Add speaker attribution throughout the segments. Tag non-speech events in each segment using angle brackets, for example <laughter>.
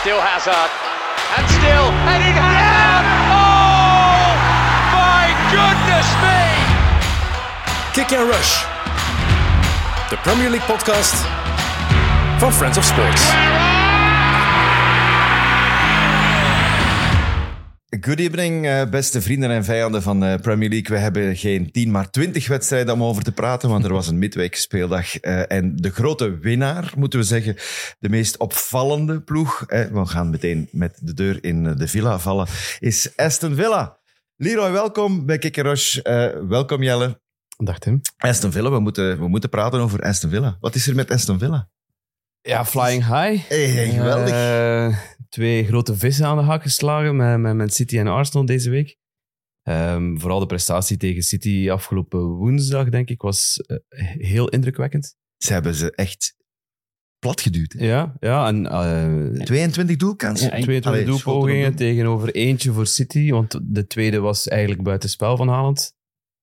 Speaker 1: Still Hazard. And still heading Hazard. Oh, my goodness me.
Speaker 2: Kick and Rush. De Premier League podcast van Friends of Sports.
Speaker 3: Good evening, eh, beste vrienden en vijanden van de Premier League. We hebben geen 10, maar 20 wedstrijden om over te praten, want er was een midweek speeldag. eh, en de grote winnaar, moeten we zeggen, de meest opvallende ploeg, eh, we gaan meteen met de deur in eh, de villa vallen, is Aston Villa. Leroy, welkom bij Kikkerosh. Eh welkom Jelle.
Speaker 4: Dag Tim.
Speaker 3: Aston Villa, we moeten, we moeten praten over Aston Villa. Wat is er met Aston Villa?
Speaker 4: Ja, Flying High.
Speaker 3: Hey, geweldig.
Speaker 4: Eh, twee grote vissen aan de hak geslagen met, met, met City en Arsenal deze week. Ehm, vooral de prestatie tegen City afgelopen woensdag, denk ik, was eh, heel indrukwekkend.
Speaker 3: Ze hebben ze echt platgeduwd. hè.
Speaker 4: Ja, ja en eh,
Speaker 3: 22 doelkansen. Allee,
Speaker 4: 22
Speaker 3: schoten op
Speaker 4: doelpogingen
Speaker 3: doel.
Speaker 4: tegenover eentje voor City, want de tweede was eigenlijk buitenspel van Haaland.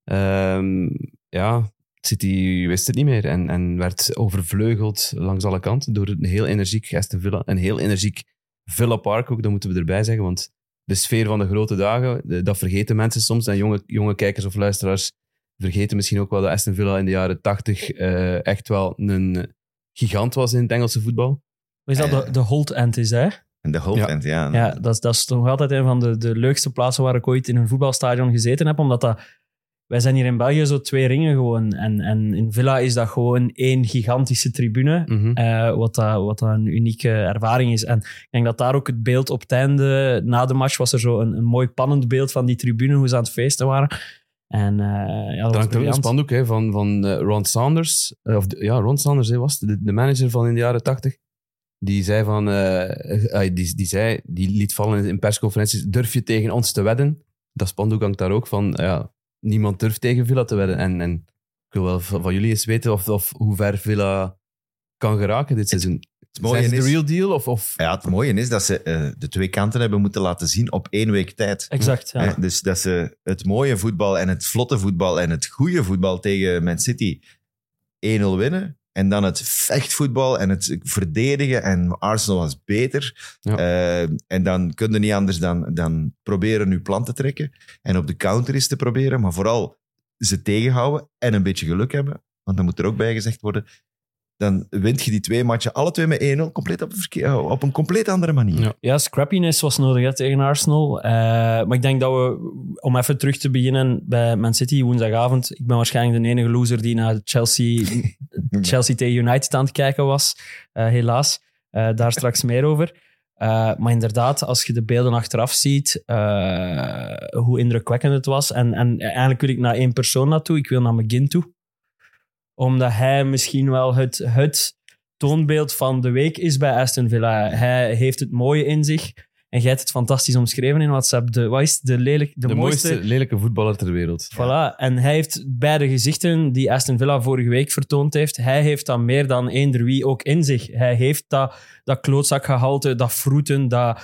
Speaker 4: Ehm, ja, City wist het niet meer en, en werd overvleugeld langs alle kanten door een heel energiek Aston Villa, een heel energiek Villa Park ook, dat moeten we erbij zeggen, want de sfeer van de grote dagen, de- dat vergeten mensen soms en jonge, jonge kijkers of luisteraars vergeten misschien ook wel dat Aston Villa in de jaren 80 eh, echt wel een gigant was in het Engelse voetbal.
Speaker 5: Hoe is dat? De, de Holt End is dat, hè?
Speaker 3: En de hoofdend, ja.
Speaker 5: Ja, dat, is- dat is toch altijd een van de, de leukste plaatsen waar ik ooit in een voetbalstadion gezeten heb. Omdat dat, wij zijn hier in België zo twee ringen gewoon. En, en in Villa is dat gewoon één gigantische tribune.
Speaker 4: Mhm.
Speaker 5: eh, wat, dat, wat dat een unieke ervaring is. En ik denk dat daar ook het beeld op het einde, na de match, was er zo een, een mooi pannend beeld van die tribune, hoe ze aan het feesten waren. En eh, ja,
Speaker 4: Er
Speaker 5: dat was
Speaker 4: hangt ook een
Speaker 5: briljant.
Speaker 4: spandoek hè, van, van eh, Ron Sanders. Eh, of, de- ja, Ron Sanders hij was het, de, de manager van in de jaren tachtig. Die zei van... eh, eh, die, die, zei, die liet vallen in- in persconferenties... Durf je tegen ons te wedden? Dat spandoek hangt daar ook van... Ja, niemand durft tegen Villa te wedden. En, en ik wil wel van van jullie eens weten of, of hoe ver Villa kan geraken dit seizoen.
Speaker 3: Het mooie
Speaker 4: Zijn ze de
Speaker 3: is-
Speaker 4: real deal? Of, of...
Speaker 3: Ja, het mooie is dat ze eh, de twee kanten hebben moeten laten zien op één week tijd.
Speaker 5: Exact, ja.
Speaker 3: Hè, dus dat ze het mooie voetbal en het vlotte voetbal en het goede voetbal tegen Man City 1-0 winnen. En dan het vechtvoetbal en het verdedigen. En Arsenal was beter.
Speaker 4: Ja.
Speaker 3: Eh, en dan kun je niet anders dan, dan proberen nu plan te trekken. En op de counter is te proberen. Maar vooral ze tegenhouden en een beetje geluk hebben. Want dan moet er ook bij gezegd worden. Dan wint je die twee matchen, alle twee met 1-0, compleet op, een verkeer- op een compleet andere manier.
Speaker 4: Ja.
Speaker 5: Ja, scrappiness was nodig hè, tegen Arsenal. Eh, maar ik denk dat we, om even terug te beginnen bij Man City woensdagavond. Ik ben waarschijnlijk de enige loser die naar Chelsea, Chelsea tegen United aan het kijken was. Eh, helaas. Eh, daar straks meer over. Eh, maar inderdaad, als je de beelden achteraf ziet, eh, hoe indrukwekkend het was. En, en eigenlijk wil ik naar één persoon naartoe. Ik wil naar McGinn toe. Omdat hij misschien wel het, het toonbeeld van de week is bij Aston Villa. Hij heeft het mooie in zich. En jij hebt het fantastisch omschreven in WhatsApp. De, wat is het? de, lelijk, de,
Speaker 4: de mooiste,
Speaker 5: mooiste
Speaker 4: lelijke voetballer ter wereld.
Speaker 5: Voilà. En hij heeft beide gezichten die Aston Villa vorige week vertoond heeft, hij heeft dat meer dan eender wie ook in zich. Hij heeft dat, dat klootzakgehalte, dat vroeten, dat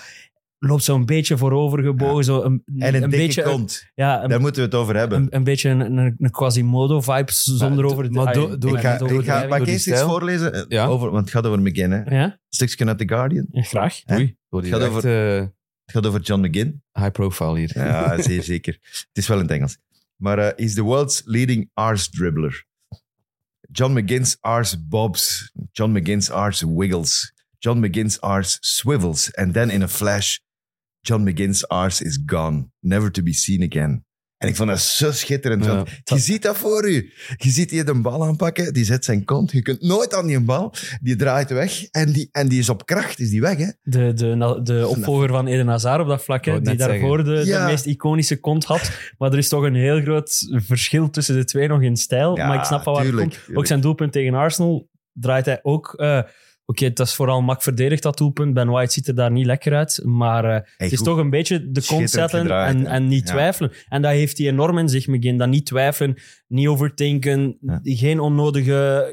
Speaker 5: loopt zo'n beetje voorovergebogen. Zo een,
Speaker 3: En een, dikke
Speaker 5: beetje,
Speaker 3: kont.
Speaker 5: Ja, een,
Speaker 3: Daar moeten we het over hebben.
Speaker 5: een, een beetje een, een, een Quasimodo-vibe zonder
Speaker 4: Maar-
Speaker 5: over
Speaker 4: maar do- do-
Speaker 3: ik ga,
Speaker 4: door-
Speaker 3: ik ga
Speaker 4: door
Speaker 3: mag ik
Speaker 4: die
Speaker 3: eerst iets
Speaker 4: stijl?
Speaker 3: voorlezen? eh,
Speaker 4: Ja.
Speaker 3: Over, want het gaat over McGinn. Hè?
Speaker 5: Ja,
Speaker 3: Stukje uit The Guardian.
Speaker 5: graag.
Speaker 3: Hè?
Speaker 4: Oei, wordt
Speaker 3: Het
Speaker 4: hier
Speaker 3: gaat
Speaker 4: echt eh,
Speaker 3: Het gaat over John McGinn.
Speaker 4: high profile hier.
Speaker 3: Ja, zeer zeker. Het is wel in het Engels. Maar eh is the world's leading arse dribbler. John McGinn's arse bobs. John McGinn's arse wiggles. John McGinn's arse swivels. And then in a flash, John McGinn's arse is gone. Never to be seen again. En ik vond dat zo schitterend.
Speaker 4: Ja.
Speaker 3: want Je ziet dat voor je. Je ziet hier de bal aanpakken, die zet zijn kont. Je kunt nooit aan die bal. Die draait weg en die, en die is op kracht, is die weg. Hè?
Speaker 5: De, de, de opvolger van Eden Hazard op dat vlak,
Speaker 4: Ik
Speaker 5: hè,
Speaker 4: wou
Speaker 5: die
Speaker 4: het net
Speaker 5: daarvoor de,
Speaker 3: Ja.
Speaker 5: de meest iconische kont had. Maar er is toch een heel groot verschil tussen de twee nog in stijl.
Speaker 3: Ja,
Speaker 5: maar ik snap wel waar het
Speaker 3: tuurlijk,
Speaker 5: komt.
Speaker 3: tuurlijk.
Speaker 5: Ook zijn doelpunt tegen Arsenal draait hij ook... eh, Oké, het is vooral mak verdedigd, dat doelpunt. Ben White ziet er daar niet lekker uit. Maar eh, het is
Speaker 3: goed.
Speaker 5: toch een beetje de kont
Speaker 3: Schitterend
Speaker 5: zetten
Speaker 3: gedraaid,
Speaker 5: en,
Speaker 3: hè.
Speaker 5: en niet
Speaker 3: Ja.
Speaker 5: twijfelen. En dat heeft hij enorm in zich, McGinn. Dat niet twijfelen, niet overdenken,
Speaker 3: Ja.
Speaker 5: geen onnodige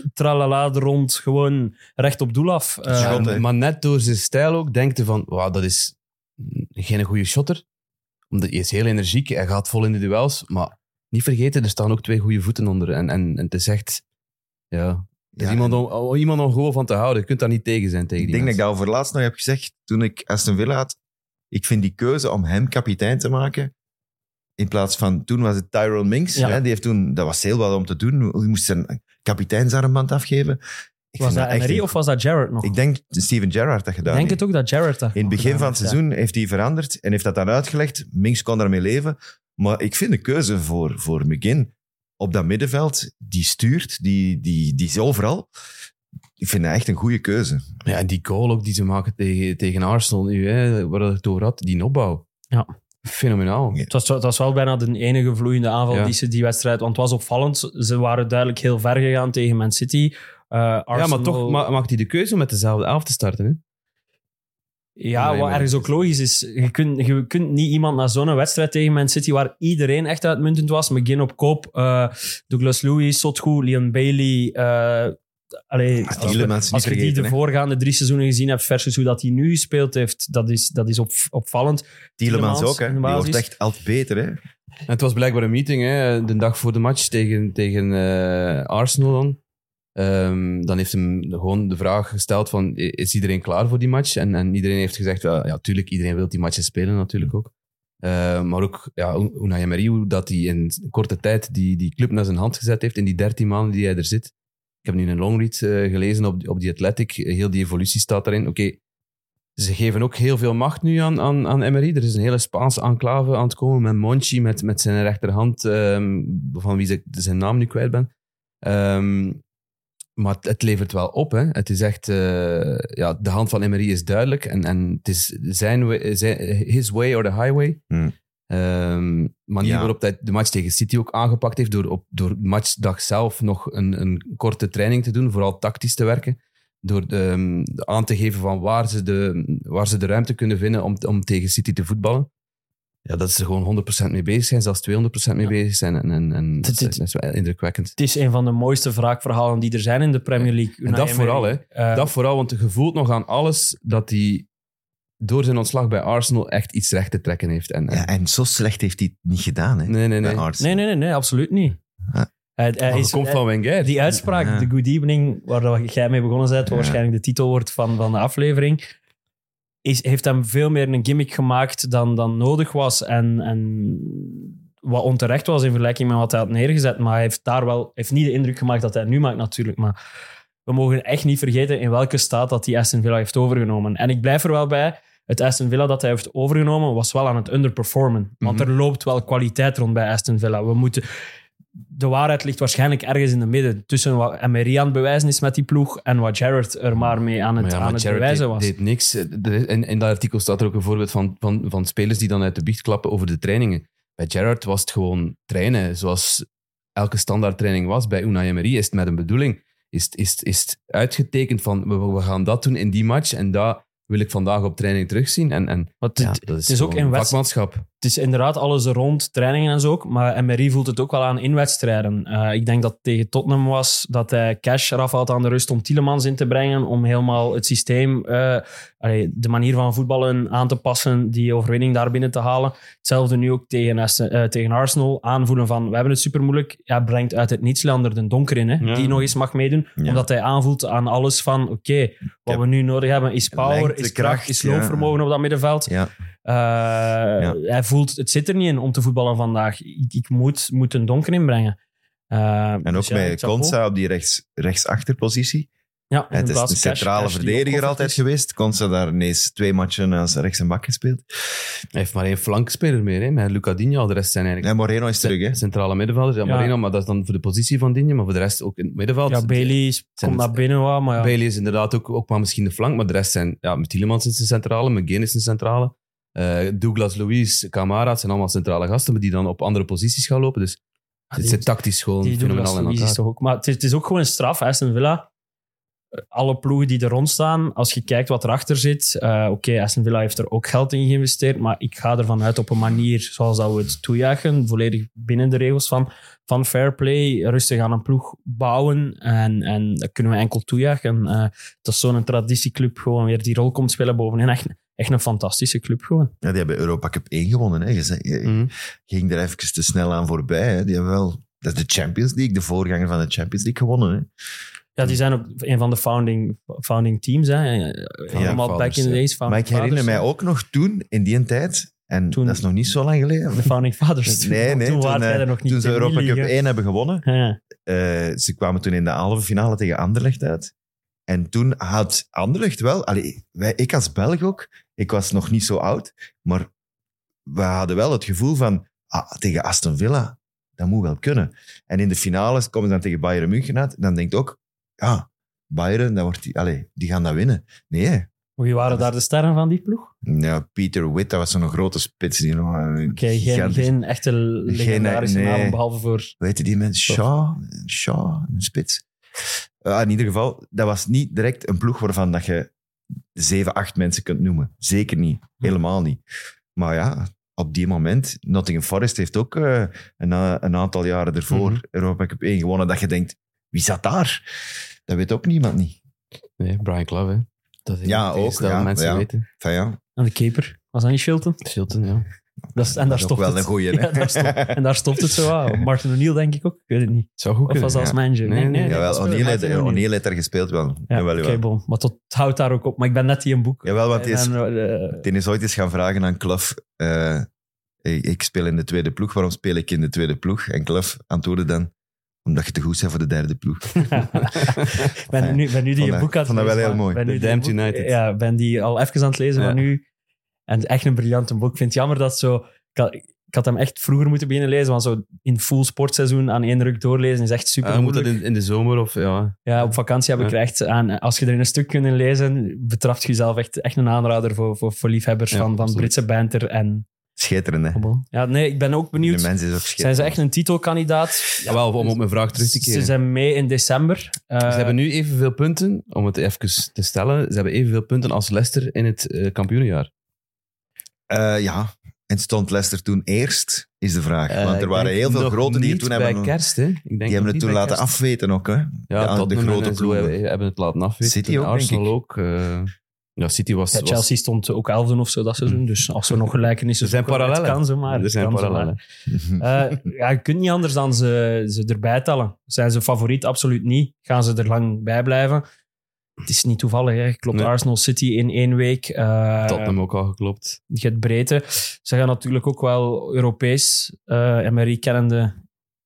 Speaker 5: eh, tralala er rond. Gewoon recht op doel af. Eh,
Speaker 3: Schot, hè.
Speaker 4: maar net door zijn stijl ook denkt hij van, wauw, dat is geen goede shotter. Omdat hij is heel energiek, hij gaat vol in de duels. Maar niet vergeten, er staan ook twee goede voeten onder. En, en, en het is echt, ja, Er is
Speaker 3: Ja,
Speaker 4: iemand, om, om- iemand om gewoon van te houden. Je kunt daar niet tegen zijn tegen
Speaker 3: Ik
Speaker 4: die
Speaker 3: denk dat ik dat
Speaker 4: mensen.
Speaker 3: over laatst nog heb gezegd toen ik Aston Villa had. Ik vind die keuze om hem kapitein te maken. In plaats van toen was het Tyrone Minks.
Speaker 5: Ja.
Speaker 3: Hè, die heeft toen, dat was heel wat om te doen. Hij moest zijn kapiteinsarmband afgeven. Ik
Speaker 5: Was
Speaker 3: vind
Speaker 5: dat
Speaker 3: echt
Speaker 5: Emery
Speaker 3: een-
Speaker 5: of was dat Jared nog?
Speaker 3: Ik denk Steven Gerrard dat
Speaker 5: Ik
Speaker 3: gedaan
Speaker 5: denk
Speaker 3: heeft.
Speaker 5: het ook dat Jared dat
Speaker 3: In het
Speaker 5: nog
Speaker 3: begin
Speaker 5: gedaan
Speaker 3: van het
Speaker 5: heeft, ja.
Speaker 3: seizoen heeft hij veranderd en heeft dat dan uitgelegd. Minks kon daarmee leven. Maar ik vind de keuze voor, voor McGinn op dat middenveld, die stuurt, die, die, die is overal. Ik vind dat echt een goede keuze.
Speaker 4: Ja, en die goal ook die ze maken tegen, tegen Arsenal nu, hè, waar we het over had, die opbouw.
Speaker 5: Ja.
Speaker 4: Fenomenaal.
Speaker 3: Ja.
Speaker 5: Het was, het was wel bijna de enige vloeiende aanval
Speaker 4: Ja.
Speaker 5: die ze die wedstrijd... Want het was opvallend. Ze waren duidelijk heel ver gegaan tegen Man City. Eh, Arsenal,
Speaker 4: Ja, maar toch ma- maakt hij de keuze om met dezelfde elf te starten. Hè?
Speaker 5: Ja,
Speaker 4: Nee,
Speaker 5: wat
Speaker 4: maar-
Speaker 5: ergens ook logisch is. Je kunt, je kunt niet iemand na zo'n wedstrijd tegen Man City, waar iedereen echt uitmuntend was, McGinn op koop, eh, Douglas Lewis, Sotgoed, Leon Bailey... eh, allee,
Speaker 3: Ah,
Speaker 5: als,
Speaker 3: Tielemans
Speaker 5: we-
Speaker 3: niet
Speaker 5: als je die
Speaker 3: vergeten,
Speaker 5: de
Speaker 3: hè.
Speaker 5: voorgaande drie seizoenen gezien hebt versus hoe dat hij nu gespeeld heeft, dat is, dat is op, opvallend.
Speaker 3: Tielemans
Speaker 5: Tielemans
Speaker 3: ook, hè. die
Speaker 5: normaal
Speaker 3: wordt
Speaker 5: is-
Speaker 3: echt altijd beter. Hè.
Speaker 4: En het was blijkbaar een meeting, hè, de dag voor de match tegen, tegen eh, Arsenal dan. Ehm, dan heeft hem gewoon de vraag gesteld van, i- is iedereen klaar voor die match? En, en iedereen heeft gezegd, wel, ja, tuurlijk, iedereen wil die matchen spelen natuurlijk ook. Eh, maar ook ja, Unai Emery, hoe dat hij in korte tijd die, die club naar zijn hand gezet heeft in die 13 maanden die hij er zit. Ik heb nu een longread eh, gelezen op, die- op die Athletic, heel die evolutie staat daarin. Oké, ze geven ook heel veel macht nu aan, aan, aan Emery. Er is een hele Spaanse enclave aan het komen met Monchi, met, met zijn rechterhand, ehm, van wie ik zijn naam nu kwijt ben. Ehm, maar het, het levert wel op. Hè. Het is echt, eh, ja, de hand van Emery is duidelijk. En, en het is zijn, way- zijn, his way or the highway.
Speaker 3: Hmm.
Speaker 4: Ehm, manier
Speaker 3: Ja.
Speaker 4: waarop hij de match tegen City ook aangepakt heeft, door op door matchdag zelf nog een, een korte training te doen, vooral tactisch te werken door ehm, aan te geven van waar ze de, waar ze de ruimte kunnen vinden om, om tegen City te voetballen. Ja, dat ze er gewoon 100% mee bezig zijn, zelfs 200% mee bezig zijn. En, en, en dat,
Speaker 5: Dit-
Speaker 4: is,
Speaker 5: dit-
Speaker 4: dat is wel indrukwekkend.
Speaker 5: Het is een van de mooiste wraakverhalen die er zijn in de Premier League.
Speaker 4: En dat
Speaker 5: Unai Emery.
Speaker 4: vooral, hè.
Speaker 5: Eh,
Speaker 4: Dat vooral, want je voelt nog aan alles dat hij door zijn ontslag bij Arsenal echt iets recht te trekken heeft. En, en-
Speaker 3: Ja, en zo slecht heeft hij het niet gedaan. Hè.
Speaker 4: nee, nee, nee.
Speaker 3: Bij Arsenal.
Speaker 5: nee, nee, nee, nee, absoluut niet.
Speaker 3: Ah.
Speaker 5: Hij, hij
Speaker 4: Hij
Speaker 5: is,
Speaker 4: Oh, komt van Wenger.
Speaker 5: Die uitspraak,
Speaker 3: Ja.
Speaker 5: de good evening, waar dat jij mee begonnen bent, wat
Speaker 3: Ja.
Speaker 5: waarschijnlijk de titel wordt van, van de aflevering, is, heeft hem veel meer een gimmick gemaakt dan, dan nodig was. En, en wat onterecht was in vergelijking met wat hij had neergezet. Maar hij heeft daar wel heeft niet de indruk gemaakt dat hij nu maakt, natuurlijk. Maar we mogen echt niet vergeten in welke staat dat die Aston Villa heeft overgenomen. En ik blijf er wel bij. Het Aston Villa dat hij heeft overgenomen was wel aan het underperformen. Want
Speaker 4: Mhm.
Speaker 5: er loopt wel kwaliteit rond bij Aston Villa. We moeten, de waarheid ligt waarschijnlijk ergens in de midden. Tussen wat Emery aan het bewijzen is met die ploeg en wat Jared er maar mee aan het,
Speaker 4: Maar ja,
Speaker 5: aan
Speaker 4: maar
Speaker 5: het
Speaker 4: Gerrard
Speaker 5: bewijzen
Speaker 4: deed-
Speaker 5: was.
Speaker 4: deed niks. Eh, Er is- In, in dat artikel staat er ook een voorbeeld van, van, van spelers die dan uit de biecht klappen over de trainingen. Bij Gerrard was het gewoon trainen, zoals elke standaard training was. Bij Unai Emery is het met een bedoeling. Is, het- is, het- is het uitgetekend van, we, we gaan dat doen in die match en dat wil ik vandaag op training terugzien. En, en
Speaker 5: Want
Speaker 4: ja,
Speaker 5: het,
Speaker 4: dat is,
Speaker 5: het is ook
Speaker 4: gewoon
Speaker 5: in wedst-
Speaker 4: vakmanschap.
Speaker 5: het is inderdaad alles er rond, trainingen en zo ook. Maar Emery voelt het ook wel aan in wedstrijden. Eh, ik denk dat het tegen Tottenham was dat hij cash eraf had aan de rust om Tielemans in te brengen. Om helemaal het systeem, eh, allee, de manier van voetballen aan te passen. Die overwinning daar binnen te halen. Hetzelfde nu ook tegen, Aston- eh, tegen Arsenal. Aanvoelen van we hebben het super moeilijk. Ja, brengt uit het nietslander de donker in. Hè,
Speaker 4: Ja.
Speaker 5: Die nog eens mag meedoen.
Speaker 3: Ja.
Speaker 5: Omdat hij aanvoelt aan alles van oké, wat
Speaker 3: Ja.
Speaker 5: we nu nodig hebben is power,
Speaker 3: Lengte,
Speaker 5: is
Speaker 3: kracht,
Speaker 5: kracht, is
Speaker 3: ja.
Speaker 5: loopvermogen op dat middenveld.
Speaker 3: Ja.
Speaker 5: Eh, Hij voelt, het zit er niet in om te voetballen vandaag. Ik, ik moet, moet een donker inbrengen. Eh,
Speaker 3: En ook
Speaker 5: dus ja,
Speaker 3: met
Speaker 5: chapeau.
Speaker 3: Consa op die rechts, rechtsachterpositie.
Speaker 5: Ja, in
Speaker 3: Het is
Speaker 5: plaats
Speaker 3: de
Speaker 5: van Cash-
Speaker 3: centrale
Speaker 5: Cash die
Speaker 3: verdediger
Speaker 5: opgeofferd
Speaker 3: altijd
Speaker 5: is.
Speaker 3: geweest. Consa daar ineens twee matchen als rechts en bak gespeeld.
Speaker 4: Hij heeft maar één flankspeler meer, hè, met Luca Digno. De rest zijn eigenlijk
Speaker 3: En Moreno is terug, hè.
Speaker 4: centrale middenvelders. Ja,
Speaker 5: Ja.
Speaker 4: Moreno, maar dat is dan voor de positie van Digno, maar voor de rest ook in het middenveld.
Speaker 5: Ja, Bailey is-
Speaker 4: Zijn
Speaker 5: komt
Speaker 4: het-
Speaker 5: naar binnen, wat, maar ja.
Speaker 4: Bailey is inderdaad ook, ook maar misschien de flank, maar de rest zijn... Ja, Tielemans is een centrale, McGinn is een centrale. eh, Douglas, Luiz, Camara, het zijn allemaal centrale gasten, maar die dan op andere posities gaan lopen. Dus
Speaker 5: Ah,
Speaker 4: het
Speaker 5: die-
Speaker 4: zit tactisch gewoon
Speaker 5: Die doen
Speaker 4: fenomenaal in
Speaker 5: dat is
Speaker 4: elkaar.
Speaker 5: toch ook. Maar het is, het is ook gewoon een straf, Aston Villa. Eh, Alle ploegen die er rond staan, als je kijkt wat erachter zit. eh, Oké, Aston Villa heeft er ook geld in geïnvesteerd. Maar ik ga ervan uit op een manier zoals dat we het toejuichen. Volledig binnen de regels van, van fair play. Rustig aan een ploeg bouwen. En, en dat kunnen we enkel toejuichen. Eh dat zo'n traditieclub gewoon weer die rol komt spelen bovenin. Echt, echt een fantastische club gewoon.
Speaker 3: Ja, die hebben Europa Cup 1 gewonnen, hè. Je zei- je
Speaker 4: Mhm.
Speaker 3: ging er even te snel aan voorbij, hè. Die hebben wel... Dat is de Champions League, de voorganger van de Champions League gewonnen, hè.
Speaker 5: Ja,
Speaker 4: Hmm.
Speaker 5: die zijn ook een van de founding, founding teams. Hè. Allemaal
Speaker 4: vaders,
Speaker 5: back in the
Speaker 4: ja.
Speaker 5: days. founding
Speaker 3: Maar ik herinner
Speaker 5: fathers.
Speaker 3: mij ook nog toen, in die tijd, en
Speaker 5: Toen-
Speaker 3: dat is nog niet zo lang geleden.
Speaker 5: De founding fathers. Toen-
Speaker 3: Nee, nee,
Speaker 5: toen,
Speaker 3: toen,
Speaker 5: waren
Speaker 3: eh,
Speaker 5: zij er nog niet
Speaker 3: toen ze
Speaker 5: in die
Speaker 3: Europa Cup
Speaker 5: league, hè.
Speaker 3: 1 hebben gewonnen.
Speaker 5: Ja.
Speaker 3: eh, ze kwamen toen in de halve finale tegen Anderlecht uit. En toen had Anderlecht wel... Allee, wij, ik als Belg ook, ik was nog niet zo oud, maar we hadden wel het gevoel van, ah, tegen Aston Villa, dat moet wel kunnen. En in de finales komen ze dan tegen Bayern München uit, en dan denkt ook, ja, Bayern, dat wordt die, allee, die gaan dat winnen. Nee,
Speaker 5: Wie waren daar de sterren van die ploeg?
Speaker 3: ja, Peter Witt, dat was zo'n grote spits. Die, nog een
Speaker 5: Oké, geen,
Speaker 3: gigantisch-
Speaker 5: geen echte legendarische
Speaker 3: eh, nee.
Speaker 5: naam, behalve voor...
Speaker 3: Hoe heette die mensen? Shaw? Shaw, een spits. Ah, in ieder geval, dat was niet direct een ploeg waarvan dat je zeven, acht mensen kunt noemen. Zeker niet. Helemaal niet. Maar ja, op die moment, Nottingham Forest heeft ook eh, een, a- een aantal jaren ervoor
Speaker 4: Mhm.
Speaker 3: Europa Cup 1 gewonnen, dat je denkt, wie zat daar? Dat weet ook niemand niet.
Speaker 4: Nee, Brian Clough, hè. Dat is
Speaker 3: Ja,
Speaker 4: het eerste
Speaker 3: ook,
Speaker 4: Dat
Speaker 3: ja,
Speaker 4: mensen
Speaker 3: ja.
Speaker 4: weten.
Speaker 3: Enfin, <laughs> ja,
Speaker 5: En de keeper. Was dat niet Shilton?
Speaker 4: Shilton, ja.
Speaker 5: Dat is, en daar
Speaker 3: is
Speaker 5: stopt
Speaker 3: wel
Speaker 5: het.
Speaker 3: een goeie. hè?
Speaker 5: <laughs> Ja, daar stopt- en daar stopt het zo
Speaker 3: <laughs>
Speaker 5: aan. Martin O'Neill denk ik ook. Ik weet het niet.
Speaker 4: Zou goed
Speaker 5: Of
Speaker 4: kunnen.
Speaker 5: was dat als manager?
Speaker 4: Nee,
Speaker 5: Nee, nee.
Speaker 4: nee.
Speaker 5: nee, dat
Speaker 3: Jawel,
Speaker 5: was
Speaker 3: O'Neill heeft,
Speaker 5: Martin O'Neill.
Speaker 3: O'Neill heeft er gespeeld wel.
Speaker 5: Ja,
Speaker 3: Jawel,
Speaker 5: oké,
Speaker 3: jawel.
Speaker 5: bon. Maar tot het houdt daar ook op. Maar ik ben net die een boek.
Speaker 3: Jawel, want
Speaker 5: En
Speaker 3: die is,
Speaker 5: dan, eh,
Speaker 3: die is ooit eens gaan vragen aan Klaf. eh, ik, ik speel in de tweede ploeg, waarom speel ik in de tweede ploeg? En Klaf antwoordde dan, omdat je te goed bent voor de derde ploeg. <laughs>
Speaker 4: <laughs>
Speaker 5: Ik ben nu, ben nu die
Speaker 3: Vond
Speaker 5: een
Speaker 3: dat-
Speaker 5: boek aan
Speaker 3: vond dat
Speaker 5: het
Speaker 3: wel
Speaker 5: lezen,
Speaker 3: heel
Speaker 5: maar
Speaker 3: mooi.
Speaker 5: ben nu
Speaker 4: The
Speaker 5: die
Speaker 4: Damned
Speaker 5: boek-
Speaker 4: United.
Speaker 5: Ja, ben die al even aan het lezen
Speaker 4: Ja.
Speaker 5: van nu. En echt een briljante boek. Ik vind het jammer dat zo... Ik had, ik had hem echt vroeger moeten beginnen lezen, want zo in full sportseizoen aan één ruk doorlezen is echt super
Speaker 4: Ah, moet dat
Speaker 5: moeilijk.
Speaker 4: in, in de zomer of ja.
Speaker 5: Ja, op vakantie heb ik
Speaker 4: Ja.
Speaker 5: er echt aan... Als je er in een stuk kunt in lezen, betrapt je jezelf echt, echt een aanrader voor, voor, voor liefhebbers
Speaker 4: Ja,
Speaker 5: van, van
Speaker 4: absoluut.
Speaker 5: Britse banter en...
Speaker 3: Schitterend, hè?
Speaker 5: Ja, nee, ik ben ook
Speaker 3: De
Speaker 5: benieuwd.
Speaker 3: mens is ook
Speaker 5: Zijn
Speaker 3: schitterend.
Speaker 5: ze echt een titelkandidaat?
Speaker 4: ja wel, om op mijn vraag terug te
Speaker 5: Ze
Speaker 4: keren. Ze,
Speaker 5: zijn mee in december. Eh,
Speaker 4: hebben nu evenveel punten, om het even te stellen, ze hebben evenveel punten als Leicester in het eh, kampioenenjaar.
Speaker 3: Eh, ja, en stond Leicester toen eerst, is de vraag.
Speaker 4: Eh,
Speaker 3: Want
Speaker 4: ik
Speaker 3: er waren
Speaker 4: denk
Speaker 3: heel veel
Speaker 4: nog
Speaker 3: grote die het
Speaker 4: niet
Speaker 3: toen
Speaker 4: bij
Speaker 3: hebben...
Speaker 4: kerst, hè. Ik
Speaker 3: Die
Speaker 4: denk
Speaker 3: hebben
Speaker 4: nog
Speaker 3: het
Speaker 4: niet
Speaker 3: toen
Speaker 4: bij
Speaker 3: laten
Speaker 4: kerst.
Speaker 3: afweten ook, hè?
Speaker 4: Ja,
Speaker 3: Ja, de
Speaker 4: Tottenham
Speaker 3: grote
Speaker 4: en zo eh,
Speaker 3: ploegen.
Speaker 4: hebben, hebben het laten afweten.
Speaker 3: City
Speaker 4: En
Speaker 3: ook, denk
Speaker 4: Arsenal
Speaker 3: ik.
Speaker 4: ook. eh, ja, City was...
Speaker 5: Ja,
Speaker 4: was- Mm.
Speaker 5: Chelsea stond ook 11 of zo dat seizoen. Dus als er nog gelijkenissen
Speaker 4: Er zijn
Speaker 5: zoeken, het
Speaker 4: parallellen.
Speaker 5: Kan ze maar.
Speaker 4: er
Speaker 5: het
Speaker 4: zijn
Speaker 5: kan ze
Speaker 4: parallellen.
Speaker 5: maar. Eh, ja, je kunt niet anders dan ze, ze erbij tellen. Zijn ze favoriet? Absoluut niet. Gaan ze er lang bij blijven? Het is niet toevallig. Hè. Je Klopt
Speaker 4: Nee.
Speaker 5: Arsenal City in één week. eh,
Speaker 4: Tottenham ook al geklopt.
Speaker 5: Je hebt breedte. Ze gaan natuurlijk ook wel Europees. eh MRI kennende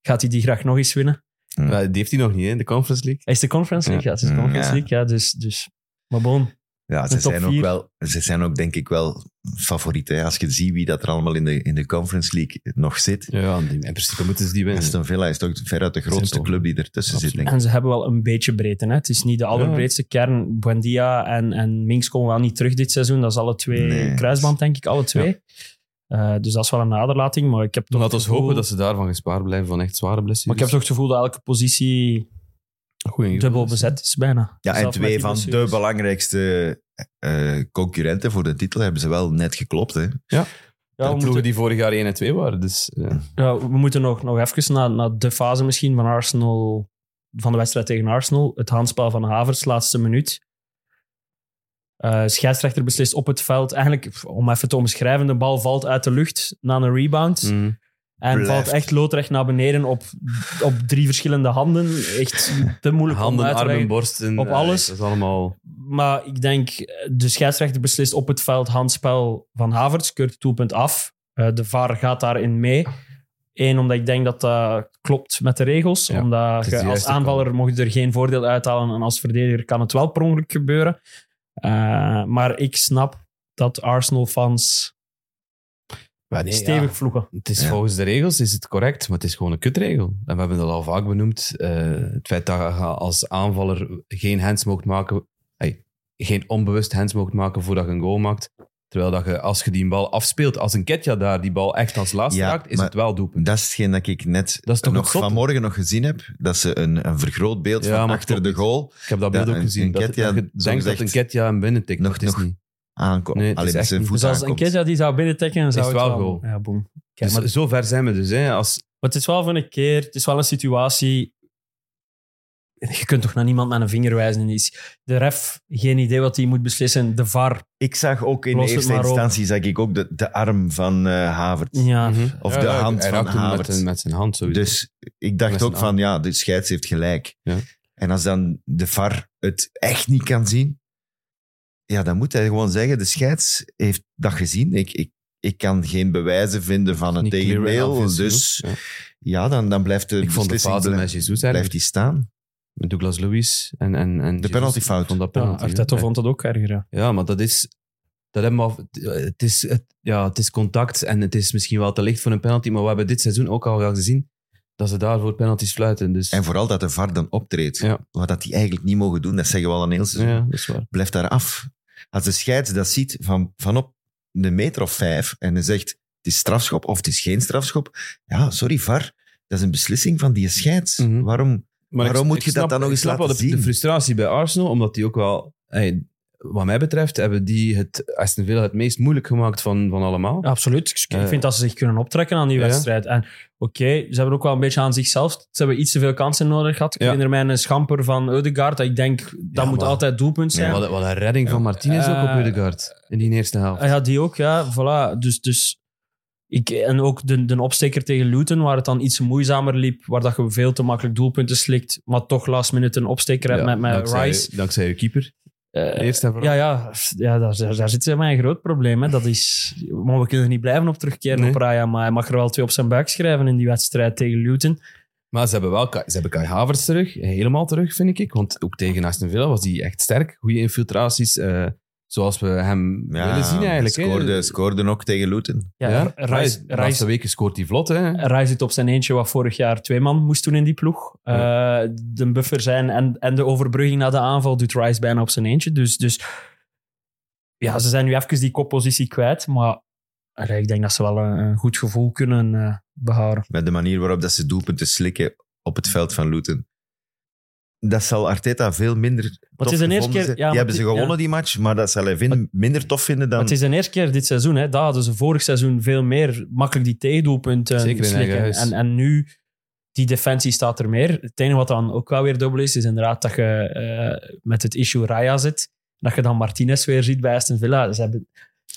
Speaker 5: gaat hij die graag nog eens winnen.
Speaker 3: Ja.
Speaker 4: Ja, die heeft hij nog niet, hè, de Conference League.
Speaker 5: Hij is de Conference League. Ja, het is de
Speaker 3: Mm,
Speaker 5: Conference
Speaker 3: ja.
Speaker 5: League. Ja, dus, dus. Maar bon.
Speaker 3: Ja,
Speaker 5: De
Speaker 3: ze
Speaker 5: top
Speaker 3: zijn, ook
Speaker 5: vier.
Speaker 3: wel, ze zijn ook denk ik wel favorieten. hè. Als je ziet wie dat er allemaal in de, in de Conference League nog zit.
Speaker 4: Ja, die- in principe moeten ze die winnen.
Speaker 3: Aston Villa is toch veruit de
Speaker 4: Zijn
Speaker 3: grootste
Speaker 4: toch-
Speaker 3: club die ertussen zit,
Speaker 4: Absoluut.
Speaker 3: denk ik.
Speaker 5: En ze hebben wel een beetje breedte. Hè? Het is niet de allerbreedste kern. Buendia en, en Minks komen wel niet terug dit seizoen. Dat is alle twee
Speaker 3: Nee.
Speaker 5: kruisband, denk ik, alle twee. Eh, dus dat is wel een naderlating. Maar ik heb toch
Speaker 4: Laten
Speaker 5: het
Speaker 4: we
Speaker 5: gevoel-
Speaker 4: hopen dat ze daarvan gespaard blijven van echt zware blessures.
Speaker 5: Maar ik heb toch het gevoel dat elke positie
Speaker 4: Goeie
Speaker 5: dubbel
Speaker 4: blessures.
Speaker 5: bezet is, bijna. Dus
Speaker 3: Ja, en
Speaker 5: Zelf met
Speaker 3: twee
Speaker 5: die
Speaker 3: van de
Speaker 5: blessures.
Speaker 3: belangrijkste eh, concurrenten voor de titel hebben ze wel net geklopt. Hè?
Speaker 5: Ja, we
Speaker 4: de ploegen
Speaker 5: moeten,
Speaker 4: die vorig jaar 1 en 2 waren. Dus, eh,
Speaker 5: ja, we moeten nog, nog even naar, naar de fase misschien van Arsenal... Van de wedstrijd tegen Arsenal. Het handspel van Havertz, laatste minuut. Eh, scheidsrechter beslist op het veld. Eigenlijk, om even te omschrijven, de bal valt uit de lucht na een rebound.
Speaker 4: mm.
Speaker 5: En
Speaker 3: Blijft.
Speaker 5: valt echt loodrecht naar beneden op, op drie verschillende handen. Echt te moeilijk om
Speaker 4: Handen,
Speaker 5: uit te
Speaker 4: armen,
Speaker 5: leggen.
Speaker 4: borsten.
Speaker 5: Op
Speaker 4: eh,
Speaker 5: alles.
Speaker 4: Dat is allemaal...
Speaker 5: Maar ik denk, eh, de scheidsrechter beslist op het veld handspel van Havertz. Keurt het doelpunt af. Eh, de VAR gaat daarin mee. Eén, omdat ik denk dat dat klopt met de regels.
Speaker 4: Ja, is
Speaker 5: omdat je
Speaker 4: de
Speaker 5: als
Speaker 4: juiste
Speaker 5: aanvaller mocht je er geen voordeel uithalen. En als verdediger kan het wel per ongeluk gebeuren. Eh, maar ik snap dat Arsenal-fans
Speaker 4: Maar Ah, nee,
Speaker 5: stevig
Speaker 4: ja,
Speaker 5: vloeken.
Speaker 4: Het is
Speaker 3: Ja.
Speaker 4: volgens de regels is het correct, maar het is gewoon een kutregel. En we hebben dat al vaak benoemd. eh, het feit dat je als aanvaller geen hands mocht maken, ey, geen onbewust hands mocht maken voordat je een goal maakt. Terwijl dat je, als je die bal afspeelt, als een Ketja daar die bal echt als laatste
Speaker 3: Ja,
Speaker 4: raakt, is
Speaker 3: maar-
Speaker 4: het wel doelpunt.
Speaker 3: Dat is hetgeen dat ik net
Speaker 4: Dat is toch het
Speaker 3: nog
Speaker 4: zotte?
Speaker 3: vanmorgen nog gezien heb. Dat ze een, een vergrootbeeld
Speaker 4: Ja,
Speaker 3: van
Speaker 4: maar
Speaker 3: achter
Speaker 4: klopt
Speaker 3: de
Speaker 4: niet.
Speaker 3: goal
Speaker 4: Ik heb dat
Speaker 3: Ja,
Speaker 4: beeld ook
Speaker 3: een-
Speaker 4: gezien.
Speaker 3: een
Speaker 4: dat,
Speaker 3: Nketiah,
Speaker 4: dat je
Speaker 3: zo
Speaker 4: denkt dat
Speaker 3: gezegd,
Speaker 4: een Ketja hem binnentikt.
Speaker 3: nog-
Speaker 4: maar het is
Speaker 3: nog-
Speaker 4: niet.
Speaker 3: aankomt.
Speaker 4: Nee, het
Speaker 3: Alleen
Speaker 4: is
Speaker 3: met
Speaker 4: echt
Speaker 3: zijn
Speaker 4: niet.
Speaker 3: voet
Speaker 5: Dus als een
Speaker 3: aankomt.
Speaker 5: Kedja die zou binnentekken, zou
Speaker 4: het
Speaker 5: het
Speaker 4: wel
Speaker 5: wel...
Speaker 4: goal.
Speaker 5: Ja, boem. Kijk,
Speaker 4: Dus
Speaker 5: maar
Speaker 4: zo ver zijn we dus. Hè. Als,
Speaker 5: Maar het is wel van een keer, het is wel een situatie. Je kunt toch naar niemand met een vinger wijzen. En die is, de ref, geen idee wat hij moet beslissen. De VAR,
Speaker 3: Ik zag ook in
Speaker 5: Los het
Speaker 3: eerste
Speaker 5: maar op.
Speaker 3: instantie zag ik ook de, de arm van eh Havert.
Speaker 5: ja.
Speaker 4: Mhm.
Speaker 3: Of de hand
Speaker 4: hij
Speaker 3: van
Speaker 4: raakt hem met,
Speaker 3: Havertz.
Speaker 4: met zijn hand. Sowieso.
Speaker 3: Dus ik
Speaker 4: Met
Speaker 3: dacht
Speaker 4: zijn
Speaker 3: ook van, ja, de scheids heeft gelijk.
Speaker 4: Ja.
Speaker 3: En als dan de VAR het echt niet kan zien, ja, dan moet hij gewoon zeggen, de scheids heeft dat gezien. Ik, ik, ik kan geen bewijzen vinden van een
Speaker 4: Niet clear en
Speaker 3: tegendeel.
Speaker 4: obvious
Speaker 3: Dus
Speaker 4: genoeg.
Speaker 3: ja, dan, dan blijft de
Speaker 4: Ja. Ik vond de
Speaker 3: beslissing
Speaker 4: fouten
Speaker 3: blij-
Speaker 4: met Jesus
Speaker 3: blijft
Speaker 4: eigenlijk.
Speaker 3: die staan.
Speaker 4: Met Douglas Lewis en, en, en
Speaker 3: De
Speaker 4: Jesus. Ik
Speaker 3: penaltyfout.
Speaker 4: vond dat
Speaker 5: Ja,
Speaker 4: penalty.
Speaker 5: Arteta
Speaker 4: hè.
Speaker 5: vond dat ook erger. Ja.
Speaker 4: Ja, maar dat is... Dat hebben we af- het, is, het, ja, het is contact en het is misschien wel te licht voor een penalty, maar we hebben dit seizoen ook al wel gezien dat ze daarvoor penalties fluiten. Dus,
Speaker 3: En vooral dat de VAR dan optreedt.
Speaker 4: Ja.
Speaker 3: Wat dat die eigenlijk niet mogen doen, dat zeggen we al een heel seizoen.
Speaker 4: ja, dat is waar.
Speaker 3: Blijf daar af. Als de scheids dat ziet van, van op de meter of vijf en hij zegt het is strafschop of het is geen strafschop, ja, sorry VAR, dat is een beslissing van die scheids.
Speaker 4: Mhm.
Speaker 3: Waarom?
Speaker 4: Maar
Speaker 3: Waarom moet je dat dan nog
Speaker 4: ik
Speaker 3: eens
Speaker 4: snap
Speaker 3: laten
Speaker 4: wel de,
Speaker 3: zien?
Speaker 4: de frustratie bij Arsenal, omdat die ook wel... hey, wat mij betreft hebben die het Aston Villa het meest moeilijk gemaakt van, van allemaal.
Speaker 5: Absoluut. Ik- Ik
Speaker 4: Eh.
Speaker 5: vind dat ze zich kunnen optrekken aan die
Speaker 4: Ja.
Speaker 5: wedstrijd. En oké, ze hebben ook wel een beetje aan zichzelf. Ze hebben iets te veel kansen nodig gehad. Ik
Speaker 4: Ja.
Speaker 5: herinner mij een schamper van Eudegaard. Dat ik denk, dat
Speaker 4: Ja,
Speaker 5: moet
Speaker 4: maar-
Speaker 5: altijd doelpunt zijn.
Speaker 4: Wat, een- wat een redding van Martinez ook
Speaker 5: Eh,
Speaker 4: op Rudegaard in die eerste helft.
Speaker 3: Eh,
Speaker 5: Ah Ja, die ook, ja. Voilà. Dus, dus ik, en ook de, de opsteker tegen Luton, waar het dan iets moeizamer liep, waar dat je veel te makkelijk doelpunten slikt, maar toch last minute een opsteker hebt
Speaker 4: Ja,
Speaker 5: met, met
Speaker 4: dankzij,
Speaker 5: Rice.
Speaker 4: Dankzij je keeper.
Speaker 5: Eh,
Speaker 4: Eerst en vooral.
Speaker 5: ja, ja, f- ja daar, daar, daar zit mij een groot probleem. Hè. Dat is, maar we kunnen er niet blijven op terugkeren
Speaker 4: Nee.
Speaker 5: op Raya, maar hij mag er wel twee op zijn buik schrijven in die wedstrijd tegen Luton.
Speaker 4: Maar ze hebben wel Kai- ze hebben Kai Havertz terug. Helemaal terug, vind ik. Want ook tegen Aston Villa was hij echt sterk. Goede infiltraties. eh, zoals we hem
Speaker 3: Ja,
Speaker 4: willen zien eigenlijk. hè.
Speaker 3: Scoorde, scoorde ook tegen Luton.
Speaker 5: Ja,
Speaker 4: Ja, Rice,
Speaker 5: Rice, Eh.
Speaker 4: de laatste
Speaker 5: Rice,
Speaker 4: weken scoort hij vlot. Hè.
Speaker 5: Rai zit op zijn eentje wat vorig jaar twee man moest doen in die ploeg. Eh, de buffer zijn en, en de overbrugging na de aanval doet Rice bijna op zijn eentje. Dus, dus ja, ze zijn nu even die koppositie kwijt. Maar allee, ik denk dat ze wel een, een goed gevoel kunnen eh, behouden.
Speaker 3: Met de manier waarop dat ze doelpunten slikken op het veld van Luton. Dat zal Arteta veel minder
Speaker 5: het
Speaker 3: tof
Speaker 5: is de eerste
Speaker 3: gevonden
Speaker 5: keer-
Speaker 3: zijn.
Speaker 5: ja,
Speaker 3: die
Speaker 5: maar
Speaker 3: hebben ze
Speaker 5: die-
Speaker 3: gewonnen,
Speaker 5: ja.
Speaker 3: die match, maar dat zal hij vinden, minder tof vinden dan...
Speaker 5: Maar het is de eerste keer dit seizoen. Hè. Daar hadden ze vorig seizoen veel meer makkelijk die tegendoelpunten
Speaker 4: Zeker in eigen
Speaker 5: slikken.
Speaker 4: huis.
Speaker 5: En, en nu, die defensie staat er meer. Het enige wat dan ook wel weer dubbel is, is inderdaad dat je eh, met het issue Raya zit. Dat je dan Martinez weer ziet bij Aston Villa. Ze hebben,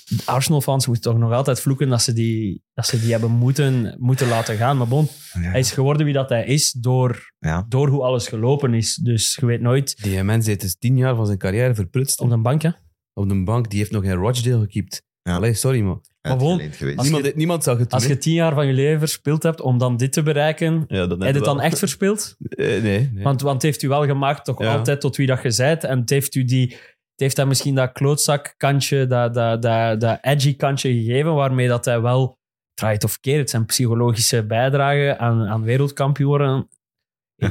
Speaker 5: de Arsenal-fans moeten toch nog altijd vloeken dat ze die, dat ze die hebben moeten, moeten laten gaan. Maar bon,
Speaker 3: Ja.
Speaker 5: hij is geworden wie dat hij is door,
Speaker 3: Ja.
Speaker 5: door hoe alles gelopen is. Dus je weet nooit.
Speaker 4: Die mens heeft dus tien jaar van zijn carrière verprutst.
Speaker 5: Op
Speaker 4: Op de,
Speaker 5: de bank, hè.
Speaker 4: bank. Die heeft nog in Rochdale gekiept.
Speaker 3: Ja.
Speaker 4: Allee, sorry man.
Speaker 5: maar gewoon-
Speaker 3: uitgeleend geweest.
Speaker 5: je-
Speaker 4: Niemand, niemand zag het
Speaker 5: Als
Speaker 4: doen,
Speaker 5: je tien jaar van je leven verspild hebt om dan dit te bereiken,
Speaker 4: hè. ja, dat
Speaker 5: Heb je het
Speaker 4: wel.
Speaker 5: dan echt verspeeld?
Speaker 4: <laughs> Eh, nee. nee.
Speaker 5: Want, want het heeft u wel gemaakt toch
Speaker 4: Ja.
Speaker 5: altijd tot wie dat je zijt. En het heeft u die... Het heeft hem misschien dat klootzak-kantje, dat, dat, dat, dat edgy-kantje gegeven, waarmee dat hij wel, try it of keer, het zijn psychologische bijdrage aan, aan wereldkampioenen,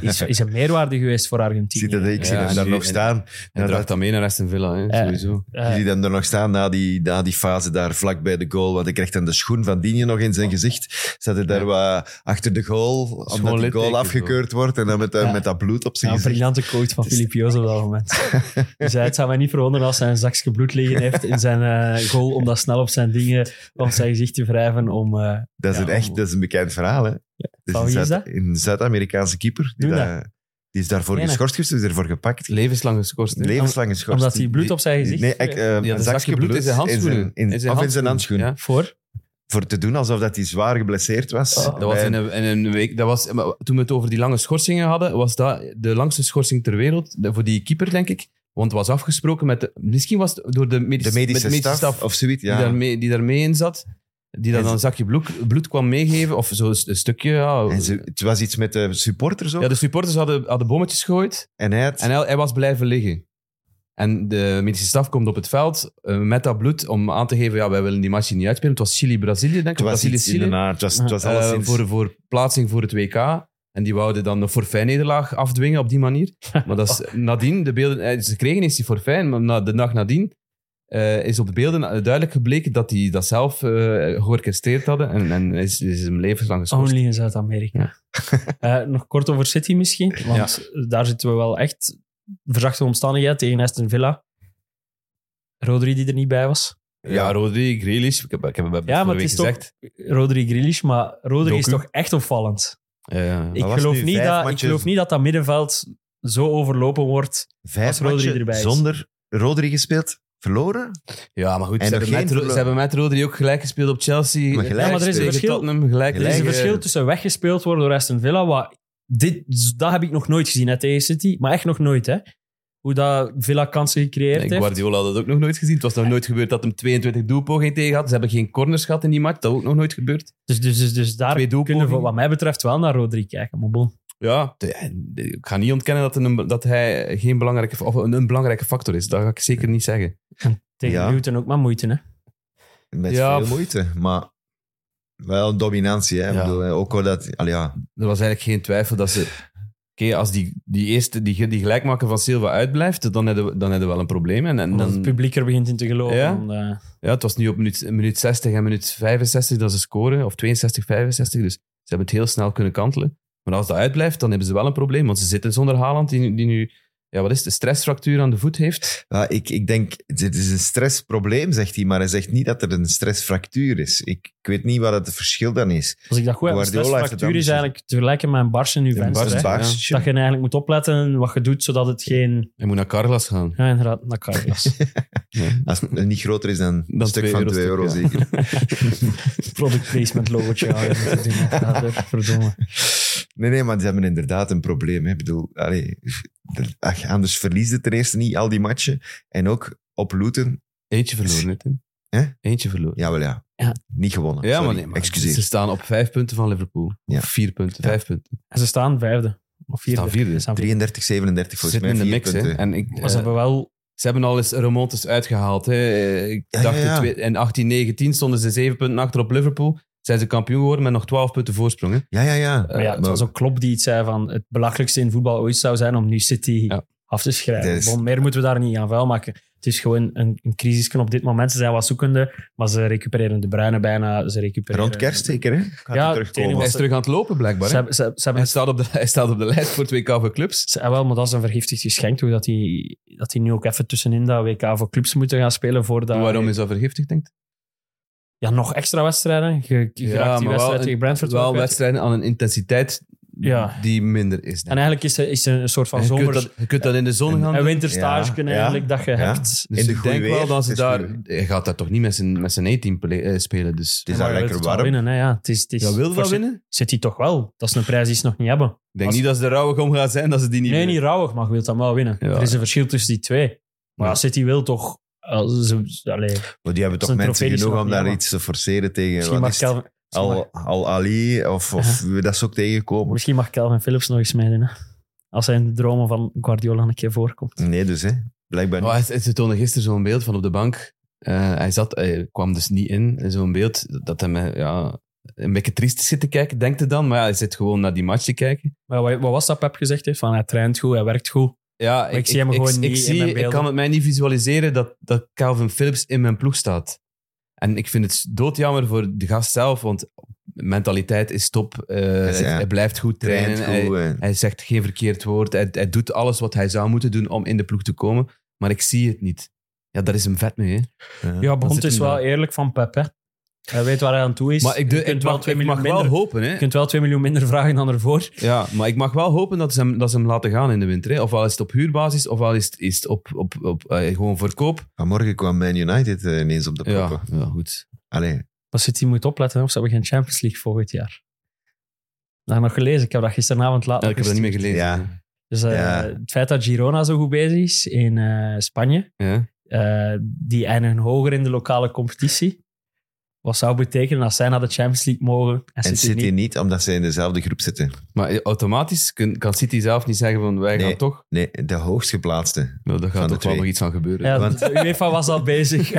Speaker 5: is, is een meerwaarde geweest voor
Speaker 3: Ik zie
Speaker 5: Argentinië.
Speaker 3: dat, ik zie
Speaker 4: Ja,
Speaker 3: hem
Speaker 4: en
Speaker 3: daar
Speaker 4: die-
Speaker 3: nog
Speaker 4: en-
Speaker 3: staan.
Speaker 4: Hij
Speaker 3: Ja,
Speaker 4: draagt
Speaker 3: dat-
Speaker 4: dat mee naar Aston Villa. Hè,
Speaker 5: Eh.
Speaker 4: Sowieso.
Speaker 5: Eh,
Speaker 3: Je ziet hem er nog staan na die, na die fase daar vlak bij de goal. Want hij krijgt dan de schoen van Digne nog in zijn gezicht. Zat hij daar
Speaker 4: Ja.
Speaker 3: wat achter de goal,
Speaker 4: gewoon
Speaker 3: omdat de
Speaker 4: litteken,
Speaker 3: goal
Speaker 4: zo.
Speaker 3: afgekeurd wordt. En dan met, dat-
Speaker 5: Ja.
Speaker 3: met dat bloed op
Speaker 5: ja,
Speaker 3: zijn
Speaker 5: een
Speaker 3: gezicht.
Speaker 5: briljante quote van Filip Joos op dat
Speaker 3: <laughs>
Speaker 5: moment. Die zei, het zou mij niet verwonderen als hij een zakje bloed liggen heeft in zijn eh, goal, om dat snel op zijn dingen, op zijn gezicht te wrijven om... eh,
Speaker 3: Dat is,
Speaker 5: Ja,
Speaker 3: een echt, dat is een bekend verhaal. Hè? Dus
Speaker 5: Van
Speaker 3: een
Speaker 5: wie is
Speaker 3: Zuid-
Speaker 5: dat?
Speaker 3: Een Zuid-Amerikaanse keeper. Die,
Speaker 5: Doe dat.
Speaker 3: daar- die is daarvoor
Speaker 5: Nee, nee.
Speaker 3: geschorst geweest, die is ervoor gepakt.
Speaker 4: Levenslang geschorst. hè.
Speaker 3: Levenslang geschorst.
Speaker 5: omdat hij bloed
Speaker 3: Die-
Speaker 5: op zijn gezicht-
Speaker 3: Nee, ik, eh, een
Speaker 4: Die had een
Speaker 3: zakje
Speaker 4: zakje bloed in zijn handschoenen.
Speaker 3: in zijn-
Speaker 4: In zijn
Speaker 3: of in zijn
Speaker 4: handschoenen,
Speaker 3: handschoen.
Speaker 4: ja.
Speaker 5: voor?
Speaker 3: Voor te doen alsof dat hij zwaar geblesseerd was.
Speaker 5: Oh.
Speaker 4: Dat was
Speaker 3: Bij-
Speaker 4: in een, in een week. Dat was, maar toen we het over die lange schorsingen hadden, was dat de langste schorsing ter wereld. de- Voor die keeper, denk ik. Want het was afgesproken met. De, misschien was het door de medische,
Speaker 3: de medische,
Speaker 4: met de
Speaker 3: staf, of zoiets.
Speaker 4: die,
Speaker 3: Ja.
Speaker 4: daarmee, die daarmee in zat. Die
Speaker 3: En
Speaker 4: dat
Speaker 3: ze-
Speaker 4: dan een zakje bloed, bloed kwam meegeven. Of zo'n een stukje. Ja,
Speaker 3: En ze- het was iets met de supporters ook.
Speaker 4: Oh. ja, de supporters hadden, hadden bommetjes gegooid.
Speaker 3: En hij had...
Speaker 4: En hij, hij was blijven liggen. En de medische staf komt op het veld eh, met dat bloed om aan te geven: ja, wij willen die match hier niet uitspelen. Het was Chili-Brazilië, denk ik.
Speaker 3: het was
Speaker 4: Brazilië,
Speaker 3: iets in de naam. Het was, het was
Speaker 4: Eh,
Speaker 3: alleszins-
Speaker 4: voor, voor plaatsing voor het WK. En die wouden dan een forfait-nederlaag afdwingen op die
Speaker 5: <laughs>
Speaker 4: manier. Maar dat is nadien, de beelden, eh, ze kregen eens die forfait, maar na, de dag nadien eh, is op de beelden eh, duidelijk gebleken dat die dat zelf eh georchestreerd hadden. En, en is, is hem levenslang geschorst.
Speaker 5: Only in Zuid-Amerika. <laughs> Eh, nog kort over City misschien, want daar zitten we wel echt verzachte omstandigheden tegen Aston Villa. Rodri die er niet bij was.
Speaker 4: Ja, Rodri, Grealish, ik heb, ik heb het
Speaker 5: Ja,
Speaker 4: ja,
Speaker 5: maar
Speaker 4: maar
Speaker 5: het is toch-
Speaker 4: gezegd.
Speaker 5: Rodri Grealish, maar Rodri is
Speaker 4: Doku.
Speaker 5: toch echt opvallend.
Speaker 4: Ja, ja.
Speaker 5: Ik
Speaker 3: was nu
Speaker 5: geloof, niet
Speaker 3: vijf
Speaker 5: dat, ik
Speaker 3: matches-
Speaker 5: geloof niet dat dat middenveld zo overlopen wordt.
Speaker 3: vijf
Speaker 5: als Rodri
Speaker 3: matchen
Speaker 5: erbij is.
Speaker 3: zonder Rodri gespeeld. Verloren?
Speaker 4: Ja, maar goed,
Speaker 3: En
Speaker 4: ze
Speaker 3: nog
Speaker 4: hebben,
Speaker 3: geen
Speaker 4: met, Ro-
Speaker 3: verlo-
Speaker 4: ze hebben met Rodri ook gelijk gespeeld op Chelsea.
Speaker 3: Maar gelijk
Speaker 5: Ja, maar er is een
Speaker 4: Tegen
Speaker 5: verschil.
Speaker 4: Tottenham, gelijk
Speaker 3: eh,
Speaker 5: Er is een
Speaker 4: tegen-
Speaker 5: verschil tussen weggespeeld worden door Aston Villa, wat dit, dat heb ik nog nooit gezien hè, tegen City. Maar echt nog nooit, hè. Hoe dat Villa kansen gecreëerd
Speaker 4: En
Speaker 5: heeft.
Speaker 4: Guardiola had dat ook nog nooit gezien. Het was nog nooit gebeurd dat hem 22 doelpogingen tegen had. Ze hebben geen corners gehad in die match. Dat ook nog nooit gebeurd.
Speaker 5: Dus, dus, dus, dus
Speaker 4: Twee
Speaker 5: daar kunnen we
Speaker 4: doelpogingen.
Speaker 5: wat mij betreft wel naar Rodri kijken. Maar bon.
Speaker 4: Ja, de- en de- ik ga niet ontkennen dat, een- dat hij geen belangrijke, of een, een belangrijke factor is. Dat ga ik zeker niet zeggen.
Speaker 5: Tegen
Speaker 3: Ja.
Speaker 5: Newton ook maar moeite, hè.
Speaker 3: Met
Speaker 4: Ja,
Speaker 3: veel
Speaker 4: pff.
Speaker 3: moeite, maar wel een dominantie. Hè? Ik
Speaker 4: Ja.
Speaker 3: bedoel, eh, ook al dat... Al ja,
Speaker 4: Er was eigenlijk geen twijfel dat ze... Oké, als die, die eerste, die, die gelijkmaker van Silva uitblijft, dan hebben we, dan hebben we wel een probleem. En, en
Speaker 5: Omdat
Speaker 4: dan,
Speaker 5: het publiek er begint in te geloven.
Speaker 4: Ja?
Speaker 5: dan, eh,
Speaker 4: ja, het was nu op minuut, minuut 60 en minuut 65 dat ze scoren, of 62, 65. Dus ze hebben het heel snel kunnen kantelen. Maar als dat uitblijft, dan hebben ze wel een probleem, want ze zitten zonder Haaland, die, nu- die nu ja, wat is het, een stressfractuur aan de voet heeft.
Speaker 3: Ja, ik, ik denk, dit is een stressprobleem, zegt hij, maar hij zegt niet dat er een stressfractuur is. Ik, ik weet niet wat het verschil dan is.
Speaker 5: als ik dat goed heb, een
Speaker 3: Guardiola heeft het
Speaker 5: stressfractuur
Speaker 3: anders
Speaker 5: is eigenlijk te vergelijken met een bars in uw
Speaker 4: Een
Speaker 5: venster.
Speaker 4: barst,
Speaker 5: hè.
Speaker 4: ja.
Speaker 3: baarsje.
Speaker 5: Dat je eigenlijk moet opletten wat je doet, zodat het geen...
Speaker 4: Hij moet naar Carlas gaan.
Speaker 5: Ja, inderdaad, naar
Speaker 4: <laughs>
Speaker 5: Cargas.
Speaker 3: Als het <laughs> niet groter is dan een
Speaker 4: Dan
Speaker 3: stuk
Speaker 4: twee
Speaker 3: van
Speaker 4: euro
Speaker 3: 2 euro,
Speaker 4: stuk,
Speaker 3: zeker.
Speaker 5: Product placement logootje houden. moeten doen, ja, zeg, Verdomme.
Speaker 3: Nee, nee, maar ze hebben inderdaad een probleem. Hè. Ik bedoel, allee, er- ach, anders verliest het ten eerste niet al die matchen. En ook op Luton,
Speaker 4: Eentje verloren, hè, Tim?
Speaker 3: Hè?
Speaker 4: Eentje verloren.
Speaker 3: jawel ja,
Speaker 5: Ja.
Speaker 3: niet gewonnen.
Speaker 4: Ja,
Speaker 3: Sorry,
Speaker 4: maar nee, maar ze
Speaker 3: Excuseer.
Speaker 4: staan op vijf punten van Liverpool.
Speaker 3: Ja.
Speaker 4: Of vier punten,
Speaker 3: Ja.
Speaker 4: vijf punten.
Speaker 5: En ze staan vijfde. Of
Speaker 4: Ze
Speaker 5: vierde.
Speaker 4: staan vierde.
Speaker 5: Ze
Speaker 4: Ze
Speaker 5: staan
Speaker 3: 33, 37 volgens
Speaker 4: zitten
Speaker 3: mij.
Speaker 4: in de
Speaker 3: vier
Speaker 4: mix, hè.
Speaker 3: punten.
Speaker 4: En ik,
Speaker 5: Maar ze
Speaker 4: eh,
Speaker 5: hebben wel...
Speaker 4: Ze hebben al eens remontes uitgehaald. Hè. Ik
Speaker 3: Ja,
Speaker 4: dacht,
Speaker 3: ja, ja.
Speaker 4: in twee- in 18 19 stonden ze 7 punten achter op Liverpool. Zijn ze kampioen geworden met nog 12 punten voorsprong. Hè.
Speaker 3: Ja, ja,
Speaker 4: Eh,
Speaker 3: ja.
Speaker 5: Maar ja, het was ook Klopp die iets zei van het belachelijkste in voetbal ooit zou zijn om nu City
Speaker 4: Ja.
Speaker 5: af te schrijven.
Speaker 3: Dat is-
Speaker 5: Bon, meer moeten we daar niet aan vuil maken. Het is gewoon een, een crisisknop op dit moment. Ze zijn wat zoekende, maar ze recupereren de bruine bijna. Ze recupereren...
Speaker 3: Rond kerst zeker, hè? Gaat
Speaker 5: Ja,
Speaker 3: hij
Speaker 5: het enige
Speaker 3: terugkomen.
Speaker 4: Hij is
Speaker 5: ze-
Speaker 4: terug aan het lopen, blijkbaar.
Speaker 5: Ze,
Speaker 4: hè.
Speaker 5: hebben- ze, ze hebben
Speaker 4: Hij, staat op de, hij staat op de lijst voor 2K voor clubs.
Speaker 5: Ze- ah, wel, maar dat is een vergiftigd geschenk. Hoe dat die, dat die nu ook even tussenin dat WK voor clubs moeten gaan spelen. Voordat,
Speaker 4: Waarom is dat vergiftigd, denk ik?
Speaker 5: Ja, nog extra wedstrijden. Je, je
Speaker 4: Ja,
Speaker 5: raakt
Speaker 4: maar
Speaker 5: die
Speaker 4: wel
Speaker 5: wedstrijd
Speaker 4: een-
Speaker 5: tegen Brentford wel
Speaker 4: Wel
Speaker 5: kwijt.
Speaker 4: wedstrijden aan een intensiteit
Speaker 5: Ja.
Speaker 4: die minder is.
Speaker 5: En
Speaker 4: Denk ik.
Speaker 5: eigenlijk is er, is er een soort van
Speaker 4: En je, kunt
Speaker 5: zomer...
Speaker 4: dat, je kunt dat in de zon gaan
Speaker 5: Een
Speaker 4: doen.
Speaker 5: winterstage
Speaker 3: Ja,
Speaker 5: kunnen
Speaker 3: ja,
Speaker 5: eigenlijk dat je
Speaker 3: ja.
Speaker 5: hebt.
Speaker 4: Dus
Speaker 3: In de
Speaker 4: ik
Speaker 3: goede
Speaker 4: denk wel
Speaker 3: weer,
Speaker 4: dat ze
Speaker 3: het is
Speaker 4: daar...
Speaker 3: nu-
Speaker 4: Hij gaat daar toch niet met zijn, met zijn E-team pele- eh, spelen. Dus.
Speaker 3: Het is daar
Speaker 5: Ja, maar je
Speaker 3: lekker
Speaker 5: wilt het wel
Speaker 3: warm.
Speaker 5: Winnen, hè? Ja, het is, het is
Speaker 4: Ja, wil je
Speaker 5: voor
Speaker 4: dat
Speaker 5: City-
Speaker 4: winnen?
Speaker 5: City toch wel. Dat is een prijs die ze nog niet hebben.
Speaker 4: Ik denk
Speaker 5: Als-
Speaker 4: niet dat ze er rauwig om gaan zijn dat ze die niet
Speaker 5: nee,
Speaker 4: winnen.
Speaker 5: niet rauwig, maar je wilt dan wel winnen.
Speaker 4: Ja.
Speaker 5: Er is een verschil tussen die twee. Maar
Speaker 4: Ja.
Speaker 5: City wil toch... eh, ze- allee,
Speaker 3: Maar die hebben
Speaker 5: Dat
Speaker 3: toch
Speaker 5: is een trofee
Speaker 3: mensen
Speaker 5: die ze
Speaker 3: genoeg
Speaker 5: nog
Speaker 3: om
Speaker 5: niet
Speaker 3: daar
Speaker 5: hebben.
Speaker 3: iets te forceren tegen.
Speaker 5: misschien,
Speaker 3: wat
Speaker 5: mag
Speaker 3: is het?
Speaker 5: Calvin,
Speaker 3: Al, al Ali of, of dat is ook tegenkomen.
Speaker 5: misschien mag Calvin Phillips nog eens meedoen. hè. Als hij in de dromen van Guardiola een keer voorkomt.
Speaker 3: Nee, dus hè. Blijkbaar
Speaker 4: Oh,
Speaker 3: niet.
Speaker 4: hij- hij- ze toonden gisteren zo'n beeld van op de bank. Eh, hij, zat, hij kwam dus niet in. En Zo'n beeld dat hij me, ja, een beetje triest zit te kijken, denkt hij dan. Maar ja, hij zit gewoon naar die match te kijken.
Speaker 5: Maar wat, wat was dat Pep gezegd heeft? Van hij traint goed, hij werkt goed.
Speaker 4: Ja,
Speaker 5: ik zie hem gewoon niet in
Speaker 4: zie-
Speaker 5: mijn
Speaker 4: ik
Speaker 5: beelden.
Speaker 4: kan het mij niet visualiseren dat, dat Calvin Phillips in mijn ploeg staat. En ik vind het doodjammer voor de gast zelf, want mentaliteit is top. Eh,
Speaker 3: Dus ja,
Speaker 4: hij, hij blijft goed trainen.
Speaker 3: Traint
Speaker 4: Hij-
Speaker 3: goed, eh.
Speaker 4: Hij zegt geen verkeerd woord. Hij, hij doet alles wat hij zou moeten doen om in de ploeg te komen. Maar ik zie het niet. Ja, daar is hem vet mee. Hè.
Speaker 5: Ja,
Speaker 4: Dan
Speaker 5: Bond
Speaker 4: zit
Speaker 5: is
Speaker 4: hem
Speaker 5: wel
Speaker 4: daar.
Speaker 5: eerlijk van Pep. Hè. Hij weet waar hij aan toe is.
Speaker 4: Maar ik, doe-
Speaker 5: je kunt
Speaker 4: ik
Speaker 5: wel
Speaker 4: mag,
Speaker 5: twee
Speaker 4: ik
Speaker 5: miljoen
Speaker 4: mag wel
Speaker 5: minder-
Speaker 4: hopen. Hè.
Speaker 5: je kunt wel 2 miljoen minder vragen dan ervoor.
Speaker 4: Ja, maar ik mag wel hopen dat ze hem, dat ze hem laten gaan in de winter. Hè. Ofwel is het op huurbasis, ofwel is het, is het op, op, op, eh, gewoon verkoop.
Speaker 3: Vanmorgen kwam Man United eh, ineens op de proppen.
Speaker 4: Ja, ja, goed.
Speaker 3: Allee,
Speaker 5: Maar City moet opletten hè, of ze hebben geen Champions League volgend jaar. Dat heb ik nog gelezen. Ik heb dat gisteravond laat.
Speaker 4: Ja, ik heb dat niet meer gelezen.
Speaker 3: Ja.
Speaker 5: Dus eh,
Speaker 3: Ja.
Speaker 5: het feit dat Girona zo goed bezig is in eh, Spanje,
Speaker 4: Ja.
Speaker 5: eh, die eindigen hoger in de lokale competitie. Wat zou betekenen als zij naar de Champions League mogen en City,
Speaker 3: en City niet.
Speaker 5: niet?
Speaker 3: omdat zij in dezelfde groep zitten.
Speaker 4: Maar eh, automatisch kun- kan City zelf niet zeggen van wij
Speaker 3: Nee.
Speaker 4: gaan toch.
Speaker 3: Nee, de hoogstgeplaatste.
Speaker 4: Nou, daar
Speaker 3: Van
Speaker 4: gaat
Speaker 3: de
Speaker 4: toch wel
Speaker 3: twee.
Speaker 4: nog iets aan gebeuren.
Speaker 5: Ja,
Speaker 3: Want-
Speaker 5: de UEFA was al
Speaker 3: <laughs>
Speaker 5: bezig.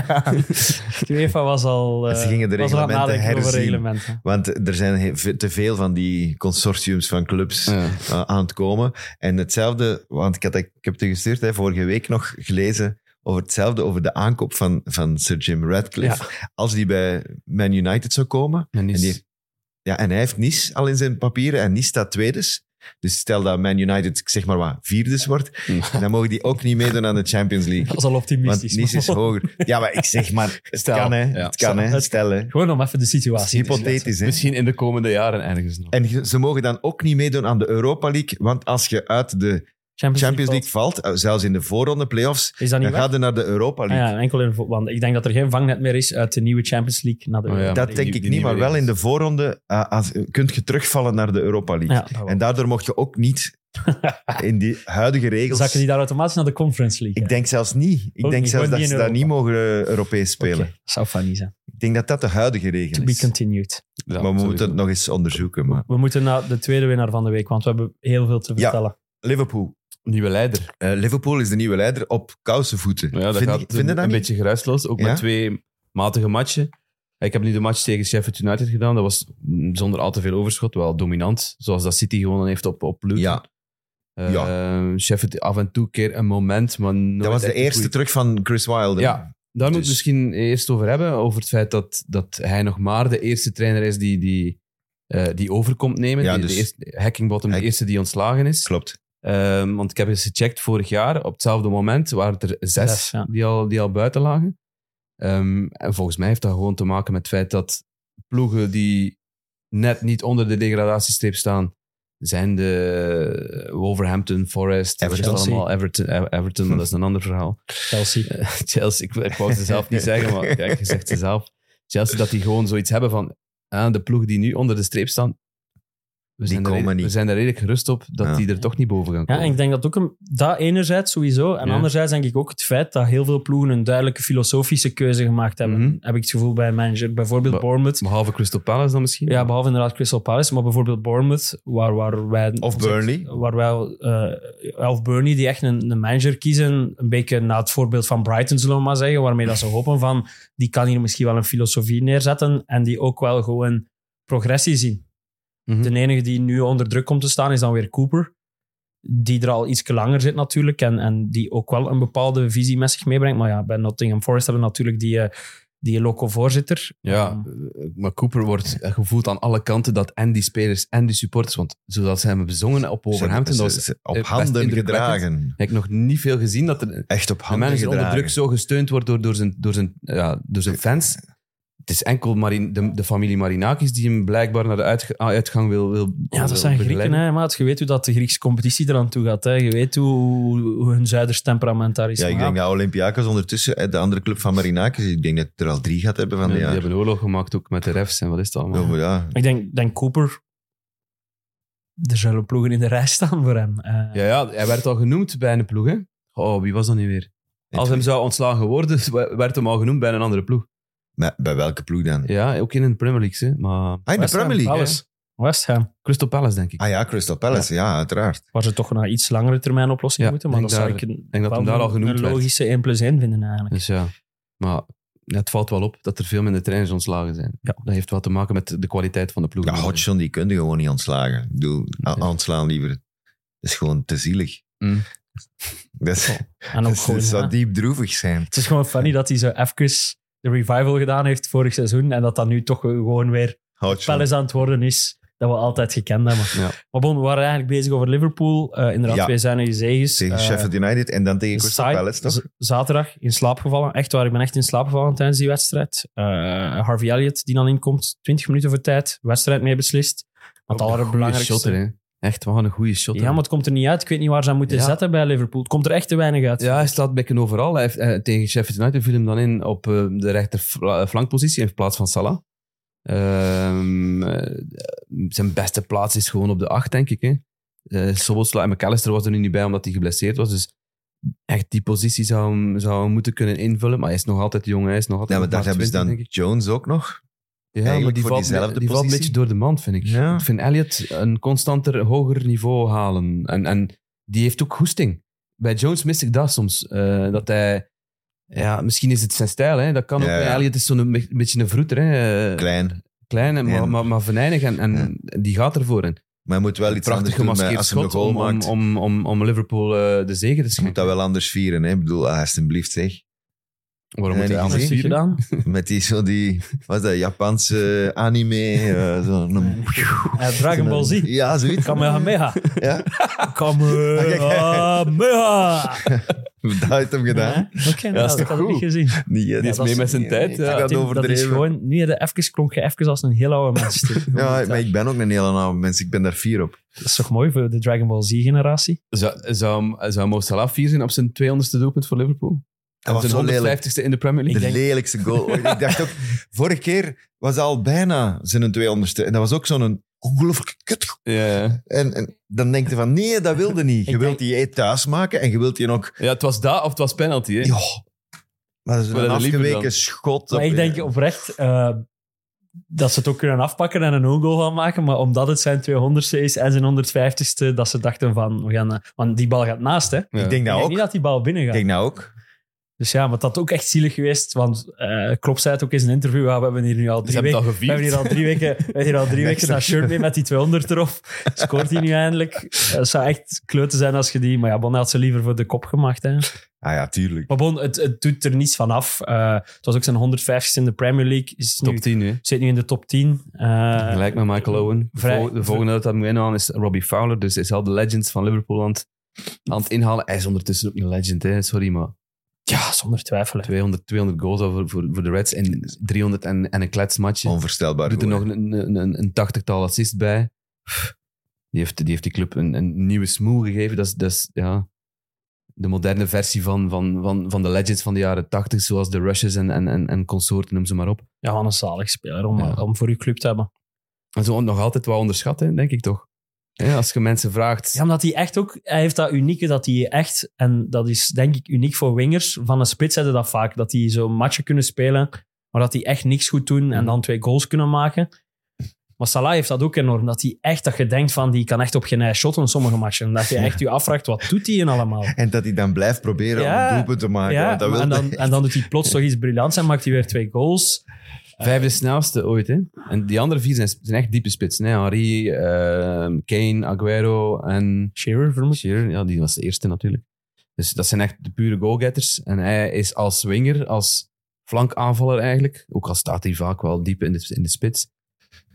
Speaker 5: de UEFA was al, eh,
Speaker 3: Ze gingen de
Speaker 5: was al aan het
Speaker 3: reglementen
Speaker 5: nadenken over
Speaker 3: herzien.
Speaker 5: reglementen.
Speaker 3: Want er zijn he- ve- te veel van die consortiums van clubs
Speaker 4: Ja.
Speaker 3: eh, aan het komen. En hetzelfde, want ik, had, ik heb het je gestuurd, hè, vorige week nog gelezen over hetzelfde, over de aankoop van, van Sir Jim Radcliffe. Als die bij Man United zou komen,
Speaker 4: En
Speaker 3: En,
Speaker 4: die,
Speaker 3: die- ja, en hij heeft Nice al in zijn papieren en Nice staat tweedes. Dus stel dat Man United, ik zeg maar wat, vierdes wordt, dan mogen die ook niet meedoen aan de Champions
Speaker 5: Dat
Speaker 3: League.
Speaker 5: <laughs> is al
Speaker 3: Want
Speaker 5: optimistisch.
Speaker 3: Nice is
Speaker 5: <laughs> maar-
Speaker 3: hoger. Ja, maar ik
Speaker 5: <laughs>
Speaker 3: zeg maar, het
Speaker 4: Stel,
Speaker 3: kan hè,
Speaker 4: ja.
Speaker 3: het kan hè,
Speaker 5: Het-
Speaker 3: stel hè.
Speaker 5: Gewoon om even de
Speaker 3: Dat
Speaker 5: situatie
Speaker 3: is
Speaker 5: te schetsen.
Speaker 3: hypothetisch hè.
Speaker 4: misschien in de komende jaren ergens nog.
Speaker 3: En ge- ze mogen dan ook niet meedoen aan de Europa League, want als je uit de
Speaker 5: Champions,
Speaker 3: Champions League
Speaker 5: League.
Speaker 3: valt, eh, zelfs in de voorronde playoffs,
Speaker 5: Is dat niet
Speaker 3: dan
Speaker 5: waar?
Speaker 3: gaat het naar de Europa
Speaker 5: Ah
Speaker 3: League.
Speaker 5: ja, enkel in, want ik denk dat er geen vangnet meer is uit de nieuwe Champions League naar de
Speaker 4: Oh ja.
Speaker 5: Europa
Speaker 3: Dat
Speaker 5: League.
Speaker 3: denk
Speaker 4: die-
Speaker 3: ik
Speaker 4: die
Speaker 3: niet, maar
Speaker 4: nieuwe
Speaker 3: wel in
Speaker 4: regels.
Speaker 3: de voorronde eh, als- kunt je terugvallen naar de Europa League.
Speaker 5: Ja.
Speaker 3: En daardoor mocht je ook niet
Speaker 5: <laughs>
Speaker 3: in die huidige regels...
Speaker 5: Zakken die daar automatisch naar de Conference League?
Speaker 3: Ik denk zelfs niet. Ik
Speaker 5: Ook
Speaker 3: denk
Speaker 5: niet,
Speaker 3: zelfs
Speaker 5: gewoon
Speaker 3: dat
Speaker 5: niet
Speaker 3: ze
Speaker 5: in
Speaker 3: daar
Speaker 5: Europa.
Speaker 3: niet mogen eh, Europees spelen.
Speaker 5: Dat zou funny zijn.
Speaker 3: Ik denk dat dat de huidige regel
Speaker 5: To be
Speaker 3: is.
Speaker 5: continued.
Speaker 4: Ja,
Speaker 3: maar we
Speaker 4: sowieso.
Speaker 3: moeten het nog eens onderzoeken. Maar.
Speaker 5: We moeten naar de tweede winnaar van de week, want we hebben heel veel te vertellen.
Speaker 3: Liverpool.
Speaker 4: Nieuwe leider.
Speaker 3: Eh, Liverpool is de nieuwe leider op kousenvoeten.
Speaker 4: Ja, dat
Speaker 3: vind
Speaker 4: gaat
Speaker 3: ik, vind je
Speaker 4: een,
Speaker 3: dat
Speaker 4: een
Speaker 3: niet?
Speaker 4: beetje geruisloos. Ook
Speaker 3: Ja?
Speaker 4: met twee matige matchen. Ik heb nu de match tegen Sheffield United gedaan. Dat was mm, zonder al te veel overschot. Wel dominant. Zoals dat City gewonnen heeft op, op Luton.
Speaker 3: Ja,
Speaker 4: Eh,
Speaker 3: ja.
Speaker 4: Sheffield af en toe een keer een moment. Maar nooit
Speaker 3: dat was
Speaker 4: echt
Speaker 3: de
Speaker 4: een
Speaker 3: eerste
Speaker 4: goeie-
Speaker 3: terug van Chris Wilder.
Speaker 4: Ja, Daar moet
Speaker 3: Dus-
Speaker 4: we misschien eerst over hebben. Over het feit dat, dat hij nog maar de eerste trainer is die, die, eh, die over komt nemen.
Speaker 3: Ja,
Speaker 4: die,
Speaker 3: dus-
Speaker 4: de eerste, Hackingbottom,
Speaker 3: Hack-
Speaker 4: de eerste die ontslagen is.
Speaker 3: Klopt.
Speaker 4: Ehm, want ik heb eens gecheckt vorig jaar. Op hetzelfde moment waren er zes
Speaker 5: Zes, ja.
Speaker 4: die, al, die al buiten lagen. Ehm, en volgens mij heeft dat gewoon te maken met het feit dat ploegen die net niet onder de degradatiestreep staan, zijn de Wolverhampton, Forest,
Speaker 3: Everton.
Speaker 4: dat is allemaal Everton, Ever- Everton, maar dat is een ander
Speaker 3: <laughs>
Speaker 4: verhaal. <laughs>
Speaker 5: Chelsea.
Speaker 4: Chelsea, ik, ik wou ze zelf niet zeggen, maar kijk, je zegt ze zelf. Chelsea, dat die gewoon zoiets hebben van ah, de ploegen die nu onder de streep staan, we, zijn, er
Speaker 3: komen
Speaker 4: redelijk- we
Speaker 3: niet.
Speaker 4: zijn er redelijk gerust op dat
Speaker 3: Ja.
Speaker 4: die er toch niet boven gaan
Speaker 5: Ja,
Speaker 4: komen.
Speaker 5: en ik denk dat ook een, dat enerzijds sowieso. En
Speaker 4: Ja.
Speaker 5: anderzijds denk ik ook het feit dat heel veel ploegen een duidelijke filosofische keuze gemaakt hebben.
Speaker 4: Mhm.
Speaker 5: Heb ik het gevoel bij een manager. Bijvoorbeeld
Speaker 4: Ba-
Speaker 5: Bournemouth.
Speaker 4: Behalve Crystal Palace dan misschien?
Speaker 5: Ja, behalve inderdaad Crystal Palace, maar bijvoorbeeld Bournemouth, waar, waar wij...
Speaker 3: Of Burnley.
Speaker 5: Waar wij, eh, of Burnley, die echt een, een manager kiezen, een beetje na het voorbeeld van Brighton, zullen we maar zeggen, waarmee dat ze hopen van, die kan hier misschien wel een filosofie neerzetten en die ook wel gewoon progressie zien.
Speaker 4: Mhm.
Speaker 5: De enige die nu onder druk komt te staan is dan weer Cooper, die er al iets langer zit natuurlijk en, en die ook wel een bepaalde visie met zich meebrengt. Maar ja, bij Nottingham Forest hebben we natuurlijk die, eh, die loco-voorzitter. Ehm,
Speaker 4: Ja, eh, maar Cooper wordt eh, gevoeld aan alle kanten dat en die spelers en die supporters, want zoals ze hebben bezongen op Wolverhampton,
Speaker 3: Ze-
Speaker 4: dat
Speaker 3: ze-
Speaker 4: was, eh,
Speaker 3: ze- op
Speaker 4: best
Speaker 3: handen
Speaker 4: indrukwekkend.
Speaker 3: gedragen.
Speaker 4: heb ik nog niet veel gezien dat er
Speaker 3: Echt op
Speaker 4: een
Speaker 3: handen
Speaker 4: manager
Speaker 3: gedragen.
Speaker 4: onder druk zo gesteund wordt door, door, zijn, door, zijn, ja, door zijn fans. Het is enkel Marin, de, de familie Marinakis die hem blijkbaar naar de uitge- ah, uitgang wil, wil
Speaker 5: Ja,
Speaker 4: wil
Speaker 5: dat zijn Grieken,
Speaker 4: begeleiden.
Speaker 5: hè, maat. Je weet hoe dat de Griekse competitie eraan toe gaat. Hè. Je weet hoe, hoe hun Zuiders temperament daar is.
Speaker 3: Ja, ik
Speaker 5: Maar
Speaker 3: denk
Speaker 4: ah.
Speaker 3: dat Olympiakos ondertussen, eh, de andere club van Marinakis, ik denk dat ik er al drie gaat hebben van
Speaker 4: Ja,
Speaker 3: de
Speaker 4: die
Speaker 3: jaar.
Speaker 4: hebben oorlog gemaakt ook met de refs en wat is het allemaal.
Speaker 3: Ja, maar ja.
Speaker 5: ik denk, denk Cooper... Er zullen ploegen in de rij staan voor hem. Eh,
Speaker 4: Ja, ja, hij werd al genoemd bij een ploeg, hè? Oh, wie was dat nu weer? Als hem zou ontslagen worden, <laughs> werd hem al genoemd bij een andere ploeg.
Speaker 3: Maar bij welke ploeg dan?
Speaker 4: Ja, ook in de Premier League, hè? Maar
Speaker 3: Ah, in de
Speaker 5: West Ham,
Speaker 3: Premier League. hè?
Speaker 5: Palace. West Ham,
Speaker 4: Crystal Palace, denk ik.
Speaker 3: Ah ja, Crystal Palace, ja, uiteraard.
Speaker 5: waar ze toch naar iets langere termijn oplossing
Speaker 4: Ja,
Speaker 5: moeten. Maar
Speaker 4: denk
Speaker 5: dat zou
Speaker 4: daar-
Speaker 5: ik een,
Speaker 4: denk dat
Speaker 5: wel
Speaker 4: hem daar al genoemd
Speaker 5: een
Speaker 4: werd.
Speaker 5: logische 1 plus 1 vinden eigenlijk.
Speaker 4: Dus ja, maar ja, het valt wel op dat er veel minder trainers ontslagen zijn.
Speaker 5: Ja.
Speaker 4: Dat heeft wel te maken met de kwaliteit van de ploeg.
Speaker 3: Ja, Hodgson, die kun je gewoon niet ontslagen. Ik bedoel, a- ontslaan liever. Dat is gewoon te zielig.
Speaker 4: Mm. Oh.
Speaker 3: Dat, is-
Speaker 5: En
Speaker 4: dus
Speaker 5: ook
Speaker 3: dat, is-
Speaker 5: gewoon,
Speaker 3: dat
Speaker 5: ja.
Speaker 3: Dus zou diep droevig zijn.
Speaker 5: Het is gewoon funny dat hij zo even de revival gedaan heeft vorig seizoen en dat dat nu toch gewoon weer
Speaker 3: Hodgson.
Speaker 5: Palace aan het worden is. Dat we altijd gekend hebben.
Speaker 4: Ja.
Speaker 5: Maar bon, we waren eigenlijk bezig over Liverpool. Eh, inderdaad,
Speaker 3: Ja.
Speaker 5: twee zijn zegens.
Speaker 3: Tegen
Speaker 5: Eh,
Speaker 3: Sheffield United en dan tegen Crystal
Speaker 5: saai.
Speaker 3: Palace, toch?
Speaker 5: Z- Zaterdag in slaap gevallen. Echt waar, ik ben echt in slaap gevallen tijdens die wedstrijd. Eh, Harvey Elliott die dan inkomt. 20 minuten voor tijd. Wedstrijd mee beslist. Want alle belangrijkste...
Speaker 4: shotter, hè? Echt wel een goede shotter.
Speaker 5: ja, maar het komt er niet uit. Ik weet niet waar ze aan moeten
Speaker 4: Ja.
Speaker 5: zetten bij Liverpool. Het komt er echt te weinig uit.
Speaker 4: Ja, hij staat bekken overal. Hij heeft, eh, tegen Sheffield United viel hem dan in op eh, de rechter fla- flankpositie in plaats van Salah. Ehm, eh, zijn beste plaats is gewoon op de acht, denk ik. Hè. Eh, Sobosla en McAllister was er nu niet bij omdat hij geblesseerd was. Dus echt die positie zou hem, zou hem moeten kunnen invullen. Maar hij is nog altijd jong. Hij is nog altijd
Speaker 3: Ja, maar daar hebben ze
Speaker 4: 20,
Speaker 3: dan
Speaker 4: denk ik.
Speaker 3: Jones ook nog.
Speaker 4: Ja,
Speaker 3: eigenlijk
Speaker 4: maar die,
Speaker 3: voor
Speaker 4: valt,
Speaker 3: diezelfde
Speaker 4: die valt een
Speaker 3: positie.
Speaker 4: beetje door de mand, vind ik.
Speaker 3: Ja.
Speaker 4: Ik vind Elliot een constanter, hoger niveau halen. En, en die heeft ook goesting. Bij Jones mis ik dat soms. eh, dat hij... Ja, misschien is het zijn stijl, hè. Dat kan ook.
Speaker 3: Ja, ja.
Speaker 4: Elliot is zo'n een be- beetje een vroeter, hè. Eh,
Speaker 3: Klein.
Speaker 4: Klein, en
Speaker 3: Ja.
Speaker 4: maar, maar, maar venijnig. En, en die gaat ervoor in.
Speaker 3: Maar hij moet wel iets
Speaker 4: Prachtig
Speaker 3: anders doen met-
Speaker 4: gemaskeerd
Speaker 3: als hij een
Speaker 4: schot
Speaker 3: goal
Speaker 4: om, om,
Speaker 3: maakt.
Speaker 4: om, om, om Liverpool eh, de zege te
Speaker 3: Je moet
Speaker 4: schenken.
Speaker 3: dat wel anders vieren, hè. Ik bedoel, ah, alsjeblieft,
Speaker 5: <laughs>
Speaker 3: zeg.
Speaker 4: Waarom
Speaker 3: Ja,
Speaker 4: moet hij
Speaker 3: niet
Speaker 5: Wat
Speaker 4: anders
Speaker 5: heeft hij
Speaker 4: vieren?
Speaker 5: gedaan?
Speaker 3: Met die, zo die, wat is dat, Japanse anime, eh, zo'n...
Speaker 5: Eh, <laughs> Dragon Ball
Speaker 3: <laughs>
Speaker 5: Z.
Speaker 3: Ja, zoiets.
Speaker 5: Kamehameha.
Speaker 3: Ja.
Speaker 5: Kamehameha.
Speaker 3: Dat heeft hem gedaan. eh,
Speaker 5: Hè? Oké, nou,
Speaker 4: is
Speaker 5: dat
Speaker 4: toch
Speaker 5: had ik niet
Speaker 4: goed?
Speaker 5: gezien.
Speaker 3: Nee, hè,
Speaker 4: Die is
Speaker 3: dat
Speaker 4: mee met zijn
Speaker 3: nee,
Speaker 4: tijd,
Speaker 3: nee,
Speaker 4: ja.
Speaker 3: Ik had
Speaker 5: Tim, dat is
Speaker 3: overdreven.
Speaker 5: gewoon... Nu heb je even, klonk je even als een heel oude mens. Tim.
Speaker 3: Ja, maar
Speaker 5: dat
Speaker 3: ik ben ook een hele oude mens. Ik ben daar fier op.
Speaker 5: is toch mooi voor de Dragon Ball Z-generatie?
Speaker 4: Zou, zou, zou Mo Salah fier zijn op zijn 200ste doelpunt voor Liverpool?
Speaker 3: Dat was
Speaker 4: zijn
Speaker 3: zo lelijk.
Speaker 4: 150ste in de Premier
Speaker 3: De
Speaker 4: League?
Speaker 3: lelijkste goal. ooit. ik dacht ook, vorige keer was dat al bijna zijn 200ste. En dat was ook zo'n ongelooflijke kut.
Speaker 4: Ja, ja.
Speaker 3: En, en dan denk je van, nee, dat wilde niet. Je
Speaker 5: Ik
Speaker 3: wilt die E thuis maken en je wilt die ook...
Speaker 4: ja, het was daar of het was penalty. Hè?
Speaker 3: Ja, maar dat is
Speaker 4: Maar
Speaker 3: een
Speaker 4: dat liever
Speaker 3: afgeweken
Speaker 4: dan.
Speaker 3: schot.
Speaker 5: Maar
Speaker 3: op-
Speaker 5: ik denk oprecht eh, dat ze het ook kunnen afpakken en een own goal gaan maken. Maar omdat het zijn 200ste is en zijn 150ste, dat ze dachten van... We gaan, eh, want die bal gaat naast, hè? Ik
Speaker 4: Ja.
Speaker 3: Ik denk
Speaker 5: denk
Speaker 3: dat ook.
Speaker 5: niet dat die bal binnen
Speaker 3: Ik
Speaker 5: gaat.
Speaker 3: denk dat ook.
Speaker 5: Dus ja, maar dat had ook echt zielig geweest. Want eh Klopp zei het ook in zijn interview. ja, we hebben hier nu al
Speaker 4: Ze
Speaker 5: drie
Speaker 4: hebben het
Speaker 5: weken...
Speaker 4: al
Speaker 5: We
Speaker 4: gevierd.
Speaker 5: hebben hier al drie weken, we hebben hier al drie weken dat shirt mee met die 200 erop. Scoort hij nu eindelijk? Eh, Het zou echt kleuter zijn als je die... Maar ja, Bon had ze liever voor de kop gemaakt. Hè.
Speaker 3: Ah ja, tuurlijk.
Speaker 5: Maar Bon, het, het doet er niets van af. Eh, het was ook zijn 150ste in de Premier League. Is nu,
Speaker 4: Top 10, hè?
Speaker 5: zit nu in de top 10. Eh,
Speaker 4: Gelijk met Michael Owen. De
Speaker 5: Vrij-
Speaker 4: vol- de volgende dat dat moet inhalen is Robbie Fowler. Dus hij is al de legends van Liverpool aan het, aan het inhalen. Hij is ondertussen ook een legend, hè? sorry, maar
Speaker 5: ja, zonder twijfel. hè.
Speaker 4: 200, 200 goals al voor, voor, voor de Reds in 300 en, en een kletsmatje.
Speaker 3: Onvoorstelbaar.
Speaker 4: doet er
Speaker 3: goed,
Speaker 4: nog
Speaker 3: Ah, hè.
Speaker 4: een, een, een, een tachtigtal assists bij. Die heeft die, heeft die club een, een nieuwe smoel gegeven. Dat is, dat is ja, de moderne versie van, van, van, van de legends van de jaren tachtig, zoals de Rushes en, en, en, en consorten, noem ze maar op.
Speaker 5: Ja, wat een zalig speler om,
Speaker 4: Ja.
Speaker 5: om voor uw club te hebben.
Speaker 4: En zo nog altijd wel onderschat, hè, denk ik toch. Ja, als je mensen vraagt...
Speaker 5: Ja, omdat hij echt ook... Hij heeft dat unieke dat hij echt... En dat is denk ik uniek voor wingers. Van een spits hebben dat vaak. Dat die zo'n matchen kunnen spelen, maar dat die echt niks goed doen
Speaker 4: Mhm.
Speaker 5: en dan twee goals kunnen maken. Maar Salah heeft dat ook enorm. Dat hij echt... Dat je denkt van, die kan echt op geen ei shotten in sommige matchen. Dat je echt je afvraagt, wat doet hij in allemaal?
Speaker 3: En dat hij dan blijft proberen om
Speaker 5: Ja.
Speaker 3: een doelpunt te
Speaker 4: Ah,
Speaker 3: maken.
Speaker 5: Ja,
Speaker 3: want dat
Speaker 5: maar
Speaker 3: wil
Speaker 5: en, dan,
Speaker 3: hij.
Speaker 5: en dan doet hij plots toch iets briljants en maakt hij weer twee goals. Eh,
Speaker 4: Vijfde snelste ooit, hè? En die andere vier zijn, zijn echt diepe spitsen. Hè? Henry, ehm, Kane, Aguero en
Speaker 5: Shearer, vermoed ik.
Speaker 4: Shearer. Ja, die was de eerste natuurlijk. Dus dat zijn echt de pure goalgetters. En hij is als winger, als flankaanvaller eigenlijk, ook al staat hij vaak wel diep in de, in de spits,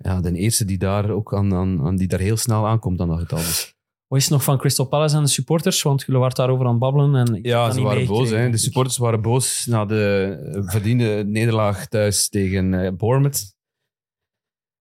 Speaker 4: ja, de eerste die daar ook aan, aan, aan- die daar heel snel aankomt aan dat getal. Dus,
Speaker 5: Wat is het nog van Crystal Palace en de supporters? Want jullie waren daarover aan het babbelen. En ik heb
Speaker 4: ja,
Speaker 5: dat
Speaker 4: ze
Speaker 5: niet
Speaker 4: waren boos.
Speaker 5: meegekregen.
Speaker 4: Hè? De supporters waren boos na de eh, verdiende nederlaag thuis tegen eh, Bournemouth.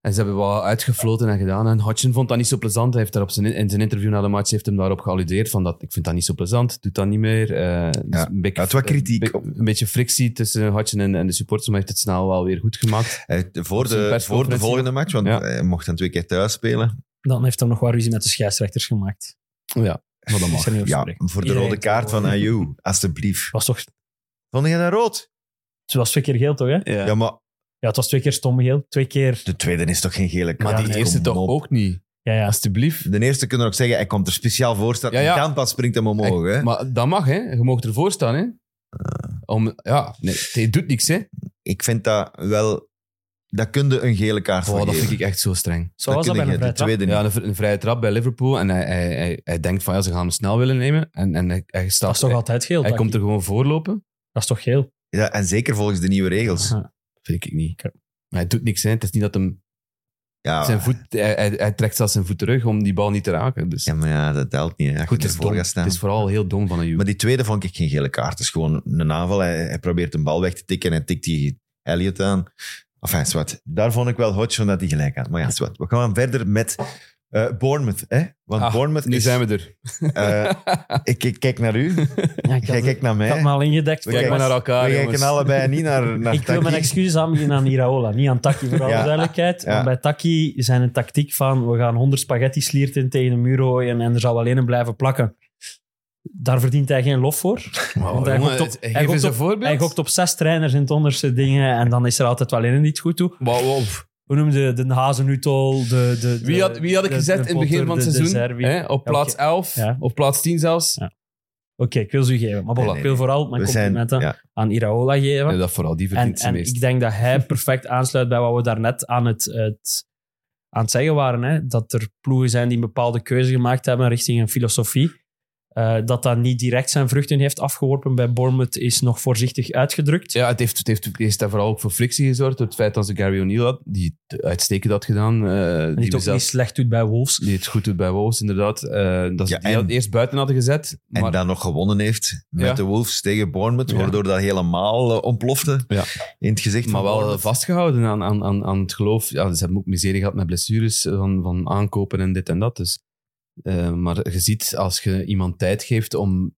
Speaker 4: En ze hebben wel uitgefloten en gedaan. En Hodgson vond dat niet zo plezant. Hij heeft daar op zijn, in zijn interview na de match heeft hem daarop gealludeerd. Van dat, ik vind dat niet zo plezant, doet dat niet meer. Eh, dus
Speaker 3: Ja,
Speaker 4: een beetje,
Speaker 3: het was kritiek.
Speaker 4: Een, be- een beetje frictie tussen Hodgson en, en de supporters. Maar hij heeft het snel wel weer goed gemaakt.
Speaker 3: Hij- Eh, voor,
Speaker 4: zijn
Speaker 3: de, voor de
Speaker 4: persconferentie.
Speaker 3: volgende match, want
Speaker 4: Ja.
Speaker 3: hij mocht dan twee keer thuis spelen.
Speaker 5: Dan heeft hij nog wat ruzie met de scheidsrechters gemaakt.
Speaker 4: Ja, wat dan
Speaker 5: Is er
Speaker 4: mag.
Speaker 5: niet over te
Speaker 3: Ja,
Speaker 5: spreken.
Speaker 3: voor de
Speaker 5: Iedereen
Speaker 3: rode kaart van
Speaker 5: Het
Speaker 3: Ayew, alstublieft.
Speaker 5: was toch...
Speaker 3: Vond jij dat rood?
Speaker 5: Het was twee keer geel, toch? Hè?
Speaker 3: Ja. maar
Speaker 5: Ja, het was twee keer stom geel. Twee keer...
Speaker 3: de tweede is toch geen gele kaart?
Speaker 4: Maar die
Speaker 3: Kom
Speaker 4: eerste toch
Speaker 3: op.
Speaker 4: ook niet.
Speaker 5: Ja, ja.
Speaker 4: Alsjeblieft.
Speaker 3: De eerste kunnen we ook zeggen, hij komt er speciaal voor staan.
Speaker 4: Ja, ja.
Speaker 3: En dan pas springt hem omhoog. Hè?
Speaker 4: Maar dat mag, hè. Je mag ervoor staan, hè.
Speaker 3: Eh.
Speaker 4: Om, ja, nee, het doet niks, hè.
Speaker 3: Ik vind dat wel... Dat kunde een gele kaart
Speaker 4: Oh,
Speaker 3: voor
Speaker 4: dat
Speaker 3: geven.
Speaker 4: vind ik echt zo streng.
Speaker 5: Zo was dat bij
Speaker 3: kun
Speaker 5: een
Speaker 3: je, de
Speaker 5: vrije trap.
Speaker 3: tweede niet.
Speaker 4: Ja, een, vri- een vrije trap bij Liverpool. En hij, hij, hij, hij denkt van, ja, ze gaan hem snel willen nemen. En, en hij, hij staat...
Speaker 5: Dat is toch
Speaker 4: hij,
Speaker 5: altijd geel?
Speaker 4: hij
Speaker 5: dat-
Speaker 4: komt er gewoon voorlopen.
Speaker 5: Dat is toch geel?
Speaker 3: Ja, en zeker volgens de nieuwe regels.
Speaker 5: Aha.
Speaker 4: Vind ik niet.
Speaker 5: Oké.
Speaker 4: Maar hij doet niks, hè. Het is niet dat hem
Speaker 3: Ah, Ja,
Speaker 4: zijn voet... Hij, hij, hij trekt zelfs zijn voet terug om die bal niet te raken. Dus.
Speaker 3: ja, maar ja, dat telt niet. Hè.
Speaker 4: Goed,
Speaker 3: Goed,
Speaker 4: het is,
Speaker 3: ervoor
Speaker 4: dom.
Speaker 3: gaat
Speaker 4: het
Speaker 3: staan.
Speaker 4: is vooral heel dom van een
Speaker 3: Maar
Speaker 4: Juve.
Speaker 3: die tweede vond ik geen gele kaart. Het is gewoon een aanval. Hij, hij probeert een bal weg te tikken en hij tikt die Elliot aan. Enfin, zwart. Daar vond ik wel Hodgson dat hij gelijk had. Maar ja, zwart. We gaan verder met eh, Bournemouth. Hè? Want
Speaker 4: Ah,
Speaker 3: Bournemouth
Speaker 4: Nu
Speaker 3: is-
Speaker 4: zijn we er.
Speaker 3: eh, ik, ik kijk naar u.
Speaker 5: Ja, ik had,
Speaker 3: Jij
Speaker 5: ik
Speaker 3: kijkt naar mij.
Speaker 5: had me al ingedekt.
Speaker 3: We
Speaker 4: Kijk maar naar elkaar,
Speaker 3: we
Speaker 4: jongens.
Speaker 3: kijken allebei
Speaker 4: <laughs>
Speaker 3: niet naar, naar
Speaker 5: ik wil mijn
Speaker 3: Taki.
Speaker 5: excuses aanbieden aan Iraola, niet aan Taki, voor alle
Speaker 3: Ja.
Speaker 5: duidelijkheid.
Speaker 3: Ja.
Speaker 5: Want bij Taki zijn een tactiek van we gaan 100 spaghetti slierten tegen de muur gooien en er zal alleen een blijven plakken. Daar verdient hij geen lof voor. Want hij
Speaker 4: Oh, Jongen,
Speaker 5: gokt op- hij
Speaker 4: geef
Speaker 5: gokt
Speaker 4: eens een
Speaker 5: op-
Speaker 4: voorbeeld.
Speaker 5: Hij gokt op zes trainers in het onderste dingen en dan is er altijd wel één die het goed doet.
Speaker 4: Wow, wow.
Speaker 5: Hoe noemde de, de Hazenutel, de, de, de-
Speaker 4: Wie had, wie had ik
Speaker 5: de-
Speaker 4: gezet
Speaker 5: de
Speaker 4: in het begin van
Speaker 5: Potter,
Speaker 4: het
Speaker 5: de- de
Speaker 4: seizoen?
Speaker 5: Zerbi?
Speaker 4: Hè? Op plaats
Speaker 5: oké.
Speaker 4: 11,
Speaker 5: Ja.
Speaker 4: op plaats 10 zelfs.
Speaker 5: Ja. Oké, ik wil ze u geven. Maar voilà,
Speaker 3: Nee, nee,
Speaker 5: ik wil vooral mijn
Speaker 3: We zijn,
Speaker 5: complimenten
Speaker 3: ja,
Speaker 5: aan Iraola geven.
Speaker 4: Ja, dat vooral, die
Speaker 5: En,
Speaker 4: verdient ze
Speaker 5: en
Speaker 4: meest.
Speaker 5: ik denk dat hij perfect aansluit bij wat we daarnet aan het, het, aan het zeggen waren. Hè? Dat er ploegen zijn die een bepaalde keuze gemaakt hebben richting een filosofie. eh, dat dat niet direct zijn vruchten heeft afgeworpen bij Bournemouth is nog voorzichtig uitgedrukt.
Speaker 4: Ja, het heeft, het heeft, het heeft daar vooral ook voor frictie gezorgd. Door het feit dat ze Gary O'Neill had, die het uitstekend had gedaan. eh,
Speaker 5: en die
Speaker 4: we
Speaker 5: het ook niet
Speaker 4: zelfs-
Speaker 5: slecht doet bij Wolves.
Speaker 4: die het goed doet bij Wolves, inderdaad. eh, dat ze
Speaker 3: Ja,
Speaker 4: die
Speaker 3: en-
Speaker 4: had- eerst buiten hadden gezet. Maar,
Speaker 3: En dan nog gewonnen heeft met
Speaker 4: Ja.
Speaker 3: de Wolves tegen Bournemouth,
Speaker 4: Ja.
Speaker 3: waardoor dat helemaal eh, ontplofte
Speaker 4: Ja.
Speaker 3: in het gezicht
Speaker 4: maar
Speaker 3: van
Speaker 4: wel eh,
Speaker 3: Bournemouth.
Speaker 4: vastgehouden aan, aan, aan, aan het geloof. Ja, ze hebben ook miserie gehad met blessures eh, van, van aankopen en dit en dat. Dus. eh, maar je ziet, als je iemand tijd geeft om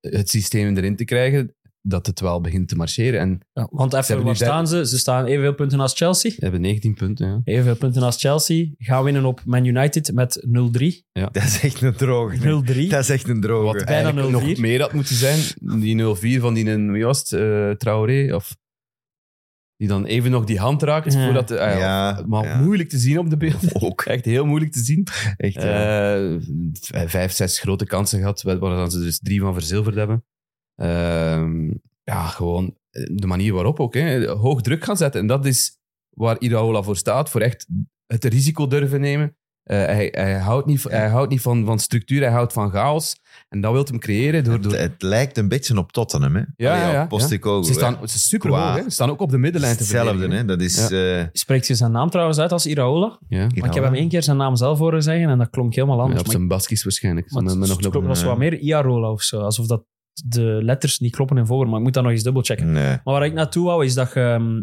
Speaker 4: het systeem erin te krijgen, dat het wel begint te marcheren. En
Speaker 5: Ja, want even,
Speaker 4: hebben
Speaker 5: waar
Speaker 4: nu der-
Speaker 5: staan ze? Ze staan evenveel punten als Chelsea.
Speaker 4: we hebben 19 punten. Ja.
Speaker 5: Evenveel punten als Chelsea. Gaan winnen op Man United met 0-3.
Speaker 3: Dat is echt een droge.
Speaker 5: 0-3.
Speaker 3: Dat is echt een droge.
Speaker 4: Wat
Speaker 5: Bijna
Speaker 4: eigenlijk
Speaker 5: 0-4.
Speaker 4: nog meer had moeten zijn, die 0-4 van die, een- wie was het, eh, Traoré, of, die dan even nog die hand raakt
Speaker 5: Ja.
Speaker 4: voordat... De, ah, ja,
Speaker 3: ja,
Speaker 4: maar
Speaker 3: ja.
Speaker 4: moeilijk te zien op de beelden. <laughs>
Speaker 3: Ook.
Speaker 4: Echt heel moeilijk te zien.
Speaker 3: Echt, ja.
Speaker 4: Eh, v- vijf, zes grote kansen gehad, waar waar dan ze er dus drie van verzilverd hebben. Ehm, ja, gewoon eh, de manier waarop ook. Hè. Hoog druk gaan zetten. En dat is waar Iraola voor staat. Voor echt het risico durven nemen. Eh, hij, hij houdt niet, hij houdt niet van, van structuur, hij houdt van chaos. En dat wil hem creëren door... door
Speaker 3: Het, het lijkt een beetje op Tottenham, hè?
Speaker 4: Ja,
Speaker 3: Allee,
Speaker 4: ja,
Speaker 3: op
Speaker 4: ja.
Speaker 3: Postecoglou,
Speaker 4: ze, staan,
Speaker 3: hè.
Speaker 4: ze zijn super hoog, hè. Ze staan ook op de middenlijn te
Speaker 3: Hetzelfde,
Speaker 4: verdedigen.
Speaker 3: hè? Dat is... eh,
Speaker 5: Spreekt je zijn naam trouwens uit als Iraola? Want
Speaker 4: Ja.
Speaker 5: ik heb hem één keer zijn naam zelf horen zeggen en dat klonk helemaal
Speaker 4: Ja,
Speaker 5: anders.
Speaker 4: op
Speaker 5: maar ik-
Speaker 4: zijn Baskisch waarschijnlijk.
Speaker 5: maar
Speaker 4: Met-
Speaker 5: het
Speaker 4: met nog
Speaker 5: het klopt,
Speaker 4: een- eh,
Speaker 5: was wat meer Iarola of zo. Alsof dat de letters niet kloppen en voor, maar ik moet dat nog eens dubbelchecken.
Speaker 3: Nee.
Speaker 5: Maar waar ik naartoe wou, is dat je... ehm,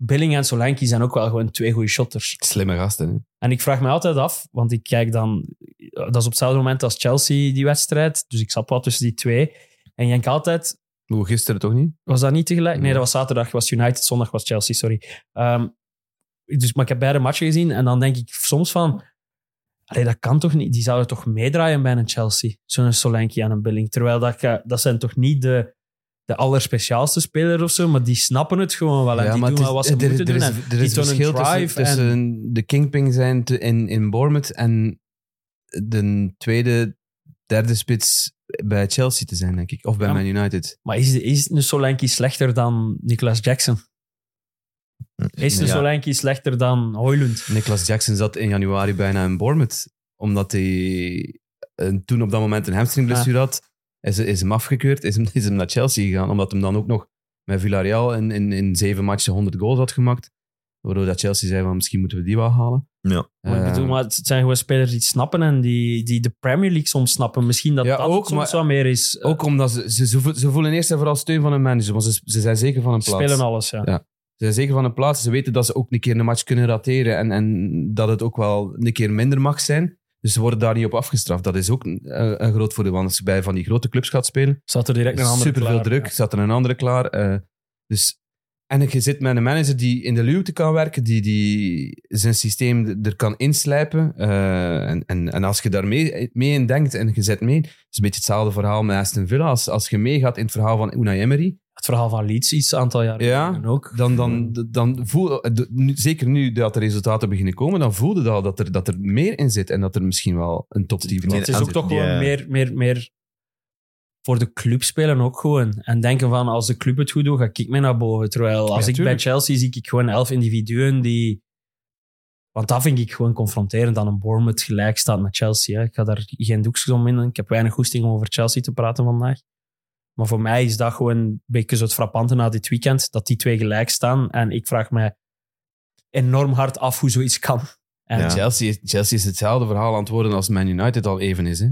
Speaker 5: Billing en Solanke zijn ook wel gewoon twee goede shotters.
Speaker 4: Slimme gasten, hè.
Speaker 5: En ik vraag me altijd af, want ik kijk dan... eh, Dat is op hetzelfde moment als Chelsea, die wedstrijd. Dus ik zat wel tussen die twee. En ik denk altijd,
Speaker 4: Hoe gisteren toch niet?
Speaker 5: was dat niet tegelijk? Nee,
Speaker 4: Nee.
Speaker 5: dat was zaterdag. was United, zondag was Chelsea, sorry. Ehm, dus, maar ik heb beide matchen gezien. En dan denk ik soms van... Allee, dat kan toch niet? Die zouden toch meedraaien bij een Chelsea? Zo'n Solanke en een Billing. Terwijl dat, je- dat zijn toch niet de, de allerspeciaalste spelers of zo, maar die snappen het gewoon wel. En die doen
Speaker 4: het
Speaker 5: wel wat
Speaker 4: is-
Speaker 5: ze moeten
Speaker 4: er
Speaker 5: doen.
Speaker 4: is,
Speaker 5: en
Speaker 4: er is
Speaker 5: die
Speaker 4: een
Speaker 5: tonen
Speaker 4: verschil tussen,
Speaker 5: drive en-
Speaker 4: tussen de kingpin zijn te- in, in Bournemouth en de tweede, derde spits bij Chelsea te zijn, denk ik. Of bij
Speaker 5: Ja,
Speaker 4: Man United.
Speaker 5: Maar is, is een Solanke slechter dan Nicolas Jackson? Is een
Speaker 3: Ja.
Speaker 5: Solanke slechter dan Hoylund?
Speaker 4: Nicolas Jackson zat in januari bijna in Bournemouth, omdat hij eh, toen op dat moment een hamstringblessure
Speaker 5: Ah.
Speaker 4: had. Is, is hem afgekeurd, is hem, is hem naar Chelsea gegaan, omdat hem dan ook nog met Villarreal in, in, in zeven matchen 100 goals had gemaakt. Waardoor dat Chelsea zei van misschien moeten we die wel halen.
Speaker 3: Ja.
Speaker 5: Maar, ik bedoel,
Speaker 4: Eh,
Speaker 5: maar het zijn gewoon spelers die het snappen en die, die de Premier League soms snappen. Misschien dat
Speaker 4: Ja,
Speaker 5: dat
Speaker 4: ook,
Speaker 5: ook, soms
Speaker 4: maar-
Speaker 5: wat meer is. eh,
Speaker 4: Ook omdat ze, ze, ze vo- ze voelen eerst en vooral steun van hun manager, want ze, ze zijn zeker van een
Speaker 5: Ze
Speaker 4: plaats.
Speaker 5: spelen alles, ja.
Speaker 4: Ja. Ze zijn zeker van een plaats. Ze weten dat ze ook een keer een match kunnen rateren en, en dat het ook wel een keer minder mag zijn. Dus ze worden daar niet op afgestraft. Dat is ook een, een- een groot voordeel. Want als je bij van die grote clubs gaat spelen,
Speaker 5: Zat er direct een andere
Speaker 4: super veel
Speaker 5: klaar,
Speaker 4: druk,
Speaker 5: ja.
Speaker 4: zat er een andere klaar. eh, dus, en je zit met een manager die in de luwte kan werken, die, die zijn systeem er kan inslijpen. eh, en, en, en als je daar mee, mee in denkt en je zet mee, het is een beetje hetzelfde verhaal met Aston Villa. Als, als je meegaat in het verhaal van Unai Emery,
Speaker 5: Het verhaal van Leeds, iets aantal jaar
Speaker 4: Ja.
Speaker 5: geleden ook. Mm.
Speaker 4: dan,
Speaker 5: Mm-hmm.
Speaker 4: dan, dan voel, de- nu- zeker nu dat de resultaten beginnen komen, dan voelde dat, dat, er, dat er meer in zit en dat er misschien wel een topteam
Speaker 3: Het
Speaker 4: van
Speaker 5: Het is ook
Speaker 3: Ja.
Speaker 5: toch gewoon meer, meer, meer voor de club spelen ook gewoon. En denken van, als de club het goed doet, ga ik mee naar boven. Terwijl als
Speaker 4: Ja,
Speaker 5: ik
Speaker 4: tuurlijk.
Speaker 5: bij Chelsea zie ik gewoon elf individuen die... Want dat vind ik gewoon confronterend, dat een Bournemouth gelijk staat met Chelsea. Hè. Ik ga daar geen doekjes om in. Ik heb weinig goesting om over Chelsea te praten vandaag. Maar voor mij is dat gewoon een beetje zo het frappante na dit weekend, dat die twee gelijk staan. En ik vraag mij enorm hard af hoe zoiets kan. En
Speaker 3: Ja.
Speaker 4: Chelsea, is- Chelsea is hetzelfde verhaal aan het worden als Man United al even is. Hè?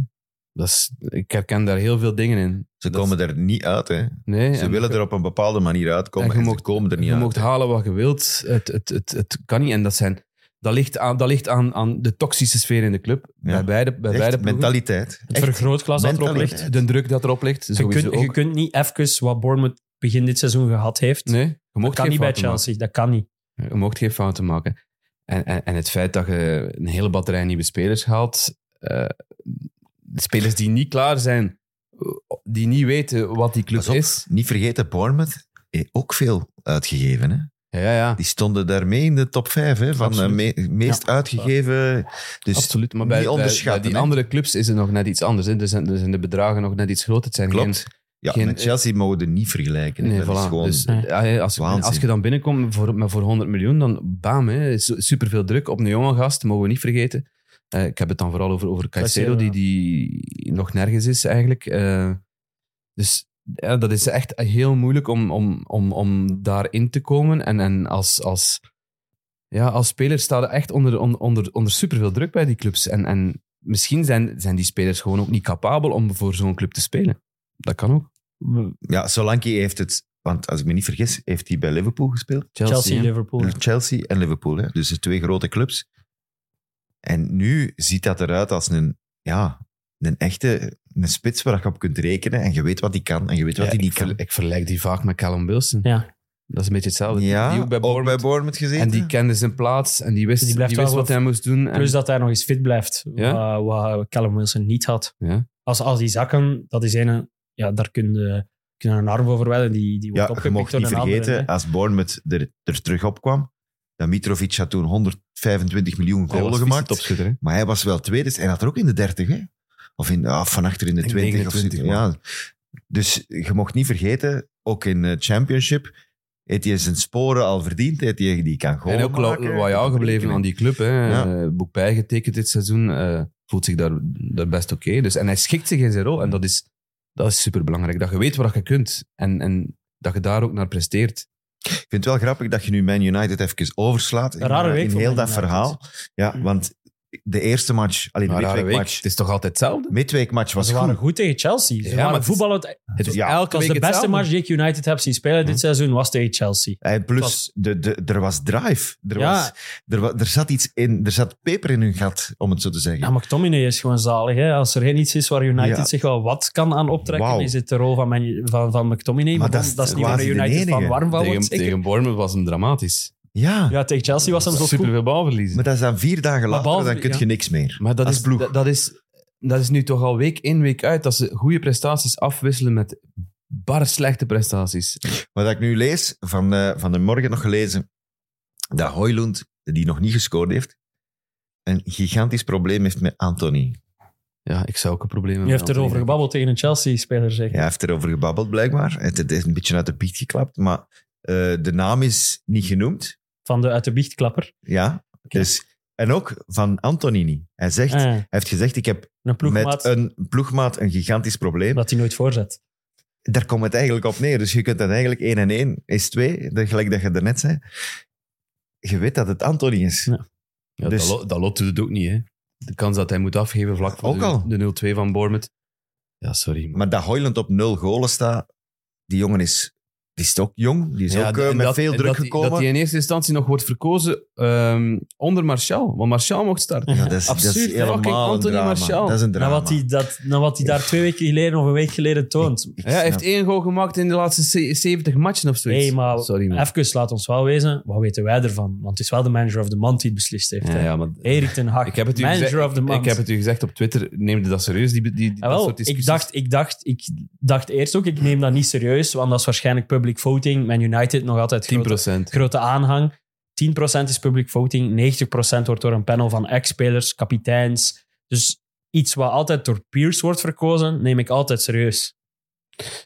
Speaker 4: Dat is ik herken daar heel veel dingen in.
Speaker 3: Ze
Speaker 4: Dat-
Speaker 3: komen er niet uit, hè.
Speaker 4: Nee,
Speaker 3: Ze
Speaker 4: en-
Speaker 3: willen er op een bepaalde manier uitkomen
Speaker 4: En je
Speaker 3: en, ze
Speaker 4: mocht-
Speaker 3: komen er niet
Speaker 4: Je
Speaker 3: uit.
Speaker 4: mocht halen wat je wilt. Het, het, het, het kan niet. En dat, zijn, dat ligt, aan, dat ligt aan, aan de toxische sfeer in de club. Bij beide, bij
Speaker 3: Echt,
Speaker 4: beide ploegen.
Speaker 3: mentaliteit.
Speaker 5: het
Speaker 3: Echt.
Speaker 5: vergrootglas dat erop
Speaker 3: mentaliteit.
Speaker 5: ligt,
Speaker 4: De druk dat erop ligt.
Speaker 5: Je
Speaker 4: Sowieso
Speaker 5: kunt,
Speaker 4: ook.
Speaker 5: je kunt niet even wat Bournemouth begin dit seizoen gehad heeft.
Speaker 4: nee, je mocht
Speaker 5: dat kan
Speaker 4: geen
Speaker 5: niet bij
Speaker 4: fouten maken.
Speaker 5: Chelsea. Dat kan niet.
Speaker 4: Je mocht geen fouten maken. En, en, en het feit dat je een hele batterij nieuwe spelers haalt, eh, spelers die niet klaar zijn, die niet weten wat die club
Speaker 3: Pas op.
Speaker 4: is.
Speaker 3: Niet vergeten, Bournemouth heeft ook veel uitgegeven, hè.
Speaker 4: Ja, ja, ja.
Speaker 3: Die stonden daarmee in de top 5 hè, van de
Speaker 4: Absoluut.
Speaker 3: me- meest
Speaker 5: Ja.
Speaker 3: uitgegeven. Dus
Speaker 4: Absoluut. Maar
Speaker 3: niet
Speaker 4: bij, bij- bij
Speaker 3: onderschatten,
Speaker 4: die
Speaker 3: hè.
Speaker 4: andere clubs is het nog net iets anders. Hè. Er, zijn, er zijn de bedragen nog net iets groter. Het zijn
Speaker 3: klopt.
Speaker 4: geen-
Speaker 3: ja,
Speaker 4: geen-
Speaker 3: met Chelsea mogen we niet vergelijken. hè.
Speaker 4: Nee,
Speaker 3: dat is
Speaker 4: voilà.
Speaker 3: gewoon
Speaker 4: Dus,
Speaker 5: Nee.
Speaker 4: ja, als,
Speaker 3: Waanzin.
Speaker 4: als je dan binnenkomt voor, maar voor 100 miljoen, dan bam, hè, is superveel druk op een jonge gast, mogen we niet vergeten. Eh, ik heb het dan vooral over, over Caicedo, die,
Speaker 5: Caicedo,
Speaker 4: die nog nergens is eigenlijk. Eh, dus ja, dat is echt heel moeilijk om, om, om, om daarin te komen. En, en als, als, ja, als speler staat er echt onder, on- onder, onder superveel druk bij die clubs. En, en misschien zijn, zijn die spelers gewoon ook niet capabel om voor zo'n club te spelen. Dat kan ook.
Speaker 3: Ja, Solanke heeft het, want als ik me niet vergis, heeft hij bij Liverpool gespeeld.
Speaker 4: Chelsea,
Speaker 5: Chelsea,
Speaker 4: hè. Hm.
Speaker 5: Liverpool.
Speaker 3: Chelsea en Liverpool, hè? dus de twee grote clubs. En nu ziet dat eruit als een, ja, een echte een spits waar je op kunt rekenen en je weet wat hij kan en je weet wat
Speaker 4: Ja,
Speaker 3: hij
Speaker 4: ik,
Speaker 3: niet
Speaker 4: ver-
Speaker 3: kan.
Speaker 4: ik vergelijk die vaak met Callum Wilson.
Speaker 5: Ja.
Speaker 4: Dat is een beetje hetzelfde.
Speaker 3: Ja,
Speaker 4: die ook bij Bournemouth
Speaker 3: gezien.
Speaker 4: En die kende zijn plaats en die wist,
Speaker 5: Die
Speaker 4: die
Speaker 5: blijft
Speaker 4: wist
Speaker 5: wel
Speaker 4: wat
Speaker 5: wel-
Speaker 4: hij moest doen. En,
Speaker 5: Plus dat hij nog eens fit blijft,
Speaker 4: Ja.
Speaker 5: wat, wat Callum Wilson niet had.
Speaker 4: Ja.
Speaker 5: Als, als die zakken, dat is ene, ja, daar kun je, kun je een arm over wedden, die, die wordt
Speaker 3: ja, je
Speaker 5: opgepikt
Speaker 3: mocht
Speaker 5: door
Speaker 3: niet
Speaker 5: een andere,
Speaker 3: vergeten,
Speaker 4: ah,
Speaker 5: hè.
Speaker 3: als Bournemouth er, er terug op kwam, dat Mitrovic had toen 125 miljoen
Speaker 4: hij was
Speaker 3: golen gemaakt.
Speaker 4: vice-topschutter, hè.
Speaker 3: Maar hij was wel tweede. En hij had er ook in de 30, hè? Of in, ah, van achter in de
Speaker 4: In
Speaker 3: 20. of
Speaker 4: 29,
Speaker 3: zo. ja. Dus je mocht niet vergeten, ook in de Championship heeft hij zijn sporen al verdiend. Heeft hij, die kan gewoon.
Speaker 4: En ook lo- loyaal gebleven aan die club. Hè.
Speaker 3: Ja.
Speaker 4: Eh, Boek bijgetekend dit seizoen. eh, voelt zich daar, daar best oké. Dus, en hij schikt zich in zijn rol. En dat is, dat is superbelangrijk. Dat je weet wat je kunt. En, en dat je daar ook naar presteert.
Speaker 3: Ik vind het wel grappig dat je nu Man United even overslaat.
Speaker 5: Een rare
Speaker 3: in,
Speaker 5: week
Speaker 3: In
Speaker 5: voor
Speaker 3: heel
Speaker 5: Man
Speaker 3: dat
Speaker 5: United. Mm.
Speaker 3: verhaal. Ja, want de eerste match, alleen de
Speaker 4: Maar rare week,
Speaker 3: midweekmatch.
Speaker 4: het is toch altijd hetzelfde?
Speaker 3: Midweekmatch was
Speaker 5: Ze waren
Speaker 3: goed.
Speaker 5: goed tegen Chelsea. Ze
Speaker 4: Ja, maar
Speaker 5: waren
Speaker 4: het is-
Speaker 5: voetballen. Het
Speaker 4: Het is
Speaker 3: Ja.
Speaker 4: elke week
Speaker 5: was de beste
Speaker 4: hetzelfde. Hm.
Speaker 5: match die ik United heb zien spelen dit seizoen, was tegen Chelsea.
Speaker 3: En Eh, plus,
Speaker 5: was-
Speaker 3: de, de, er was drive. Er,
Speaker 5: Ja.
Speaker 3: was, er, wa- er zat iets in, er zat peper in hun gat, om het zo te zeggen.
Speaker 5: Ja, McTominay is gewoon zalig. Hè? Als er geen iets is waar United
Speaker 3: Ja.
Speaker 5: zich wel wat kan aan optrekken,
Speaker 3: Wauw.
Speaker 5: is het de rol van, Man- van, van McTominay. Maar, dat, is, dat is niet waar
Speaker 3: quasi de
Speaker 5: United van
Speaker 3: enige.
Speaker 5: warm van
Speaker 4: Tegen,
Speaker 5: wordt. zeker.
Speaker 4: tegen Bournemouth was hem dramatisch.
Speaker 3: ja.
Speaker 5: Ja, tegen Chelsea was hem zo goed.
Speaker 4: Superveel balverliezen.
Speaker 3: Maar dat is dan vier dagen later,
Speaker 5: behalve-
Speaker 3: dan kun je
Speaker 5: ja.
Speaker 3: niks meer.
Speaker 4: Maar dat
Speaker 3: Als
Speaker 4: is,
Speaker 3: ploeg.
Speaker 4: dat, dat is, dat is nu toch al week in, week uit, dat ze goede prestaties afwisselen met bar slechte prestaties.
Speaker 3: Wat ik nu lees, van, eh, van de morgen nog gelezen, dat Hoylund, die nog niet gescoord heeft, een gigantisch probleem heeft met Anthony.
Speaker 4: Ja, ik zou ook een probleem hebben.
Speaker 5: Je hebt
Speaker 4: met
Speaker 5: erover
Speaker 4: Anthony.
Speaker 5: gebabbeld tegen een Chelsea-speler, zeg.
Speaker 3: Hij heeft erover gebabbeld, blijkbaar. Het, het is een beetje uit de piet geklapt, maar eh, de naam is niet genoemd.
Speaker 5: Van de uit de biechtklapper.
Speaker 3: Ja, dus... En ook van Anthony niet. Hij, zegt, hij
Speaker 5: Ah,
Speaker 3: heeft gezegd, ik heb
Speaker 5: een ploegmaat
Speaker 3: met een ploegmaat een gigantisch probleem.
Speaker 5: dat hij nooit voorzet.
Speaker 3: daar komt het eigenlijk op neer. Dus je kunt dat eigenlijk 1 en 1 is 2, gelijk dat je daarnet zei. Je weet dat het Anthony is.
Speaker 5: Ja.
Speaker 4: Ja,
Speaker 3: Dus-
Speaker 4: dat, lot, dat lot doet het ook niet, hè. De kans dat hij moet afgeven vlak voor
Speaker 3: Ook
Speaker 4: de,
Speaker 3: al.
Speaker 4: de 0-2 van Bournemouth. Ja, sorry. Maar,
Speaker 3: Maar dat Hoyland op 0 golen staat, die jongen is, die is ook jong, die is
Speaker 4: Ja,
Speaker 3: ook
Speaker 4: en
Speaker 3: eh, met
Speaker 4: dat-
Speaker 3: veel
Speaker 4: en
Speaker 3: druk
Speaker 4: dat die-
Speaker 3: gekomen.
Speaker 4: dat hij in eerste instantie nog wordt verkozen ehm, onder Martial. Want Martial mocht starten.
Speaker 3: ja, dat is, dat is
Speaker 4: Absurd, fucking
Speaker 3: helemaal een
Speaker 4: Anthony
Speaker 3: drama.
Speaker 4: Martial.
Speaker 3: Dat is een drama.
Speaker 5: Na wat hij, dat, na wat hij daar twee weken geleden of een week geleden toont.
Speaker 3: Ik
Speaker 4: Ja, hij heeft
Speaker 3: snap-
Speaker 4: één goal gemaakt in de laatste ze- 70 matchen of zoiets.
Speaker 5: Hey, maar
Speaker 4: sorry, man.
Speaker 5: even laat ons wel wezen, wat weten wij ervan? Want het is wel de manager of the month die het beslist heeft.
Speaker 4: Ja,
Speaker 5: hè.
Speaker 4: ja, maar
Speaker 5: Erik ten Hag,
Speaker 4: Ik heb het u
Speaker 5: manager
Speaker 4: gezegd-
Speaker 5: of the month.
Speaker 4: ik heb het u gezegd op Twitter, neem je dat serieus, die, die, die,
Speaker 5: Ja,
Speaker 4: dat
Speaker 5: Ah, wel,
Speaker 4: soort
Speaker 5: ik,
Speaker 4: discussies?
Speaker 5: dacht, ik, dacht, ik dacht eerst ook, ik neem dat niet serieus, want dat is waarschijnlijk public voting. Man United nog altijd
Speaker 4: 10
Speaker 5: grote, grote aanhang. 10% is public voting, 90% wordt door een panel van ex-spelers, kapiteins. Dus iets wat altijd door peers wordt verkozen, neem ik altijd serieus.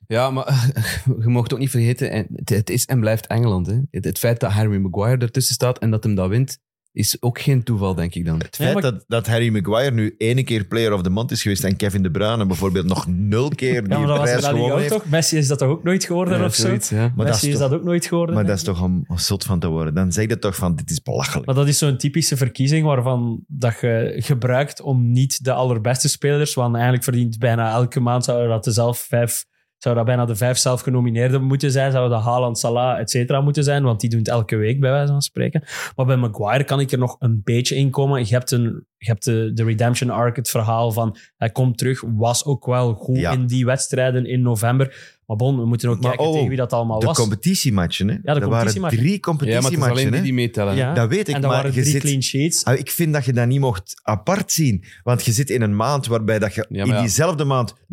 Speaker 4: Ja, maar <laughs> je mocht ook niet vergeten, en het, het is en blijft Engeland. Hè. Het, het feit dat Harry Maguire ertussen staat en dat hem dat wint, is ook geen toeval, denk ik dan.
Speaker 3: Het feit
Speaker 5: Nee, maar-
Speaker 3: dat, dat Harry Maguire nu één keer player of the month is geweest en Kevin De Bruyne bijvoorbeeld nog nul keer die
Speaker 5: Ja, maar dat was
Speaker 3: prijs
Speaker 5: La Liga
Speaker 3: gewonnen
Speaker 5: ook
Speaker 3: heeft.
Speaker 5: toch? Messi is dat toch ook nooit geworden
Speaker 4: Ja,
Speaker 5: of zo?
Speaker 4: zoiets, ja.
Speaker 3: Maar dat
Speaker 5: Messi
Speaker 3: is
Speaker 5: is
Speaker 3: toch-
Speaker 5: dat ook nooit geworden.
Speaker 3: Maar
Speaker 5: denk
Speaker 3: dat is
Speaker 5: ik.
Speaker 3: toch om om zot van te worden. Dan zeg je toch van, dit is belachelijk.
Speaker 5: Maar dat is zo'n typische verkiezing waarvan dat je gebruikt om niet de allerbeste spelers, want eigenlijk verdient bijna elke maand zouden dat de zelf vijf, zou dat bijna de vijf zelf genomineerden moeten zijn, zouden dat Haaland, Salah, et cetera moeten zijn, want die doen het elke week bij wijze van spreken. Maar bij Maguire kan ik er nog een beetje in komen. Je hebt, een, je hebt de, de redemption arc, het verhaal van hij komt terug, was ook wel goed
Speaker 3: Ja.
Speaker 5: in die wedstrijden in november. Maar bon, we moeten ook
Speaker 3: Maar
Speaker 5: kijken
Speaker 3: oh,
Speaker 5: tegen wie dat allemaal
Speaker 3: de
Speaker 5: was.
Speaker 3: competitiematchen, hè?
Speaker 5: Ja, de
Speaker 3: er waren
Speaker 5: competitiematchen.
Speaker 3: drie
Speaker 4: Ja, maar het is alleen
Speaker 3: competitiematchen.
Speaker 4: die
Speaker 3: hè?
Speaker 4: die meetellen.
Speaker 5: Ja.
Speaker 3: Dat weet ik,
Speaker 5: en dat
Speaker 3: maar
Speaker 5: waren
Speaker 3: je
Speaker 5: drie
Speaker 3: zit...
Speaker 5: clean sheets.
Speaker 3: Ah, ik vind dat je dat niet mocht apart zien. Want je zit in een maand waarbij dat je
Speaker 4: Ja, maar
Speaker 3: in
Speaker 4: ja.
Speaker 3: diezelfde maand 0-3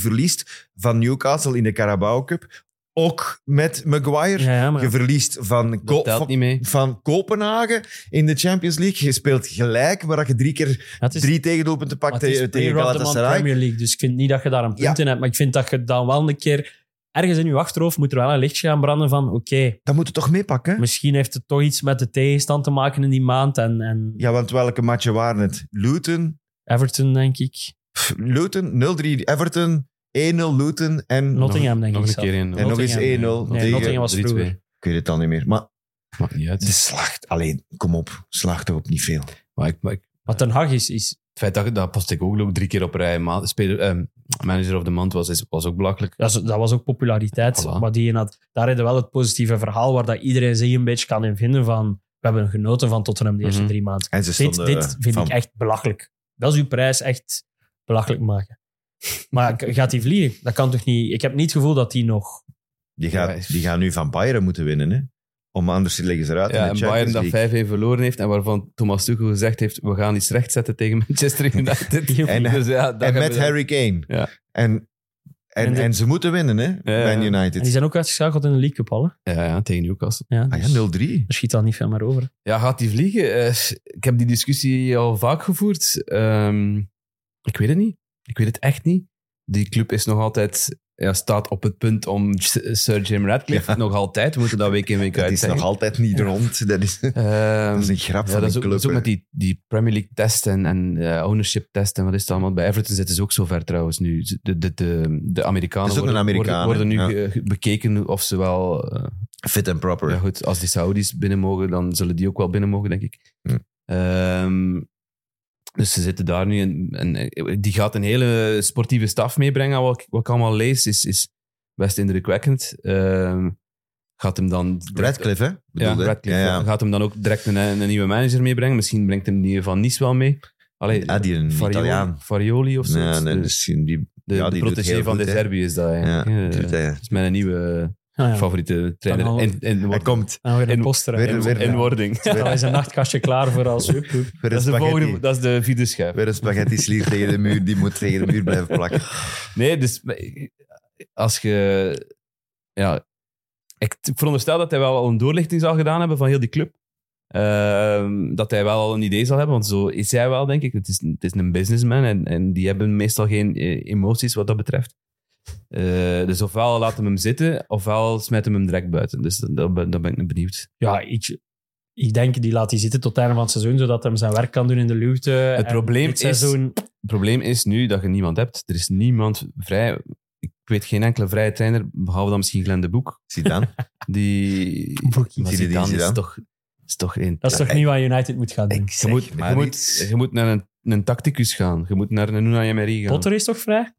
Speaker 3: verliest van Newcastle in de Carabao Cup. Ook met Maguire.
Speaker 5: Ja, ja, maar-
Speaker 3: Je verliest van, Ko-
Speaker 4: Dat telt
Speaker 3: van,
Speaker 4: niet mee.
Speaker 3: van Kopenhagen in de Champions League. Je speelt gelijk, waar dat je drie keer
Speaker 5: Ja, het is-
Speaker 3: drie tegendoelpunten pakt
Speaker 5: Maar het
Speaker 3: tegen,
Speaker 5: is
Speaker 3: tegen
Speaker 5: player of the month
Speaker 3: Galatasaray.
Speaker 5: Premier League, dus ik vind niet dat je daar een punt
Speaker 3: Ja.
Speaker 5: in hebt. Maar ik vind dat je dan wel een keer ergens in je achterhoofd moet er wel een lichtje gaan branden van oké,
Speaker 3: Dat moet je toch meepakken?
Speaker 5: misschien heeft het toch iets met de tegenstand te maken in die maand. En, en
Speaker 3: Ja, want welke matchen waren het? Luton,
Speaker 5: Everton, denk ik.
Speaker 3: pff, Luton 0-3 Everton, 1-0 Luton en...
Speaker 5: Not- Nottingham, denk
Speaker 4: nog,
Speaker 5: ik
Speaker 4: Nog een keer in.
Speaker 3: En nog eens 1-0
Speaker 5: Nottingham. Nee,
Speaker 3: tegen...
Speaker 5: Nottingham was
Speaker 4: 3-2.
Speaker 5: vroeger.
Speaker 3: Ik weet het dan niet meer. Maar
Speaker 4: Maakt niet
Speaker 3: de
Speaker 4: uit.
Speaker 3: slacht... Alleen, kom op. Slacht erop niet veel.
Speaker 4: Maar ik, maar ik-
Speaker 5: Maar Ten Hag is, is
Speaker 4: het feit dat, dat post ik ook nog drie keer op rij. Ma speler, ehm, manager of the month was, is- was ook belachelijk.
Speaker 5: dat, is- dat was ook populariteit.
Speaker 4: Voilà.
Speaker 5: Maar die en dat, daar hadden wel het positieve verhaal waar dat iedereen zich een beetje kan in vinden van we hebben genoten van Tottenham de eerste
Speaker 4: Mhm.
Speaker 5: drie maanden.
Speaker 3: En ze
Speaker 5: Dit,
Speaker 3: stonden
Speaker 5: dit vind
Speaker 3: eh, van-
Speaker 5: ik echt belachelijk. Dat is uw prijs echt belachelijk maken. Maar k- gaat die vliegen? Dat kan toch niet? Ik heb niet het gevoel dat die nog...
Speaker 3: Die, gaat,
Speaker 4: Ja,
Speaker 3: die gaan nu van Bayern moeten winnen, hè? Om anders liggen ze eruit. in
Speaker 4: Ja,
Speaker 3: de
Speaker 4: en
Speaker 3: Champions
Speaker 4: Bayern dat
Speaker 3: League.
Speaker 4: 5-1 verloren heeft en waarvan Thomas Tuchel gezegd heeft, we gaan iets rechtzetten tegen
Speaker 3: <laughs>
Speaker 4: Manchester United.
Speaker 5: En-
Speaker 4: Dus ja, dat
Speaker 3: En
Speaker 4: hebben
Speaker 3: met
Speaker 4: we-
Speaker 3: Harry Kane.
Speaker 4: Ja.
Speaker 3: En, en,
Speaker 5: En de-
Speaker 3: en ze moeten winnen, hè? Man
Speaker 4: ja.
Speaker 5: En die
Speaker 3: United.
Speaker 5: zijn ook uitgeschakeld in de League Cup, al, hè?
Speaker 4: Ja, ja, tegen Newcastle.
Speaker 5: Ja,
Speaker 3: Ah
Speaker 5: dus
Speaker 3: ja, 0-3.
Speaker 5: er schiet al niet veel meer over.
Speaker 4: Ja, gaat die vliegen? Eh, ik heb die discussie al vaak gevoerd. Ehm, ik weet het niet. Ik weet het echt niet. Die club is nog altijd, ja, staat op het punt om S- Sir Jim Radcliffe.
Speaker 3: Ja.
Speaker 4: Nog altijd. We moeten dat week in week
Speaker 3: Dat
Speaker 4: uit
Speaker 3: is nog
Speaker 4: zeggen.
Speaker 3: altijd niet rond. Dat is,
Speaker 4: Ehm,
Speaker 3: dat is een grap
Speaker 4: ja,
Speaker 3: van
Speaker 4: dat
Speaker 3: de
Speaker 4: is ook,
Speaker 3: club.
Speaker 4: dat is ook
Speaker 3: hè.
Speaker 4: met die, die Premier League test en, en eh, ownership test en wat is het allemaal. Bij Everton zitten ze ook zo ver trouwens nu. Ze- De, de, de, de Amerikanen
Speaker 3: Dat is ook een
Speaker 4: worden,
Speaker 3: Amerikaan,
Speaker 4: worden,
Speaker 3: hè?
Speaker 4: worden nu ge- ge- bekeken of ze wel eh,
Speaker 3: Fit and proper.
Speaker 4: ja, goed, als die Saoedi's binnen mogen, dan zullen die ook wel binnen mogen, denk ik.
Speaker 3: Hm.
Speaker 4: Ehm, dus ze zitten daar nu en, en die gaat een hele sportieve staf meebrengen. Wat, ik- wat ik allemaal lees, is, is best indrukwekkend. Ehm, gaat hem dan... direct-
Speaker 3: Radcliffe, hè?
Speaker 4: Ja,
Speaker 3: Bedoelde?
Speaker 4: Radcliffe.
Speaker 3: Ja, ja.
Speaker 4: Gaat hem dan ook direct een, een nieuwe manager meebrengen. Misschien brengt hem die van Nice wel mee. Allee,
Speaker 3: Ah, die een
Speaker 4: Farioli-
Speaker 3: Italiaan.
Speaker 4: Farioli of zo.
Speaker 3: Nee, nee,
Speaker 4: de
Speaker 3: misschien die...
Speaker 4: Dus de,
Speaker 3: ja, die
Speaker 4: de
Speaker 3: doet
Speaker 4: protégé
Speaker 3: heel
Speaker 4: van
Speaker 3: goed,
Speaker 4: de
Speaker 3: hè.
Speaker 4: Serbië is dat
Speaker 3: Ja,
Speaker 4: eigenlijk. Eh,
Speaker 3: doet hij.
Speaker 4: dat is mijn nieuwe
Speaker 5: Ah, ja.
Speaker 4: favoriete trainer.
Speaker 5: Dan al-
Speaker 4: En, en,
Speaker 3: Hij
Speaker 4: wordt-
Speaker 3: komt.
Speaker 5: En we gaan
Speaker 4: En-
Speaker 5: een poster.
Speaker 3: weer-
Speaker 5: hebben.
Speaker 3: weer-
Speaker 5: Ja.
Speaker 3: weer-
Speaker 4: wording.
Speaker 5: <laughs> Dan is een nachtkastje klaar voor als... Hup, hup.
Speaker 3: Weer een
Speaker 4: <laughs> Dat is, de volgende,
Speaker 3: spaghetti.
Speaker 4: dat is de vierde schijf.
Speaker 3: Weer een spaghetti slier tegen de muur. Die moet tegen de muur blijven plakken.
Speaker 4: Nee, dus als je... Ja, ik t- veronderstel dat hij wel al een doorlichting zal gedaan hebben van heel die club. Ehm, dat hij wel al een idee zal hebben, want zo is hij wel, denk ik. Het is, het is een businessman en, en die hebben meestal geen eh, emoties wat dat betreft. Eh, dus ofwel laten we hem zitten, ofwel smijten we hem direct buiten. Dus dat, dat ben, dat ben ik benieuwd.
Speaker 5: ja, ik, ik denk die laat hij zitten tot het einde van het seizoen, zodat hij zijn werk kan doen in de luwte.
Speaker 4: Het
Speaker 5: En
Speaker 4: probleem
Speaker 5: dit
Speaker 4: is-
Speaker 5: Seizoen,
Speaker 4: Het probleem is nu dat je niemand hebt. Er is niemand vrij. Ik weet geen enkele vrije trainer, behalve dan misschien Glenn de Boek.
Speaker 3: Zie dan.
Speaker 4: Die.
Speaker 5: Boekie.
Speaker 4: Maar
Speaker 3: Zinedine
Speaker 4: Zidane is
Speaker 3: Zidane.
Speaker 4: toch, is toch een.
Speaker 5: dat is toch niet wat United moet gaan doen?
Speaker 3: Ik
Speaker 4: je,
Speaker 3: zeg
Speaker 4: moet, je,
Speaker 3: maar
Speaker 4: moet,
Speaker 3: iets.
Speaker 4: je moet naar een, een tacticus gaan. Je moet naar een Unai Emery gaan.
Speaker 5: Potter is toch vrij?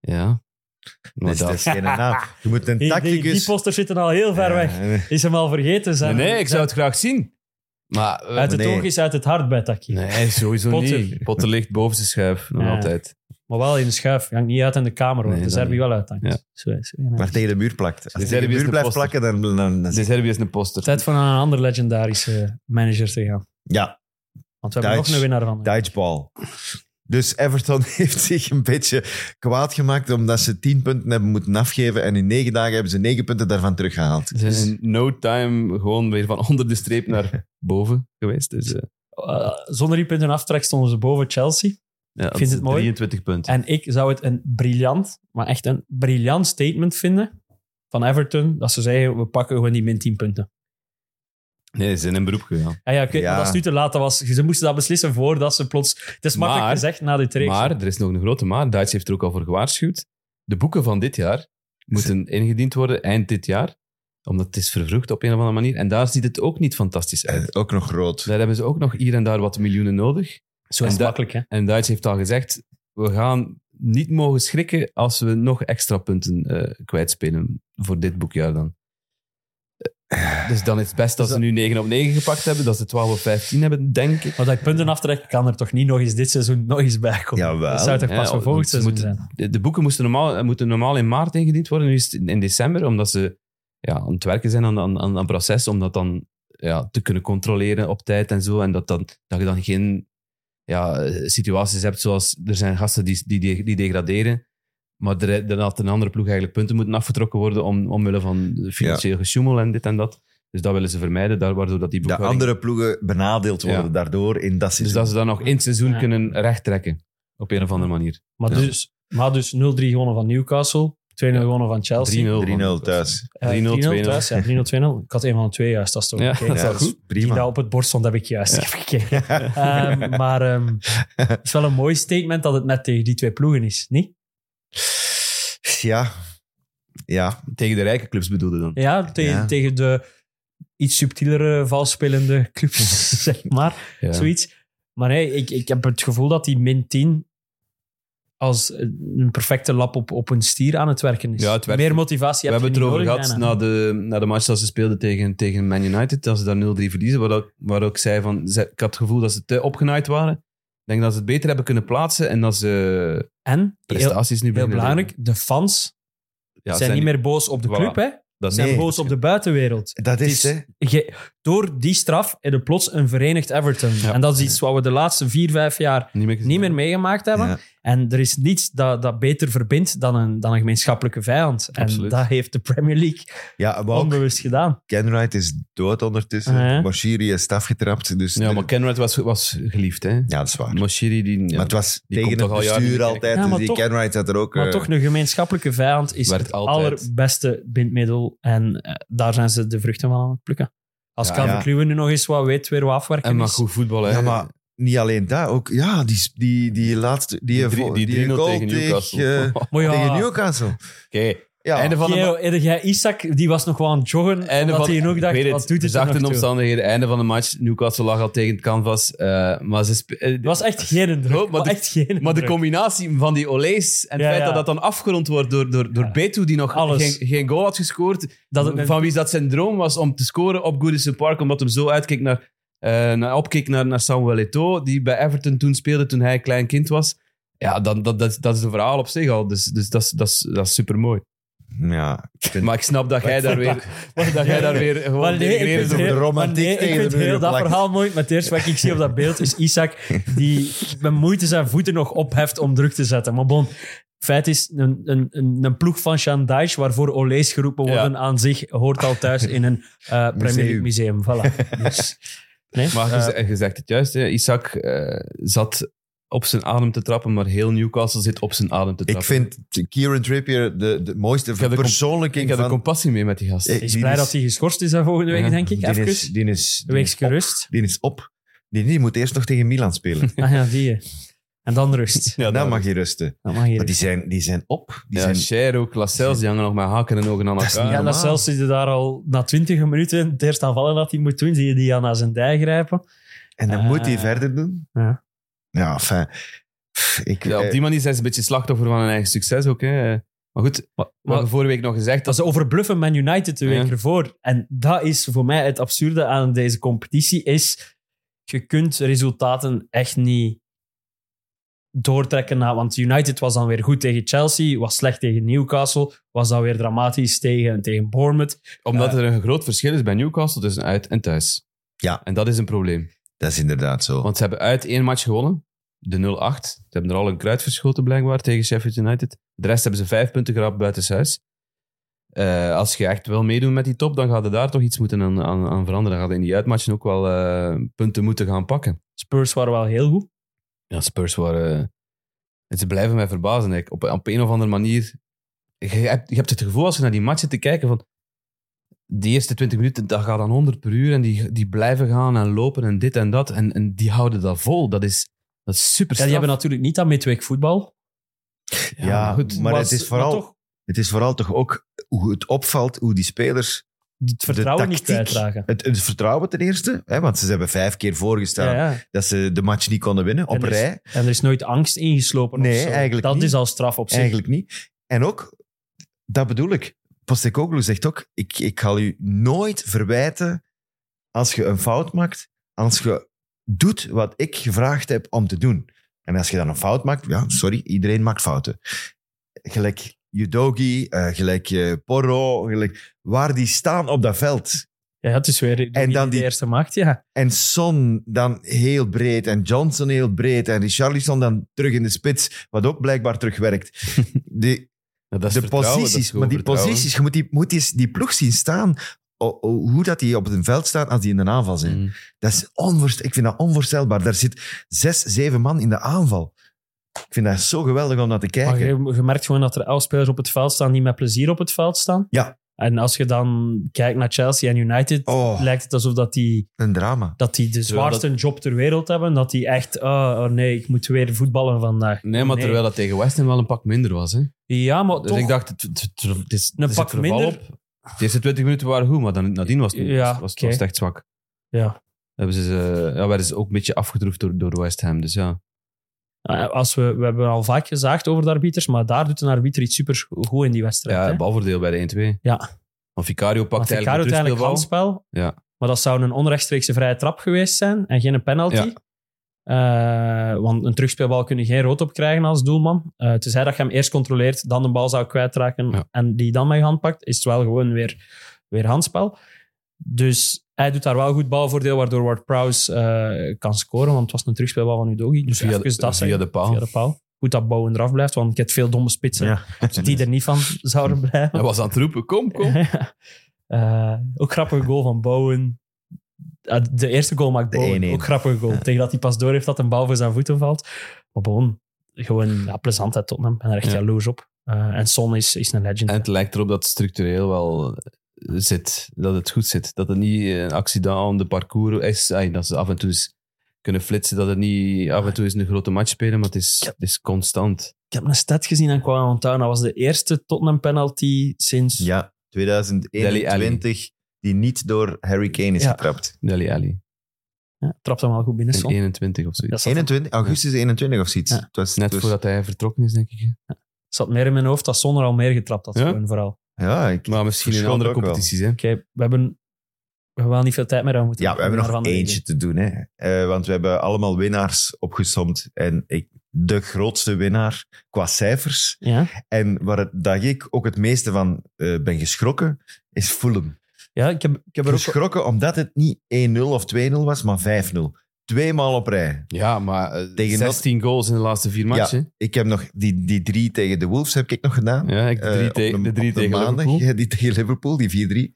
Speaker 4: Ja. Maar
Speaker 3: Dus dat is
Speaker 4: dat-
Speaker 3: geen naam. Je moet een
Speaker 5: Die, die-
Speaker 3: tacticus...
Speaker 5: die posters zitten al heel ver
Speaker 3: Ja,
Speaker 5: weg.
Speaker 3: nee.
Speaker 5: Is hem al vergeten?
Speaker 4: Nee,
Speaker 5: Zijn,
Speaker 4: nee, ik zou het graag zien. Maar. eh,
Speaker 5: Uit het
Speaker 3: Nee.
Speaker 5: oog is uit het hart bij Taki.
Speaker 4: nee, sowieso
Speaker 5: Potter.
Speaker 4: niet. Potter ligt boven zijn schuif. Nog
Speaker 5: Ja.
Speaker 4: altijd.
Speaker 5: Maar wel in de schuif. Hangt niet uit in de kamer, hoor. Dus
Speaker 4: Nee,
Speaker 5: de
Speaker 4: dat
Speaker 5: Serbi
Speaker 4: niet.
Speaker 5: wel uit. hangt.
Speaker 4: Ja.
Speaker 5: Zo, zo, ja.
Speaker 3: Maar tegen de muur plakt. Als
Speaker 4: Serbië
Speaker 3: je tegen de
Speaker 4: is
Speaker 3: muur
Speaker 4: de
Speaker 3: blijft
Speaker 4: poster.
Speaker 3: plakken, dan... dan, dan-
Speaker 4: De Serbië is een poster.
Speaker 5: Tijd voor naar een ander legendarische manager te gaan.
Speaker 3: ja,
Speaker 5: Want we hebben
Speaker 3: Duits.
Speaker 5: nog een winnaar van.
Speaker 3: Dutch ball. Dus Everton <laughs> heeft zich een beetje kwaad gemaakt omdat ze 10 punten hebben moeten afgeven en in 9 dagen hebben ze 9 punten daarvan teruggehaald. Dus,
Speaker 4: Ze zijn in no time gewoon weer van <laughs> onder de streep naar boven geweest. Dus, eh,
Speaker 5: Eh, zonder die punten aftrek stonden ze boven Chelsea.
Speaker 4: ja,
Speaker 5: Vind je het mooi?
Speaker 4: 23 punten.
Speaker 5: En ik zou het een briljant, maar echt een briljant statement vinden van Everton. Dat ze zeggen, we pakken gewoon die min 10 punten. Ah
Speaker 4: Nee, ze zijn in beroep gegaan.
Speaker 5: Ja, ja, oké,
Speaker 3: Ja.
Speaker 5: Maar dat is nu te laat. Dat was, ze moesten dat beslissen voordat ze plots... Het is makkelijk
Speaker 4: Maar-
Speaker 5: gezegd na dit reeks.
Speaker 4: Maar, er is nog een grote maar. Duits heeft er ook al voor gewaarschuwd. De boeken van dit jaar moeten ingediend worden eind dit jaar. Omdat het is vervroegd op een of andere manier. En daar ziet het ook niet fantastisch uit.
Speaker 3: En eh, ook nog rood.
Speaker 4: Daar hebben ze ook nog hier en daar wat miljoenen nodig.
Speaker 5: Eh, Zo is
Speaker 4: en
Speaker 5: het
Speaker 4: dat-
Speaker 5: makkelijk, hè.
Speaker 4: En Duits heeft al gezegd, we gaan niet mogen schrikken als we nog extra punten eh, kwijtspelen voor dit boekjaar dan. Eh, Dus dan is het best als ze nu 9 op 9 gepakt hebben, dat ze 12 op 15 hebben, denk ik.
Speaker 5: Maar dat je punten aftrekt, kan er toch niet nog eens dit seizoen nog eens bij komen?
Speaker 3: Jawel.
Speaker 5: Dat zou toch
Speaker 4: Ja,
Speaker 5: pas voor volgend
Speaker 4: want ze
Speaker 5: seizoen
Speaker 4: moeten-
Speaker 5: zijn?
Speaker 4: De, de boeken moesten normaal, moeten normaal in maart ingediend worden, nu is het in, in december, omdat ze ja, aan het werken zijn aan, aan, aan een proces, om dat dan ja, te kunnen controleren op tijd en zo. En dat, dan, dat je dan geen ja, eh, situaties hebt zoals er zijn gasten die, die, die, die degraderen, maar er, er had een andere ploeg eigenlijk punten moeten afgetrokken worden om, omwille van financieel gesjoemel en dit en dat. Dus dat willen ze vermijden, daar, waardoor dat die
Speaker 3: De
Speaker 4: boekhouding...
Speaker 3: andere ploegen benadeeld worden
Speaker 4: Ja.
Speaker 3: daardoor in dat
Speaker 4: Dus
Speaker 3: seizoen.
Speaker 4: dat ze dat nog in het seizoen
Speaker 5: Ja.
Speaker 4: kunnen rechttrekken, op een of andere manier.
Speaker 5: Maar
Speaker 3: Ja.
Speaker 5: dus, maar dus 0-3 gewonnen van Newcastle. gewonnen van Chelsea.
Speaker 4: 3-0.
Speaker 3: 3-0 thuis.
Speaker 5: Eh,
Speaker 4: 3-0,
Speaker 5: 3-0 thuis, ja, 3-0, 2-0. Ik had een van de twee juist, dat is toch
Speaker 4: Ja,
Speaker 5: oké.
Speaker 4: dat
Speaker 3: Ja, dat is
Speaker 5: Die daar
Speaker 3: prima.
Speaker 5: op het bord stond, heb ik juist even gekeken. Ehm, maar ehm,
Speaker 4: <laughs>
Speaker 5: het is wel een mooi statement dat het net tegen die twee ploegen is, niet?
Speaker 3: Ja. Ja.
Speaker 4: Tegen de rijke clubs bedoelde dan.
Speaker 5: Ja, tegen,
Speaker 3: Ja.
Speaker 5: tegen de iets subtielere, valspelende
Speaker 4: <laughs>
Speaker 5: clubs, zeg maar.
Speaker 4: Ja.
Speaker 5: Zoiets. Maar nee, ik, ik heb het gevoel dat die min 10 als een perfecte lap op, op een stier aan het werken is.
Speaker 4: Ja, het werkt.
Speaker 5: Meer motivatie
Speaker 4: We
Speaker 5: heb
Speaker 4: hebben het
Speaker 5: je niet
Speaker 4: erover
Speaker 5: nodig,
Speaker 4: gehad
Speaker 5: bijna.
Speaker 4: na de, na de match dat ze speelden tegen, tegen Man United. Dat ze daar 0-3 verliezen. Waar, ook- waar ook zei van. ze- Ik had het gevoel dat ze te opgenaaid waren. Ik denk dat ze het beter hebben kunnen plaatsen en dat ze
Speaker 5: En, heel,
Speaker 4: prestaties nu
Speaker 5: heel
Speaker 4: beginnen leveren.
Speaker 5: belangrijk, de fans
Speaker 4: Ja,
Speaker 5: zijn, niet meer boos op de
Speaker 4: Voilà.
Speaker 5: club, hè.
Speaker 4: Dat
Speaker 5: Ze zijn
Speaker 3: Nee.
Speaker 5: boos op de buitenwereld.
Speaker 3: Dat
Speaker 5: Het
Speaker 3: is,
Speaker 5: is-
Speaker 3: hè.
Speaker 5: Je- door die straf hebben plots een verenigd Everton. En dat is iets wat we de laatste vier, vijf jaar
Speaker 4: niet meer, gezien.
Speaker 5: niet meer meegemaakt hebben.
Speaker 3: Ja.
Speaker 5: En er is niets dat, dat beter verbindt dan een, dan een gemeenschappelijke vijand. En
Speaker 4: Absoluut.
Speaker 5: dat heeft de Premier League
Speaker 3: Ja, maar ook
Speaker 5: onbewust gedaan.
Speaker 3: Kenwright is dood ondertussen.
Speaker 5: Ah, ja.
Speaker 3: Bashiri is afgetrapt. Dus
Speaker 4: Ja, maar Kenrad was, was geliefd, hè?
Speaker 3: ja, dat is waar.
Speaker 4: Moshiri, die. ja,
Speaker 3: maar het was
Speaker 4: die
Speaker 3: tegen
Speaker 4: komt
Speaker 3: het
Speaker 4: toch al jaren
Speaker 3: bestuur
Speaker 4: niet meer
Speaker 3: altijd.
Speaker 5: kijken. Ja,
Speaker 3: dus
Speaker 5: maar
Speaker 3: die
Speaker 5: toch-
Speaker 3: Kenwright had er ook...
Speaker 5: Maar
Speaker 3: eh,
Speaker 5: toch, een gemeenschappelijke vijand is
Speaker 4: Werd
Speaker 5: het
Speaker 4: altijd.
Speaker 5: allerbeste bindmiddel. En eh, daar zijn ze de vruchten van aan het plukken. Als
Speaker 4: Ja,
Speaker 5: Calvin
Speaker 3: ja.
Speaker 5: Kluwen nu nog eens wat weet, weer wat afwerken
Speaker 4: En maar
Speaker 5: is.
Speaker 4: goed voetbal, hè?
Speaker 3: Ja, maar niet alleen dat. Ook, ja, die, die, die laatste... Die,
Speaker 4: Die drie- die 3-0
Speaker 3: goal
Speaker 4: tegen Newcastle.
Speaker 3: tegen, eh,
Speaker 5: Maar ja,
Speaker 3: tegen Newcastle.
Speaker 4: <laughs> Oké.
Speaker 3: Ja.
Speaker 4: Einde van de
Speaker 5: Geo, eerder jij Isaac, die was nog wel aan het joggen.
Speaker 4: Einde
Speaker 5: omdat
Speaker 4: van,
Speaker 5: hij ook
Speaker 4: ik weet
Speaker 5: dacht,
Speaker 4: het,
Speaker 5: wat doet het er
Speaker 4: verzachte
Speaker 5: nog toe?
Speaker 4: omstandigheden, einde van de match. Newcastle lag al tegen het canvas. eh, maar, ze spe- eh,
Speaker 5: Het was echt geen
Speaker 4: <laughs>
Speaker 5: indruk.
Speaker 4: Oh, maar
Speaker 5: maar
Speaker 4: de-
Speaker 5: echt geen
Speaker 4: maar de
Speaker 5: indruk.
Speaker 4: combinatie van die Olees en het
Speaker 5: Ja,
Speaker 4: feit
Speaker 5: ja.
Speaker 4: dat dat dan afgerond wordt door, door, door
Speaker 5: Ja.
Speaker 4: Beto, die nog
Speaker 5: Alles.
Speaker 4: geen, geen goal had gescoord.
Speaker 5: Dat het een-
Speaker 4: van wie dat zijn droom was om te scoren op Goodison Park, omdat hem zo uitkeek naar, eh, naar, opkeek naar, naar Samuel Eto'o, die bij Everton toen speelde toen hij een klein kind was. Ja, dan, dat, dat, dat is een verhaal op zich al. Dus, dus dat, is, dat, is, dat is supermooi.
Speaker 3: Ja, ik vind-
Speaker 4: Maar ik snap dat jij daar weer...
Speaker 5: <laughs>
Speaker 4: dat <laughs> jij daar weer gewoon
Speaker 5: Maar nee, ik
Speaker 4: denigrerend
Speaker 5: vind, <laughs>
Speaker 4: over
Speaker 5: heel-
Speaker 3: de romantiek
Speaker 5: maar nee, ik
Speaker 3: tegen
Speaker 5: vind
Speaker 3: de muur
Speaker 5: heel dat
Speaker 3: geplakt.
Speaker 5: verhaal mooi. Maar het eerste wat ik zie op dat beeld is Isaac die met moeite zijn voeten nog opheft om druk te zetten. Maar bon, feit is, een, een, een, een ploeg van Shandaij waarvoor Olees geroepen worden aan zich, hoort al thuis in een eh Premier League museum. Voilà. Dus, nee?
Speaker 4: Maar je, ze- je zegt het juist, hè. Isaac eh, zat op zijn adem te trappen, maar heel Newcastle zit op zijn adem te
Speaker 3: Ik
Speaker 4: trappen.
Speaker 3: vind Kieran Trippier de, de mooiste
Speaker 4: heb de comp-
Speaker 3: verpersoonlijking
Speaker 4: ik heb er
Speaker 3: van...
Speaker 4: compassie mee met die gast.
Speaker 3: Eh,
Speaker 5: Hij is
Speaker 3: die
Speaker 5: blij
Speaker 3: is-
Speaker 5: dat hij geschorst is hè, volgende week,
Speaker 4: Ja.
Speaker 5: denk ik.
Speaker 3: Die
Speaker 5: Even.
Speaker 3: is, die is,
Speaker 5: een
Speaker 3: die is
Speaker 5: weekje
Speaker 3: op.
Speaker 5: rust.
Speaker 3: Die is op. Die, die moet eerst nog tegen Milan
Speaker 4: <laughs>
Speaker 3: spelen.
Speaker 5: Ah ja, die. hè. En dan rust.
Speaker 4: ja,
Speaker 3: Dan nou, mag je rusten.
Speaker 5: Dat mag
Speaker 3: Maar
Speaker 5: hier.
Speaker 3: die zijn, die zijn op. Die
Speaker 4: ja,
Speaker 3: zijn
Speaker 4: Cher ook, Lascelles, die hangen nog met haken en ogen aan
Speaker 3: Dat is
Speaker 4: elkaar.
Speaker 5: Ja,
Speaker 3: normaal.
Speaker 5: dat zelfs zit hij daar al na twintig minuten het eerst aanvallen dat hij moet doen. Zie je die aan zijn dij grijpen.
Speaker 3: En dan
Speaker 5: Ah.
Speaker 3: moet hij verder doen.
Speaker 5: Ja.
Speaker 3: Ja, fijn. Ik,
Speaker 4: Ja, op
Speaker 3: eh,
Speaker 4: die manier zijn ze een beetje slachtoffer van hun eigen succes ook. Hè. Eh, Maar goed, we
Speaker 5: Maar-
Speaker 4: hebben vorige week nog gezegd
Speaker 5: Dat
Speaker 4: dat
Speaker 5: ze overbluffen Man United de week
Speaker 4: Ja.
Speaker 5: ervoor. En dat is voor mij het absurde aan deze competitie. Is, je kunt resultaten echt niet doortrekken. Naar, want United was dan weer goed tegen Chelsea. Was slecht tegen Newcastle. Was dan weer dramatisch tegen, tegen Bournemouth.
Speaker 4: omdat
Speaker 5: Ja.
Speaker 4: er een groot verschil is bij Newcastle tussen uit en thuis.
Speaker 3: Ja.
Speaker 4: En dat is een probleem.
Speaker 3: dat is inderdaad zo.
Speaker 4: Want ze hebben uit één match gewonnen, de 0-8. Ze hebben er al een kruid verschoten blijkbaar tegen Sheffield United. De rest hebben ze vijf punten gerapt buitenshuis. Eh als je echt wil meedoen met die top, dan gaat er daar toch iets moeten aan, aan, aan veranderen. Dan gaat in die uitmatchen ook wel eh, punten moeten gaan pakken.
Speaker 5: Spurs waren wel heel goed.
Speaker 4: Ja, Spurs waren... en ze blijven mij verbazen. hè. Op, op een of andere manier... Je hebt, je hebt het gevoel als je naar die matchen te kijken van... Die eerste 20 minuten, dat gaat dan 100 per uur. En die, die blijven gaan en lopen en dit en dat. En, en die houden dat vol. Dat is, dat is super
Speaker 5: Ja, die hebben natuurlijk niet dat midweek voetbal.
Speaker 3: ja, maar het is vooral, het is vooral toch ook hoe het opvalt, hoe die spelers
Speaker 5: het vertrouwen
Speaker 3: de
Speaker 5: niet
Speaker 3: tactiek,
Speaker 5: kwijtragen.
Speaker 3: het, het vertrouwen ten eerste, hè, want ze hebben vijf keer voorgestaan
Speaker 5: Ja, ja.
Speaker 3: dat ze de match niet konden winnen op
Speaker 5: En er is
Speaker 3: rij.
Speaker 5: En er is nooit angst ingeslopen. of
Speaker 3: Nee,
Speaker 5: zo.
Speaker 3: eigenlijk
Speaker 5: Dat
Speaker 3: niet.
Speaker 5: is al straf op zich.
Speaker 3: Eigenlijk niet. En ook, dat bedoel ik, Postecoglou zegt ook, ik, ik ga u nooit verwijten als je een fout maakt, als je doet wat ik gevraagd heb om te doen. En als je dan een fout maakt, ja, sorry, iedereen maakt fouten. Gelijk Udogi, eh, gelijk eh, Porro, gelijk waar die staan op dat veld.
Speaker 5: Ja, het is weer
Speaker 3: En
Speaker 5: en
Speaker 3: dan
Speaker 5: dan de
Speaker 3: die-
Speaker 5: eerste macht, ja.
Speaker 3: En Son dan heel breed. En Johnson heel breed. En Richarlison dan terug in de spits. Wat ook blijkbaar terugwerkt. De,
Speaker 4: Ja, dat is
Speaker 3: de
Speaker 4: vertrouwen, dat is
Speaker 3: posities.
Speaker 4: gewoon
Speaker 3: Maar die
Speaker 4: vertrouwen.
Speaker 3: posities. Je moet die, moet die, die ploeg zien staan. O- o- hoe dat die op het veld staan als die in de aanval zijn.
Speaker 4: Mm.
Speaker 3: Dat is onvoorstelbaar. Ik vind dat onvoorstelbaar. Daar zit zes, zeven man in de aanval. Ik vind dat zo geweldig om naar te
Speaker 5: Maar
Speaker 3: kijken.
Speaker 5: je, je merkt gewoon dat er elf spelers op het veld staan die met plezier op het veld staan.
Speaker 3: Ja.
Speaker 5: En als je dan kijkt naar Chelsea en United,
Speaker 3: Oh.
Speaker 5: lijkt het alsof dat die,
Speaker 3: Een drama.
Speaker 5: dat die de
Speaker 4: Terwijl
Speaker 5: zwaarste job ter wereld hebben. Dat die echt, ah, oh nee, ik moet weer voetballen vandaag.
Speaker 4: Nee, maar terwijl dat tegen West Ham wel een pak minder was. Hè?
Speaker 5: Ja, maar
Speaker 4: Dus
Speaker 5: Oh, toch.
Speaker 4: ik dacht, het, het, het- het is
Speaker 5: Een
Speaker 4: er zit
Speaker 5: pak
Speaker 4: verval
Speaker 5: minder?
Speaker 4: Op. De eerste 20 minuten waren goed, maar dan, nadien was het, niet-
Speaker 5: Ja,
Speaker 4: was, was,
Speaker 5: oké.
Speaker 4: was het echt zwak.
Speaker 5: Ja.
Speaker 4: Hebben ze, eh, ja, werden ze ook een beetje afgedroefd door, door West Ham. Dus ja.
Speaker 5: Eh, Als we, we hebben al vaak gezaagd over de arbiters, maar daar doet een arbiter iets super goed in die wedstrijd.
Speaker 4: ja
Speaker 5: hè?
Speaker 4: balvoordeel bij de 1-2.
Speaker 5: Ja.
Speaker 4: Want Vicario
Speaker 5: Want
Speaker 4: pakt
Speaker 5: Vicario
Speaker 4: eigenlijk een
Speaker 5: had eigenlijk
Speaker 4: terugspeelbal.
Speaker 5: handspel.
Speaker 4: Ja.
Speaker 5: Maar dat zou een onrechtstreekse vrije trap geweest zijn en geen penalty.
Speaker 4: Ja.
Speaker 5: Eh, want een terugspeelbal kun je geen rood op krijgen als doelman. Eh tenzij dat je hem eerst controleert, dan de bal zou kwijtraken
Speaker 4: Ja.
Speaker 5: en die dan met je hand pakt, is het wel gewoon weer, weer handspel. Dus hij doet daar wel goed balvoordeel, waardoor Ward-Prowse eh, kan scoren, want het was een terugspeelbal van Udogi. Dus
Speaker 4: Via de-
Speaker 5: even dat
Speaker 4: via
Speaker 5: zeggen.
Speaker 4: de paal.
Speaker 5: Via de paal. Goed dat Bowen eraf blijft, want ik heb veel domme spitsen
Speaker 3: Ja.
Speaker 5: die er niet van zouden blijven.
Speaker 4: Hij was aan het roepen, kom,
Speaker 5: <laughs>
Speaker 4: kom.
Speaker 5: Eh, ook grappige goal van Bowen. Eh, De eerste goal maakt
Speaker 3: De
Speaker 5: Bowen.
Speaker 3: 1-1.
Speaker 5: Ook grappige goal. Tegen dat hij pas door heeft dat een bal voor zijn voeten valt. Maar Bowen, gewoon ja, plezant uit Tottenham. Ik ben er echt
Speaker 4: Ja.
Speaker 5: jaloers op. Eh, en Son is, is een legend.
Speaker 4: En het lijkt erop dat het structureel wel zit. Dat het goed zit. Dat het niet eh, een accident om de parcours is. Ay, dat ze af en toe eens kunnen flitsen. Dat het niet af en toe eens een grote match spelen. Maar het is, het is constant.
Speaker 5: Ik heb een stat gezien aan Kwame Montana. Dat was de eerste Tottenham penalty sinds...
Speaker 3: Ja, 2021, die niet door Harry Kane is
Speaker 5: Ja.
Speaker 3: getrapt.
Speaker 4: Deli Ali.
Speaker 5: Ja, trapt hem wel goed binnen,
Speaker 4: In
Speaker 3: e-
Speaker 5: Son.
Speaker 4: 21 of zoiets.
Speaker 5: Dat zat,
Speaker 3: 21, augustus 21 of zoiets.
Speaker 5: Ja.
Speaker 3: Het was,
Speaker 4: Net
Speaker 3: het was-
Speaker 4: voordat hij vertrokken is, denk ik.
Speaker 5: zat meer in mijn hoofd dat Son er al meer getrapt had.
Speaker 4: Ja?
Speaker 5: Gewoon vooral.
Speaker 3: Ja, ik-
Speaker 4: Maar misschien in
Speaker 3: Verschilt
Speaker 4: andere
Speaker 3: ook wel.
Speaker 4: competities. Hè?
Speaker 5: Oké, we hebben... We hebben wel niet veel tijd meer aan moeten
Speaker 3: ja, we hebben nog
Speaker 5: daarvan
Speaker 3: eentje te doen. Hè. Eh, want we hebben allemaal winnaars opgesomd. En ik, de grootste winnaar qua cijfers.
Speaker 5: Ja?
Speaker 3: En waar het, dat ik ook het meeste van eh, ben geschrokken, is Fulham.
Speaker 5: ja, ik heb, ik heb er ook...
Speaker 3: Geschrokken omdat het niet 1-0 of 2-0 was, maar 5-0. Tweemaal op rij.
Speaker 4: Ja, maar eh,
Speaker 3: Tegen
Speaker 4: 16 goals in de laatste vier matchen.
Speaker 3: Ik heb nog die, die drie tegen de Wolves heb ik nog gedaan.
Speaker 4: Ja, ik de drie,
Speaker 3: Eh, op
Speaker 4: te- de drie
Speaker 3: op
Speaker 4: tegen
Speaker 3: maandag,
Speaker 4: Liverpool.
Speaker 3: ja, die tegen Liverpool, die 4-3.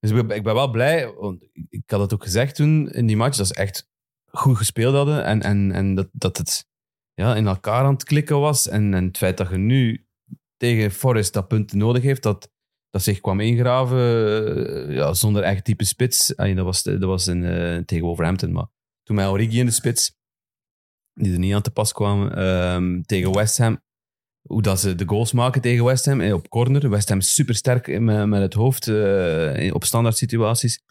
Speaker 4: Dus ik ben, ik ben wel blij, want ik- ik had het ook gezegd toen in die match, dat ze echt goed gespeeld hadden en, en, en dat, dat het ja, in elkaar aan het klikken was. En, en het feit dat je nu tegen Forest dat punt nodig heeft, dat, dat zich kwam ingraven eh, ja, zonder echt diepe spits. Ah, ja, dat was, dat was in, eh, tegen Wolverhampton, maar toen met Origi in de spits, die er niet aan te pas kwam, ehm, tegen West Ham. Hoe dat ze de goals maken tegen West Ham eh, op corner. West Ham supersterk in- met, met het hoofd eh, in- op standaard situaties.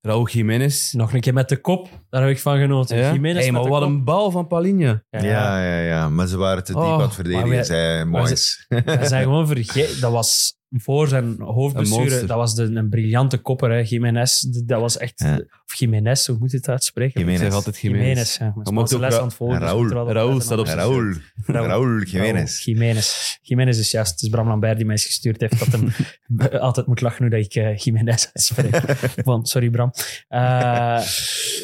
Speaker 4: Raúl Jiménez.
Speaker 5: Nog een keer met de kop. Daar heb ik van genoten.
Speaker 4: Ja?
Speaker 5: Jiménez
Speaker 4: Hey,
Speaker 5: met
Speaker 4: maar
Speaker 5: de
Speaker 4: wat
Speaker 5: kop.
Speaker 4: een bal van Palinha.
Speaker 3: Ja. Ja, ja, maar ze waren te diep
Speaker 4: Oh,
Speaker 3: aan het verdedigen,
Speaker 5: maar we-
Speaker 3: zei Moyes.
Speaker 5: We zijn gewoon vergeten. Dat was voor zijn
Speaker 4: Een
Speaker 5: hoofdbesturen.
Speaker 4: monster.
Speaker 5: Dat was de, een briljante kopper. Hè. Jiménez, d- dat was echt...
Speaker 3: Ja.
Speaker 5: Of Jiménez, hoe moet je het uitspreken?
Speaker 4: Ik
Speaker 3: Jiménez.
Speaker 4: zeg altijd Jiménez.
Speaker 5: Jiménez. ja. Mijn
Speaker 4: Dan
Speaker 5: Spaanse
Speaker 4: mocht ook
Speaker 5: les
Speaker 4: Ra-
Speaker 5: aan het volgen.
Speaker 3: Raúl.
Speaker 5: dus ik moet er wel
Speaker 4: Raúl
Speaker 5: opletten
Speaker 4: staat
Speaker 5: op-
Speaker 4: op zijn
Speaker 3: Raúl.
Speaker 5: Raúl.
Speaker 3: Raúl
Speaker 5: Raúl
Speaker 3: Jiménez.
Speaker 5: Jiménez. Jiménez is juist. Het is Bram Lambert die mij is gestuurd heeft. Dat hem <laughs> altijd moet lachen hoe dat ik eh, Jiménez uitspreek.
Speaker 4: <laughs>
Speaker 5: Want, sorry Bram. Eh,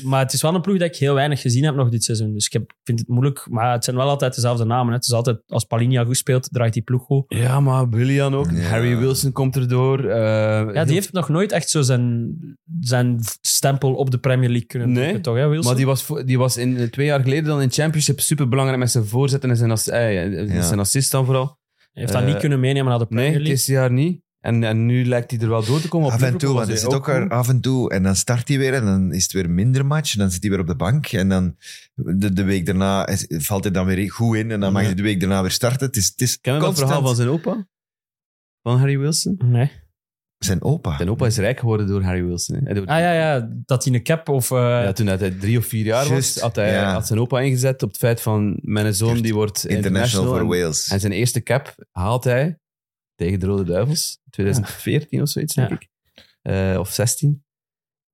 Speaker 5: maar het is wel een ploeg dat ik heel weinig gezien heb nog dit seizoen. Dus ik heb, vind het moeilijk. Maar het zijn wel altijd dezelfde namen. Hè. Het is altijd, als Palinha goed speelt, draait die ploeg goed.
Speaker 4: Ja, maar Willian ook.
Speaker 3: Ja.
Speaker 4: Harry Wilson komt erdoor. eh,
Speaker 5: Ja, die heeft nog nooit echt zo zijn, zijn stempel op de Premier League kunnen
Speaker 4: Nee,
Speaker 5: drukken, toch? Hè, Wilson?
Speaker 4: Maar die was, voor- die was in, eh, twee jaar geleden dan in Championship superbelangrijk met zijn voorzetten en zijn, ass- eh,
Speaker 3: Ja.
Speaker 4: zijn assist dan vooral.
Speaker 5: heeft dat
Speaker 4: eh,
Speaker 5: niet kunnen meenemen naar de Premier
Speaker 4: Nee, het
Speaker 5: League.
Speaker 4: is dit jaar niet. En, en nu lijkt hij er wel door te komen. Op
Speaker 3: Af en toe,
Speaker 4: Liverpool
Speaker 3: want hij
Speaker 4: was
Speaker 3: zit ook er
Speaker 4: goed.
Speaker 3: af en toe. En dan start hij weer en dan is het weer minder match. En dan zit hij weer op de bank. En dan de, de week daarna is- valt hij dan weer goed in. En dan mag
Speaker 4: Ja.
Speaker 3: hij de week daarna weer starten. Het is, het is
Speaker 4: Ken je dat
Speaker 3: constant.
Speaker 4: verhaal van zijn opa? Van Harry Wilson?
Speaker 5: Nee.
Speaker 3: zijn opa.
Speaker 4: Zijn opa is rijk geworden door Harry Wilson. hè. Hij doet-
Speaker 5: Ah ja, ja, dat hij een cap of... eh,
Speaker 4: Ja, toen hij drie of vier jaar
Speaker 3: Juist,
Speaker 4: was, had, hij,
Speaker 3: ja.
Speaker 4: had zijn opa ingezet op het feit van mijn zoon die wordt
Speaker 3: International voor
Speaker 4: en-
Speaker 3: Wales.
Speaker 4: En zijn eerste cap haalt hij tegen de Rode Duivels. 2014 of zoiets, denk
Speaker 5: Ja.
Speaker 4: ik. Eh, of 16.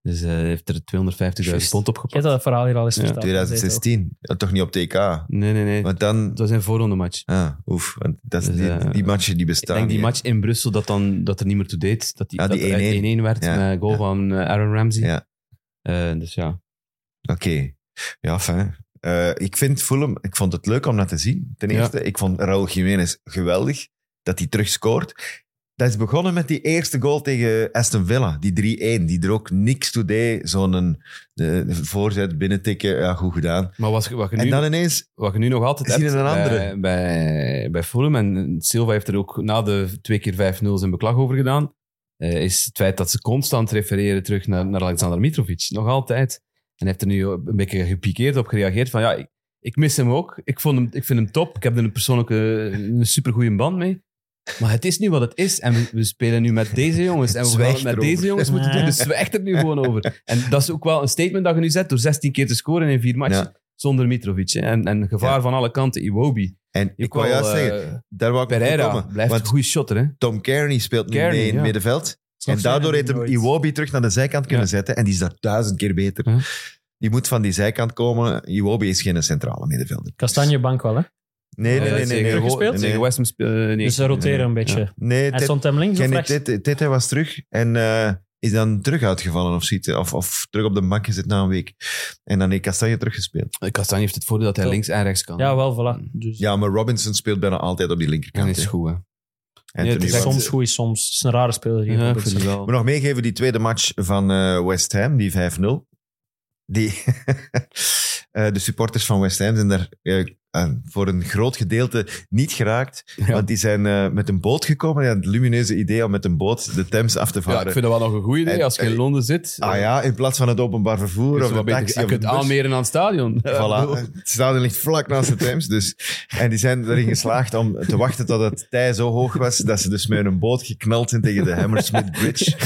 Speaker 4: Dus eh, hij heeft er 250.000 pond
Speaker 5: Ik heb
Speaker 4: opgepakt.
Speaker 5: dat verhaal hier al eens
Speaker 4: Ja,
Speaker 5: verteld.
Speaker 3: 2016. Ja, Oh, toch niet op TK.
Speaker 4: Nee, nee, nee.
Speaker 3: Want dan...
Speaker 4: Het was een voorronde match.
Speaker 3: Ah, oef. Want dat, is
Speaker 4: Dus,
Speaker 3: die,
Speaker 4: eh,
Speaker 3: die matchen die
Speaker 4: Ik
Speaker 3: bestaan
Speaker 4: denk die
Speaker 3: niet, hè.
Speaker 4: match in Brussel dat, dan, dat er niet meer toe deed. Dat die,
Speaker 3: Ja, die
Speaker 4: dat er uit
Speaker 3: 1-1.
Speaker 4: 1-1 werd
Speaker 3: Ja,
Speaker 4: met een goal
Speaker 3: ja.
Speaker 4: van eh, Aaron Ramsey.
Speaker 3: Ja.
Speaker 4: Eh, dus ja.
Speaker 3: Oké. Ja, fijn. Eh, ik vind Fulham, ik vond het leuk om dat te zien. Ten
Speaker 4: Ja.
Speaker 3: eerste, ik vond Raúl Jiménez geweldig dat hij terug scoort. Dat is begonnen met die eerste goal tegen Aston Villa, die 3-1, die er ook niks toe deed. Zo'n eh, voorzet binnentikken, ja, goed gedaan.
Speaker 4: Maar wat, wat, je nu,
Speaker 3: En dan ineens,
Speaker 4: wat je nu nog altijd
Speaker 3: Is hier
Speaker 4: hebt
Speaker 3: een andere?
Speaker 4: Bij, bij, bij Fulham, en Silva heeft er ook na de twee keer 5-0 zijn beklag over gedaan, eh, is het feit dat ze constant refereren terug naar, naar Alexander Mitrovic. Nog altijd. En hij heeft er nu een beetje gepikeerd op gereageerd van ja, ik, ik mis hem ook. Ik, vond hem, ik vind hem top. Ik heb er een persoonlijke, een supergoeie band mee. Maar het is nu wat het is. En we, we spelen nu met deze jongens. En we gaan
Speaker 3: Zwijg
Speaker 4: het met
Speaker 3: erover.
Speaker 4: deze jongens moeten doen. Dus zwijg er nu gewoon over. En dat is ook wel een statement dat je nu zet door 16 keer te scoren in vier matchen.
Speaker 3: Ja.
Speaker 4: Zonder Mitrovic. hè. En, en gevaar
Speaker 3: Ja.
Speaker 4: van alle kanten. Iwobi. eh,
Speaker 3: en ik wou juist zeggen, daar wou ik op
Speaker 4: Pereira
Speaker 3: komen.
Speaker 4: blijft
Speaker 3: Want
Speaker 4: een goede shotter. Hè?
Speaker 3: Tom Kearney speelt nu
Speaker 4: Kearney,
Speaker 3: mee in het
Speaker 4: ja.
Speaker 3: middenveld.
Speaker 5: Snap
Speaker 3: en
Speaker 5: jij
Speaker 3: daardoor
Speaker 5: dat
Speaker 3: heeft hem
Speaker 5: nooit?
Speaker 3: Iwobi terug naar de zijkant kunnen
Speaker 4: Ja.
Speaker 3: zetten. En die is daar duizend keer beter.
Speaker 4: Ja.
Speaker 3: Die moet van die zijkant komen. Iwobi is geen centrale middenvelder.
Speaker 5: Kastanje bank wel, hè?
Speaker 3: Nee, nee,
Speaker 4: Eh,
Speaker 3: nee. nee,
Speaker 4: tegen-
Speaker 3: nee,
Speaker 5: Teruggespeeld?
Speaker 4: Tegen West Ham speel- eh, nee.
Speaker 5: Dus ze roteren een beetje.
Speaker 3: nee,
Speaker 5: Hij
Speaker 3: Ted-
Speaker 5: stond hem links of
Speaker 3: Kenny
Speaker 5: rechts?
Speaker 3: Tete- Tete was terug en eh, is dan terug uitgevallen of, ziet, of, of terug op de bank gezet na een week. En dan heeft Castanje teruggespeeld.
Speaker 4: Eh, Kastanje heeft het voordeel dat hij
Speaker 5: Toch.
Speaker 4: links en rechts kan.
Speaker 5: Ja, wel,
Speaker 4: Mm.
Speaker 5: voilà. Dus
Speaker 3: Ja, maar Robinson speelt bijna altijd op die
Speaker 4: Dat
Speaker 3: linkerkant.
Speaker 4: is
Speaker 3: hè.
Speaker 4: goed. Hè?
Speaker 3: Anthony
Speaker 4: het is
Speaker 5: Die
Speaker 3: Robinson.
Speaker 5: soms goed is, soms. Het is een rare speler hier. Dus
Speaker 4: Ja, ik
Speaker 5: Robinson.
Speaker 4: vind het wel.
Speaker 3: Ik moet nog meegeven die tweede match van eh, West Ham, die 5-0. Die <laughs> eh, de supporters van West Ham zijn daar eh, eh, voor een groot gedeelte niet geraakt.
Speaker 4: Ja.
Speaker 3: Want die zijn eh, met een boot gekomen. Ja, het lumineuze idee om met een boot de Thames af te
Speaker 4: Ja,
Speaker 3: varen.
Speaker 4: ik vind dat wel nog een goede idee.
Speaker 3: En-
Speaker 4: Als je in
Speaker 3: en-
Speaker 4: Londen zit,
Speaker 3: Ah ja, in plaats van het openbaar vervoer
Speaker 4: is
Speaker 3: of
Speaker 4: het wel
Speaker 3: de
Speaker 4: beter.
Speaker 3: taxi
Speaker 4: je
Speaker 3: of de
Speaker 4: kunt
Speaker 3: bus.
Speaker 4: aanmeren aan het stadion.
Speaker 3: Voilà,
Speaker 4: Ik bedoel,
Speaker 3: het stadion ligt vlak naast de Thames. Dus. En die zijn erin geslaagd om te wachten tot het tij zo hoog was dat ze dus met een boot geknald zijn tegen de Hammersmith
Speaker 4: <laughs>
Speaker 3: Bridge.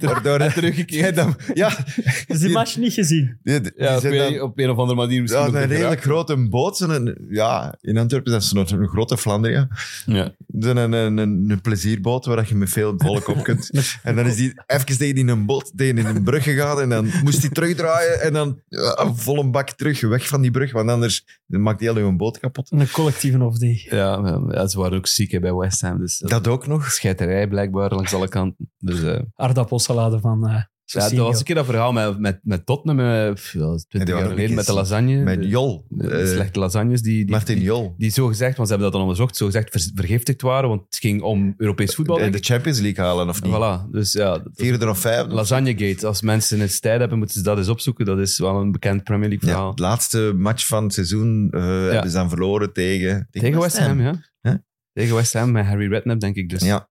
Speaker 3: Waardoor
Speaker 4: Teruggekeerd.
Speaker 3: dan, ja,
Speaker 5: Dus die match niet gezien.
Speaker 3: die, die
Speaker 4: Ja, op
Speaker 3: zijn
Speaker 4: een,
Speaker 3: dan,
Speaker 4: op een of andere manier misschien.
Speaker 3: ja,
Speaker 4: ook
Speaker 3: een
Speaker 4: nog
Speaker 3: redelijk grote boot. zijn Een, ja, in Antwerpen dat is nog een grote Flandria.
Speaker 4: geraakt.
Speaker 3: Zijn Een, een, een, een plezierboot waar je met veel volk op
Speaker 4: <laughs>
Speaker 3: kunt. En dan is die even tegen die een boot, tegen een brug gegaan. En dan moest hij terugdraaien. En dan ja, vol een bak terug, weg van die brug. Want anders maakt die heel hun boot kapot.
Speaker 5: Een collectieve of die.
Speaker 4: Ja, ja, maar ja, ze waren ook ziek hè, bij West Ham. Dus dat
Speaker 3: Dat ook nog.
Speaker 4: scheiterij blijkbaar langs alle kanten. Dus, eh,
Speaker 5: Aardappelsalade van eh
Speaker 4: ja, dat
Speaker 5: Cecilio.
Speaker 4: was een keer dat verhaal met, met, met Tottenham, eh, pff, ja, dat is
Speaker 3: En die
Speaker 4: 20 jaar
Speaker 3: waren ook
Speaker 4: geleden, met de
Speaker 3: eens-
Speaker 4: lasagne.
Speaker 3: Met
Speaker 4: de-
Speaker 3: Jol.
Speaker 4: de
Speaker 3: eh,
Speaker 4: slechte lasagnes. Die, die,
Speaker 3: Martin
Speaker 4: die-
Speaker 3: Jol.
Speaker 4: die zo gezegd, want ze hebben dat dan onderzocht, zo gezegd ver- vergiftigd waren, want het ging om Europees voetbal.
Speaker 3: de,
Speaker 4: denk
Speaker 3: eh, de
Speaker 4: ik.
Speaker 3: Champions League halen of niet.
Speaker 4: Voilà, dus ja, dat-
Speaker 3: Vierde of vijfde.
Speaker 4: Lasagnegate. Als mensen het tijd hebben, moeten ze dat eens opzoeken. Dat is wel een bekend Premier League
Speaker 3: Ja,
Speaker 4: verhaal.
Speaker 3: het laatste match van het seizoen eh, hebben ze dan verloren tegen...
Speaker 4: Tegen West Ham, ja.
Speaker 3: Hè?
Speaker 4: Tegen West Ham met Harry Redknapp, denk ik dus.
Speaker 3: Ja.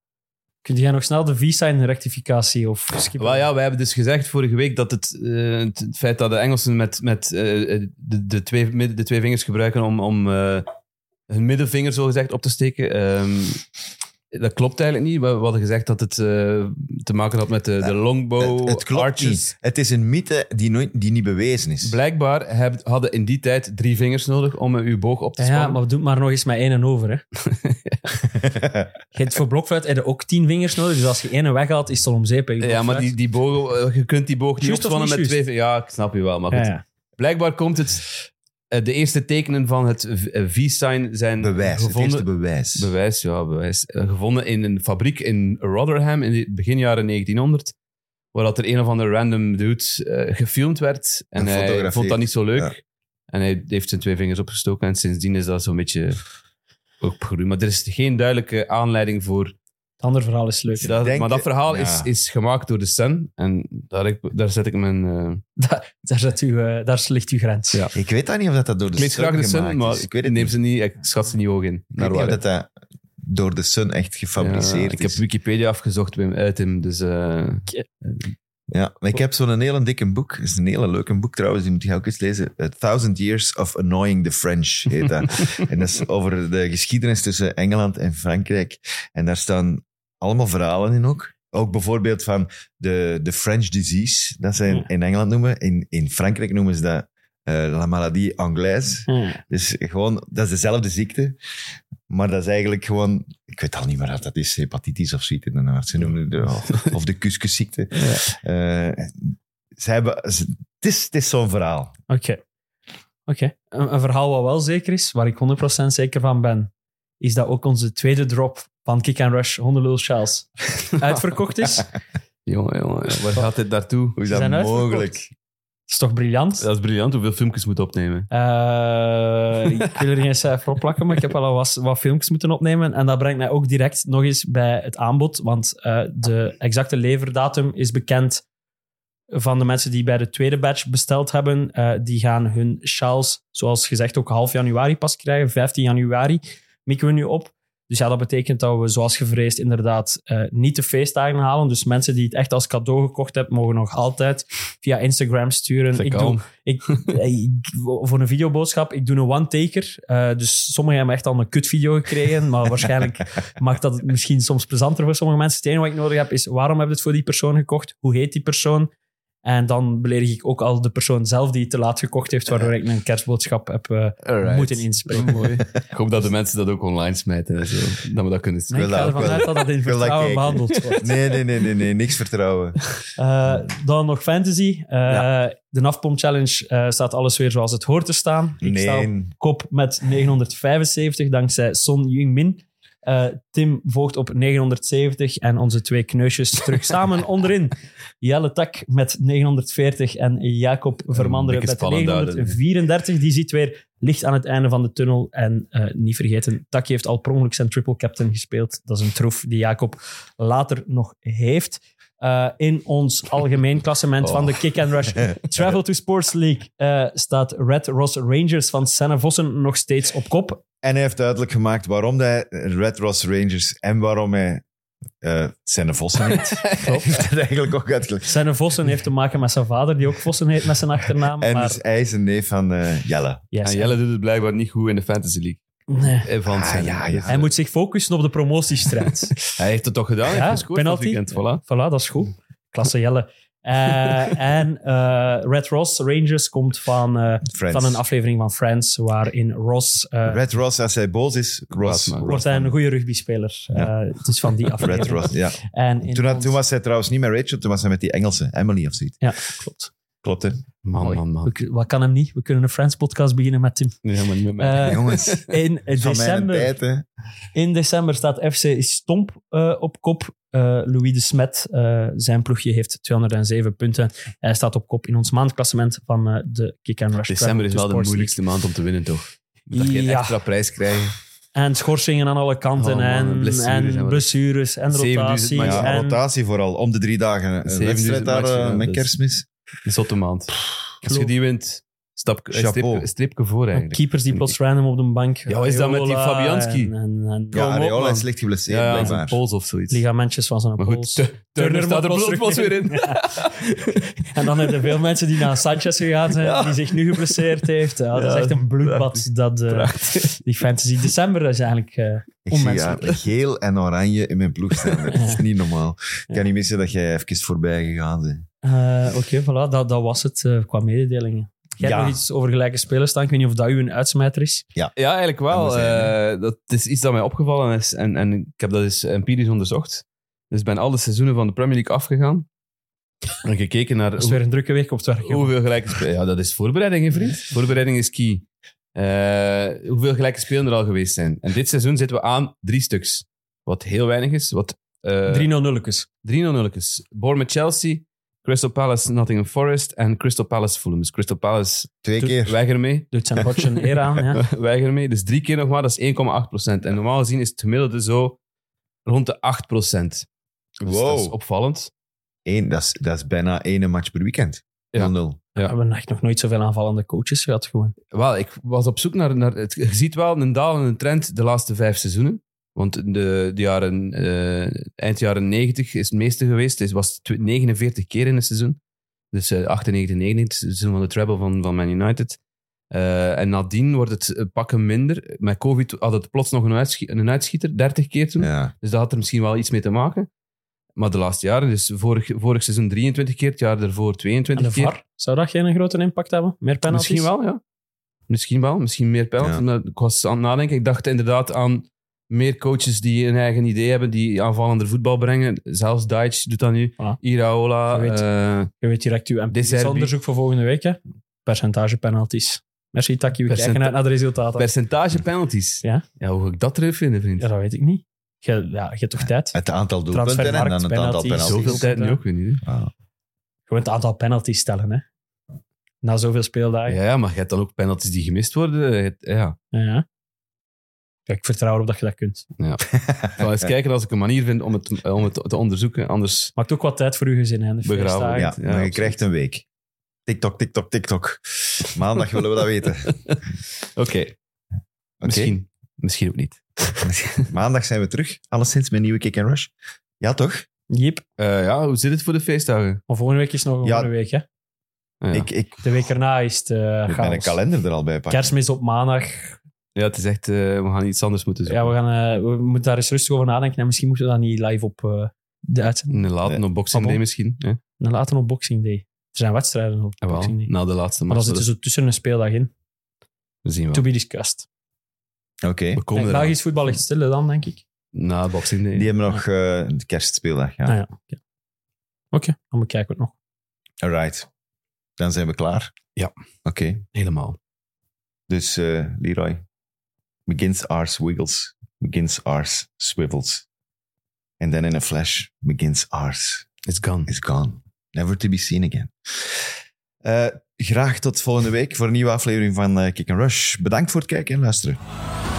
Speaker 5: Kun jij nog snel de V-sign-rectificatie of skip?
Speaker 4: Wel ja, wij hebben dus gezegd vorige week dat het, eh, het het feit dat de Engelsen met, met eh, de, de, twee, midden- de twee vingers gebruiken om, om eh, hun middenvinger zogezegd op te steken, ehm, dat klopt eigenlijk niet. We, we hadden gezegd dat het eh, te maken had met de, de longbow
Speaker 3: Eh, Het, het klopt
Speaker 4: arches.
Speaker 3: niet. Het is een mythe die, nooit, die niet bewezen is.
Speaker 4: Blijkbaar heb- hadden in die tijd drie vingers nodig om eh, uw boog op te
Speaker 5: Ja,
Speaker 4: spannen.
Speaker 5: ja, maar doe het maar nog eens met één en over. Hè. <laughs> Je hebt voor blokfluit heb je ook tien vingers nodig. Dus als je één weghaalt, is het al om zeep. hè,
Speaker 4: Ja,
Speaker 5: je
Speaker 4: maar
Speaker 5: blokfluit.
Speaker 4: die, die boog, eh, je kunt die boog niet
Speaker 5: Juist of
Speaker 4: opspannen
Speaker 5: niet
Speaker 4: met twee...
Speaker 5: juist?
Speaker 4: vingers. Ja, ik snap je wel. Maar goed.
Speaker 5: Ja, ja.
Speaker 4: Blijkbaar komt het... eh, De eerste tekenen van het v- eh, V-sign zijn
Speaker 3: bewijs. Het
Speaker 4: gevonden...
Speaker 3: eerste bewijs.
Speaker 4: bewijs, ja, bewijs. Eh, Gevonden in een fabriek in Rotherham in de begin jaren 1900. Waar dat er een of andere random dude eh, gefilmd werd. En,
Speaker 3: En
Speaker 4: hij
Speaker 3: fotografeerd.
Speaker 4: vond dat niet zo leuk.
Speaker 3: Ja.
Speaker 4: En hij heeft zijn twee vingers opgestoken. En sindsdien is dat zo'n beetje opgegroeid. Maar er is geen duidelijke aanleiding voor
Speaker 5: Het andere verhaal is leuk.
Speaker 4: dat,
Speaker 3: denk-
Speaker 4: maar dat verhaal
Speaker 3: ja.
Speaker 4: is, is gemaakt door de Sun. En daar, ik, daar zet ik mijn... eh,
Speaker 5: Daar, daar, zet u, eh, daar ligt uw grens.
Speaker 4: Ja.
Speaker 3: Ik weet dat niet of dat, dat door de
Speaker 4: ik lees
Speaker 3: Sun
Speaker 4: graag de
Speaker 3: gemaakt
Speaker 4: Sun, maar
Speaker 3: is.
Speaker 4: ik,
Speaker 3: Ik weet het
Speaker 4: neem
Speaker 3: niet.
Speaker 4: ze niet, ik schat ze niet hoog in.
Speaker 3: Ik weet
Speaker 4: Naar
Speaker 3: niet of
Speaker 4: waar,
Speaker 3: dat, dat door de Sun echt
Speaker 4: hè.
Speaker 3: gefabriceerd
Speaker 4: Ja, Ik heb
Speaker 3: is.
Speaker 4: Wikipedia afgezocht, Wim, uit hem. Dus, eh,
Speaker 3: Ja, maar ik heb zo'n hele dikke boek. Het is een hele leuke boek trouwens, die moet je ook eens lezen. A Thousand Years of Annoying the French heet dat.
Speaker 4: <laughs>
Speaker 3: en dat is over de geschiedenis tussen Engeland en Frankrijk. En daar staan allemaal verhalen in ook. Ook bijvoorbeeld van de, de French disease, dat ze in, in Engeland noemen. In, in Frankrijk noemen ze dat eh, la maladie anglaise.
Speaker 5: Ja.
Speaker 3: Dus gewoon, dat is dezelfde ziekte. Maar dat is eigenlijk gewoon... Ik weet al niet meer wat dat is. Hepatitis of zoiets in de aard. Ze noemen het
Speaker 5: <laughs>
Speaker 3: de- of de kuskusziekte. Eh, ze hebben... ze- het is, het is zo'n verhaal.
Speaker 5: Oké. Oké. Een, een verhaal wat wel zeker is, waar ik 100% zeker van ben, is dat ook onze tweede drop van Kick and Rush Hondelul
Speaker 4: <laughs>
Speaker 5: Charles uitverkocht is.
Speaker 4: jongen, jongen, waar gaat dit naartoe?
Speaker 3: Hoe is
Speaker 5: Ze zijn
Speaker 3: dat
Speaker 5: uitverkocht.
Speaker 3: mogelijk?
Speaker 5: Dat is toch briljant?
Speaker 4: Dat is briljant hoeveel filmpjes moet opnemen.
Speaker 5: Eh, ik wil er geen cijfer op plakken, maar ik heb al wat, wat filmpjes moeten opnemen. En dat brengt mij ook direct nog eens bij het aanbod. Want eh, de exacte leverdatum is bekend van de mensen die bij de tweede batch besteld hebben. Eh, die gaan hun sjaals, zoals gezegd, ook half januari pas krijgen. 15 januari mikken we nu op. Dus ja, dat betekent dat we, zoals gevreesd, inderdaad eh, niet de feestdagen halen. Dus mensen die het echt als cadeau gekocht hebben, mogen nog altijd via Instagram sturen. Ik doe,
Speaker 3: <laughs>
Speaker 5: ik, eh, ik- voor een videoboodschap, ik doe een one-taker. Eh, dus sommigen hebben echt al een kutvideo gekregen.
Speaker 3: <laughs>
Speaker 5: Maar waarschijnlijk maakt dat het misschien soms plezanter voor sommige mensen. Het enige wat ik nodig heb is, waarom heb je het voor die persoon gekocht? Hoe heet die persoon? En dan beledig ik ook al de persoon zelf die het te laat gekocht heeft, waardoor ik een kerstboodschap heb eh, moeten
Speaker 3: Oh,
Speaker 5: inspreken.
Speaker 4: Ik hoop dat de mensen dat ook online smijten en zo. Dat we dat kunnen
Speaker 5: Nee,
Speaker 4: zien.
Speaker 5: ik ga
Speaker 3: dat-
Speaker 5: ervan
Speaker 3: ik wil-
Speaker 5: uit dat dat in
Speaker 3: wil dat kijken.
Speaker 5: vertrouwen behandeld wordt.
Speaker 3: <laughs> Nee, nee, nee, nee, nee, niks vertrouwen.
Speaker 5: Eh, dan nog fantasy. Eh, De Nafpomp Challenge eh, staat alles weer zoals het hoort te staan. <laughs> Ik sta op
Speaker 3: Nee,
Speaker 5: kop met 975 dankzij Son Jungmin. Eh Tim volgt op 970 en onze twee kneusjes terug samen onderin. Jelle Tak met 940 en Jacob Vermanderen
Speaker 4: beetje
Speaker 5: met
Speaker 4: spannend houden.
Speaker 5: 934. Die ziet weer licht aan het einde van de tunnel. En eh, niet vergeten, Tak heeft al per ongeluk zijn triple captain gespeeld. Dat is een troef die Jacob later nog heeft. Eh, in
Speaker 3: <laughs>
Speaker 5: ons algemeen klassement van de
Speaker 3: Oh.
Speaker 5: Kick and Rush Travel to Sports League eh, staat Red Ross Rangers van Senne Vossen nog steeds op kop.
Speaker 3: En hij heeft duidelijk gemaakt waarom hij Red Ross Rangers en waarom hij eh zijn vossen
Speaker 5: <laughs>
Speaker 3: heet. Hij heeft dat eigenlijk ook uitgelegd.
Speaker 5: Senne Vossen heeft te maken met zijn vader, die ook Vossen heet met zijn achternaam.
Speaker 3: En
Speaker 5: maar,
Speaker 3: dus hij is een neef van eh, Jelle.
Speaker 5: yes.
Speaker 4: En Jelle doet het blijkbaar niet goed in de Fantasy League.
Speaker 5: Nee.
Speaker 4: Eh, Van
Speaker 3: Ah,
Speaker 4: zijn-
Speaker 3: ja, ja.
Speaker 5: Hij moet zich focussen op de
Speaker 3: <laughs>
Speaker 5: promotiestrijd.
Speaker 4: Hij heeft het toch gedaan? Hij
Speaker 5: Ja,
Speaker 4: heeft gescoord dat
Speaker 5: penalty.
Speaker 4: weekend, voilà.
Speaker 5: voilà, dat is goed. Klasse Jelle. Eh, en eh, Red Ross Rangers komt van, eh,
Speaker 3: Friends.
Speaker 5: van een aflevering van Friends, waarin Ross... eh,
Speaker 3: Red Ross, als hij boos is, Ross.
Speaker 4: Ross, man.
Speaker 5: wordt hij een goede rugbyspeler. Eh, het is van die aflevering.
Speaker 3: Red <laughs> Ross, ja.
Speaker 5: En in
Speaker 3: Toen, had-
Speaker 5: ons-
Speaker 3: toen was hij trouwens niet met Rachel, toen was hij met die Engelse, Emily of zoiets.
Speaker 5: Ja, klopt.
Speaker 3: Klopt, hè?
Speaker 4: Man, man,
Speaker 5: We
Speaker 4: man.
Speaker 5: kun- wat kan hem niet? We kunnen een Friends-podcast beginnen
Speaker 4: <laughs>
Speaker 5: met Tim.
Speaker 4: Nee, maar niet met mij.
Speaker 5: Eh, <laughs>
Speaker 3: Jongens,
Speaker 5: in,
Speaker 3: van mijn
Speaker 5: december,
Speaker 3: tijd, hè.
Speaker 5: in december staat FC Stomp eh, op kop. Eh, Louis de Smet, eh, zijn ploegje heeft 207 punten. Hij staat op kop in ons maandklassement van eh, de Kick and Rush.
Speaker 4: December is
Speaker 5: Travel
Speaker 4: wel
Speaker 5: to
Speaker 4: de
Speaker 5: Sports
Speaker 4: moeilijkste maand om te winnen, toch? Dat je een
Speaker 5: Ja.
Speaker 4: extra prijs krijgt.
Speaker 5: League. En schorsingen aan alle kanten.
Speaker 4: Oh man,
Speaker 5: en
Speaker 4: blessures
Speaker 5: blessures
Speaker 4: en
Speaker 5: en,
Speaker 4: wat-
Speaker 5: blessures, en
Speaker 4: 7000
Speaker 5: rotaties.
Speaker 4: maar
Speaker 3: Ja,
Speaker 5: en,
Speaker 3: rotatie vooral. Om de drie dagen een
Speaker 4: Zeven duizend
Speaker 3: wedstrijd daar
Speaker 4: matchen,
Speaker 3: eh,
Speaker 4: ja,
Speaker 3: met
Speaker 4: dus-
Speaker 3: kerstmis.
Speaker 4: Een zotte maand. Als je
Speaker 5: geloof-
Speaker 4: die wint, stap, eh,
Speaker 3: Chapeau.
Speaker 4: streepje, streepje voor
Speaker 5: en
Speaker 4: eigenlijk.
Speaker 5: keepers die plots random op de bank.
Speaker 4: Ja, wat is dat met die
Speaker 5: Areola
Speaker 4: Fabianski?
Speaker 5: En, en, en
Speaker 3: Ja,
Speaker 4: Kom op,
Speaker 3: Areola
Speaker 4: man.
Speaker 3: is slecht geblesseerd,
Speaker 4: Ja, een
Speaker 3: blijkbaar.
Speaker 4: pols of zoiets.
Speaker 5: ligamentjes van zijn
Speaker 4: Maar
Speaker 5: pols.
Speaker 4: goed, Tu- Turner staat er
Speaker 5: moet ons
Speaker 4: plots weer in.
Speaker 5: Ja. <laughs> En dan hebben er veel mensen die naar Sanchez gegaan zijn,
Speaker 4: Ja.
Speaker 5: die zich nu geblesseerd heeft. Ja, dat
Speaker 4: Ja,
Speaker 5: is echt een bloedbad,
Speaker 4: prachtig.
Speaker 5: dat, eh, die fantasy. December is eigenlijk... eh,
Speaker 3: Ik zie ja,
Speaker 5: Onmenselijk.
Speaker 3: geel en oranje in mijn ploeg staan. Dat is niet normaal. Ik kan niet missen dat jij even voorbij gegaan bent.
Speaker 5: eh, Oké, voilà, dat, dat was het eh, qua mededelingen. Jij hebt
Speaker 3: Ja.
Speaker 5: nog iets over gelijke spelers staan. Ik weet niet of dat u een uitsmijter is.
Speaker 4: Ja, eigenlijk
Speaker 3: Dat
Speaker 4: wel.
Speaker 3: moet zijn,
Speaker 4: Eh, dat is iets dat mij opgevallen is. En, en ik heb dat eens empirisch onderzocht. Dus ik ben alle seizoenen van de Premier League afgegaan. En gekeken naar
Speaker 5: Dat is weer een drukke week op het werk. jongen.
Speaker 4: hoeveel gelijke spelen. Ja, dat is voorbereiding, hè, vriend. Voorbereiding is key. Eh, hoeveel gelijke spelen er al geweest zijn. En dit seizoen zitten we aan drie stuks. Wat heel weinig is. Wat, eh,
Speaker 5: 3-0-nulletjes.
Speaker 4: 3-0 is. Bournemouth Chelsea, Crystal Palace Nottingham Forest en Crystal Palace Fulham. Dus Crystal Palace
Speaker 3: Twee keer.
Speaker 4: weiger mee. <laughs>
Speaker 5: Doet zijn potje een eer aan. Ja.
Speaker 4: weiger mee. Dus drie keer nog maar, dat is 1,8%. En normaal gezien is het gemiddelde zo rond de 8%. Dus dat is
Speaker 3: Wow.
Speaker 4: opvallend.
Speaker 3: Eén, dat, is, dat is bijna één match per weekend. 0-0.
Speaker 4: Ja.
Speaker 5: We hebben echt nog nooit zoveel aanvallende coaches gehad. Gewoon.
Speaker 4: Wel, ik was op zoek naar... naar het, je ziet wel een dalende trend de laatste vijf seizoenen. Want de, de jaren, eh, eind jaren 90 is het meeste geweest. Het was tw- 49 keer in het seizoen. Dus eh 98, 99, het seizoen van de treble van, van Man United. Eh, en nadien wordt het eh, pakken minder. Met COVID had het plots nog een, uitschie- een uitschieter, 30 keer toen.
Speaker 3: Ja.
Speaker 4: Dus dat had er misschien wel iets mee te maken. Maar de laatste jaren, dus vorig, vorig seizoen 23 keer, het jaar daarvoor
Speaker 5: En de
Speaker 4: 22 keer.
Speaker 5: VAR, zou dat geen grote impact hebben? Meer penalties?
Speaker 4: Misschien wel, ja. Misschien wel, misschien meer penalty.
Speaker 3: Ja.
Speaker 4: Omdat Ik was aan het nadenken. Ik dacht inderdaad aan meer coaches die een eigen idee hebben, die aanvallender voetbal brengen. Zelfs Deitch doet dat nu.
Speaker 5: Voilà.
Speaker 4: Iraola.
Speaker 5: Ah. Je weet.
Speaker 4: eh,
Speaker 5: Je weet direct uw
Speaker 4: Dit
Speaker 5: empirisch
Speaker 4: is
Speaker 5: onderzoek voor volgende week. Hè? Percentage penalties. Merci, Taki. We
Speaker 4: Percenta-
Speaker 5: kijken uit naar de resultaten.
Speaker 4: percentage penalties.
Speaker 5: Ja.
Speaker 4: hoe ga ik dat terug vinden, vriend?
Speaker 5: ja, dat weet ik niet. Je, ja, je hebt toch tijd?
Speaker 3: Het aantal doelpunten en dan
Speaker 5: Transfermarkt,
Speaker 3: het aantal
Speaker 5: penalties.
Speaker 3: penalties.
Speaker 4: Zoveel tijd nu ook weer niet. hè.
Speaker 3: Ah.
Speaker 5: Gewoon het aantal penalties stellen. Hè? Na zoveel speeldagen. Ja.
Speaker 4: Ja, maar je hebt dan ook penalties die gemist worden. Je hebt- Ja.
Speaker 5: Ja, ik vertrouw erop dat je dat kunt.
Speaker 4: Ik
Speaker 3: <laughs>
Speaker 4: zal eens kijken als ik een manier vind om het, om het te onderzoeken. Anders
Speaker 5: Maakt ook wat tijd voor uw gezin, hè? De
Speaker 4: Begraven, ja.
Speaker 5: feestdagen.
Speaker 3: Ja, maar je
Speaker 4: absoluut.
Speaker 3: krijgt een week. TikTok, TikTok, TikTok. Maandag willen we dat
Speaker 4: <laughs>
Speaker 3: weten. Oké.
Speaker 4: Oké, misschien. Misschien ook niet.
Speaker 3: Maandag zijn we terug. Alleszins met nieuwe Kick and Rush. Ja, toch?
Speaker 5: Jeep.
Speaker 4: Eh, ja, hoe zit het voor de feestdagen?
Speaker 5: Maar volgende week is nog een
Speaker 3: Ja.
Speaker 5: gewone week, hè?
Speaker 4: Ah, ja.
Speaker 3: Ik, ik,
Speaker 5: De week erna is het eh
Speaker 3: ik ben een
Speaker 5: chaos.
Speaker 3: kalender er al bij pakken.
Speaker 5: Kerstmis op maandag.
Speaker 4: ja, het is echt... eh, we gaan iets anders moeten zoeken.
Speaker 5: Ja, we, gaan, eh, we moeten daar eens rustig over nadenken. En misschien moeten we dat niet live op eh, de uitzending.
Speaker 4: Een late
Speaker 3: Nee.
Speaker 4: op Boxing
Speaker 5: Ah,
Speaker 4: Day
Speaker 5: bon.
Speaker 4: misschien. Hè?
Speaker 5: Dan later op Boxing Day. Er zijn wedstrijden op
Speaker 4: Ah, wel,
Speaker 5: Boxing Day.
Speaker 4: na de laatste
Speaker 5: Maar
Speaker 4: match.
Speaker 5: dan zit er zo tussen een speeldag in.
Speaker 4: We zien
Speaker 5: To
Speaker 4: wel.
Speaker 5: be discussed.
Speaker 3: Oké.
Speaker 4: We komen
Speaker 5: Nee,
Speaker 4: eraan.
Speaker 5: Belgisch voetbal ligt stil dan, denk ik.
Speaker 4: Na Boxing Day.
Speaker 3: Die hebben nog eh, een kerstspeeldag. Ja.
Speaker 5: Ah, ja. Oké, Oké, dan bekijken we het nog.
Speaker 3: Alright. Dan zijn we klaar.
Speaker 4: Ja.
Speaker 3: Oké.
Speaker 4: Helemaal.
Speaker 3: Dus eh, Leroy. McGinn's arse wiggles. McGinn's arse swivels. And then in a flash, McGinn's arse
Speaker 4: It's gone.
Speaker 3: is gone. Never to be seen again. Eh, graag tot volgende week voor een nieuwe aflevering van eh, Kick and Rush. Bedankt voor het kijken en luisteren.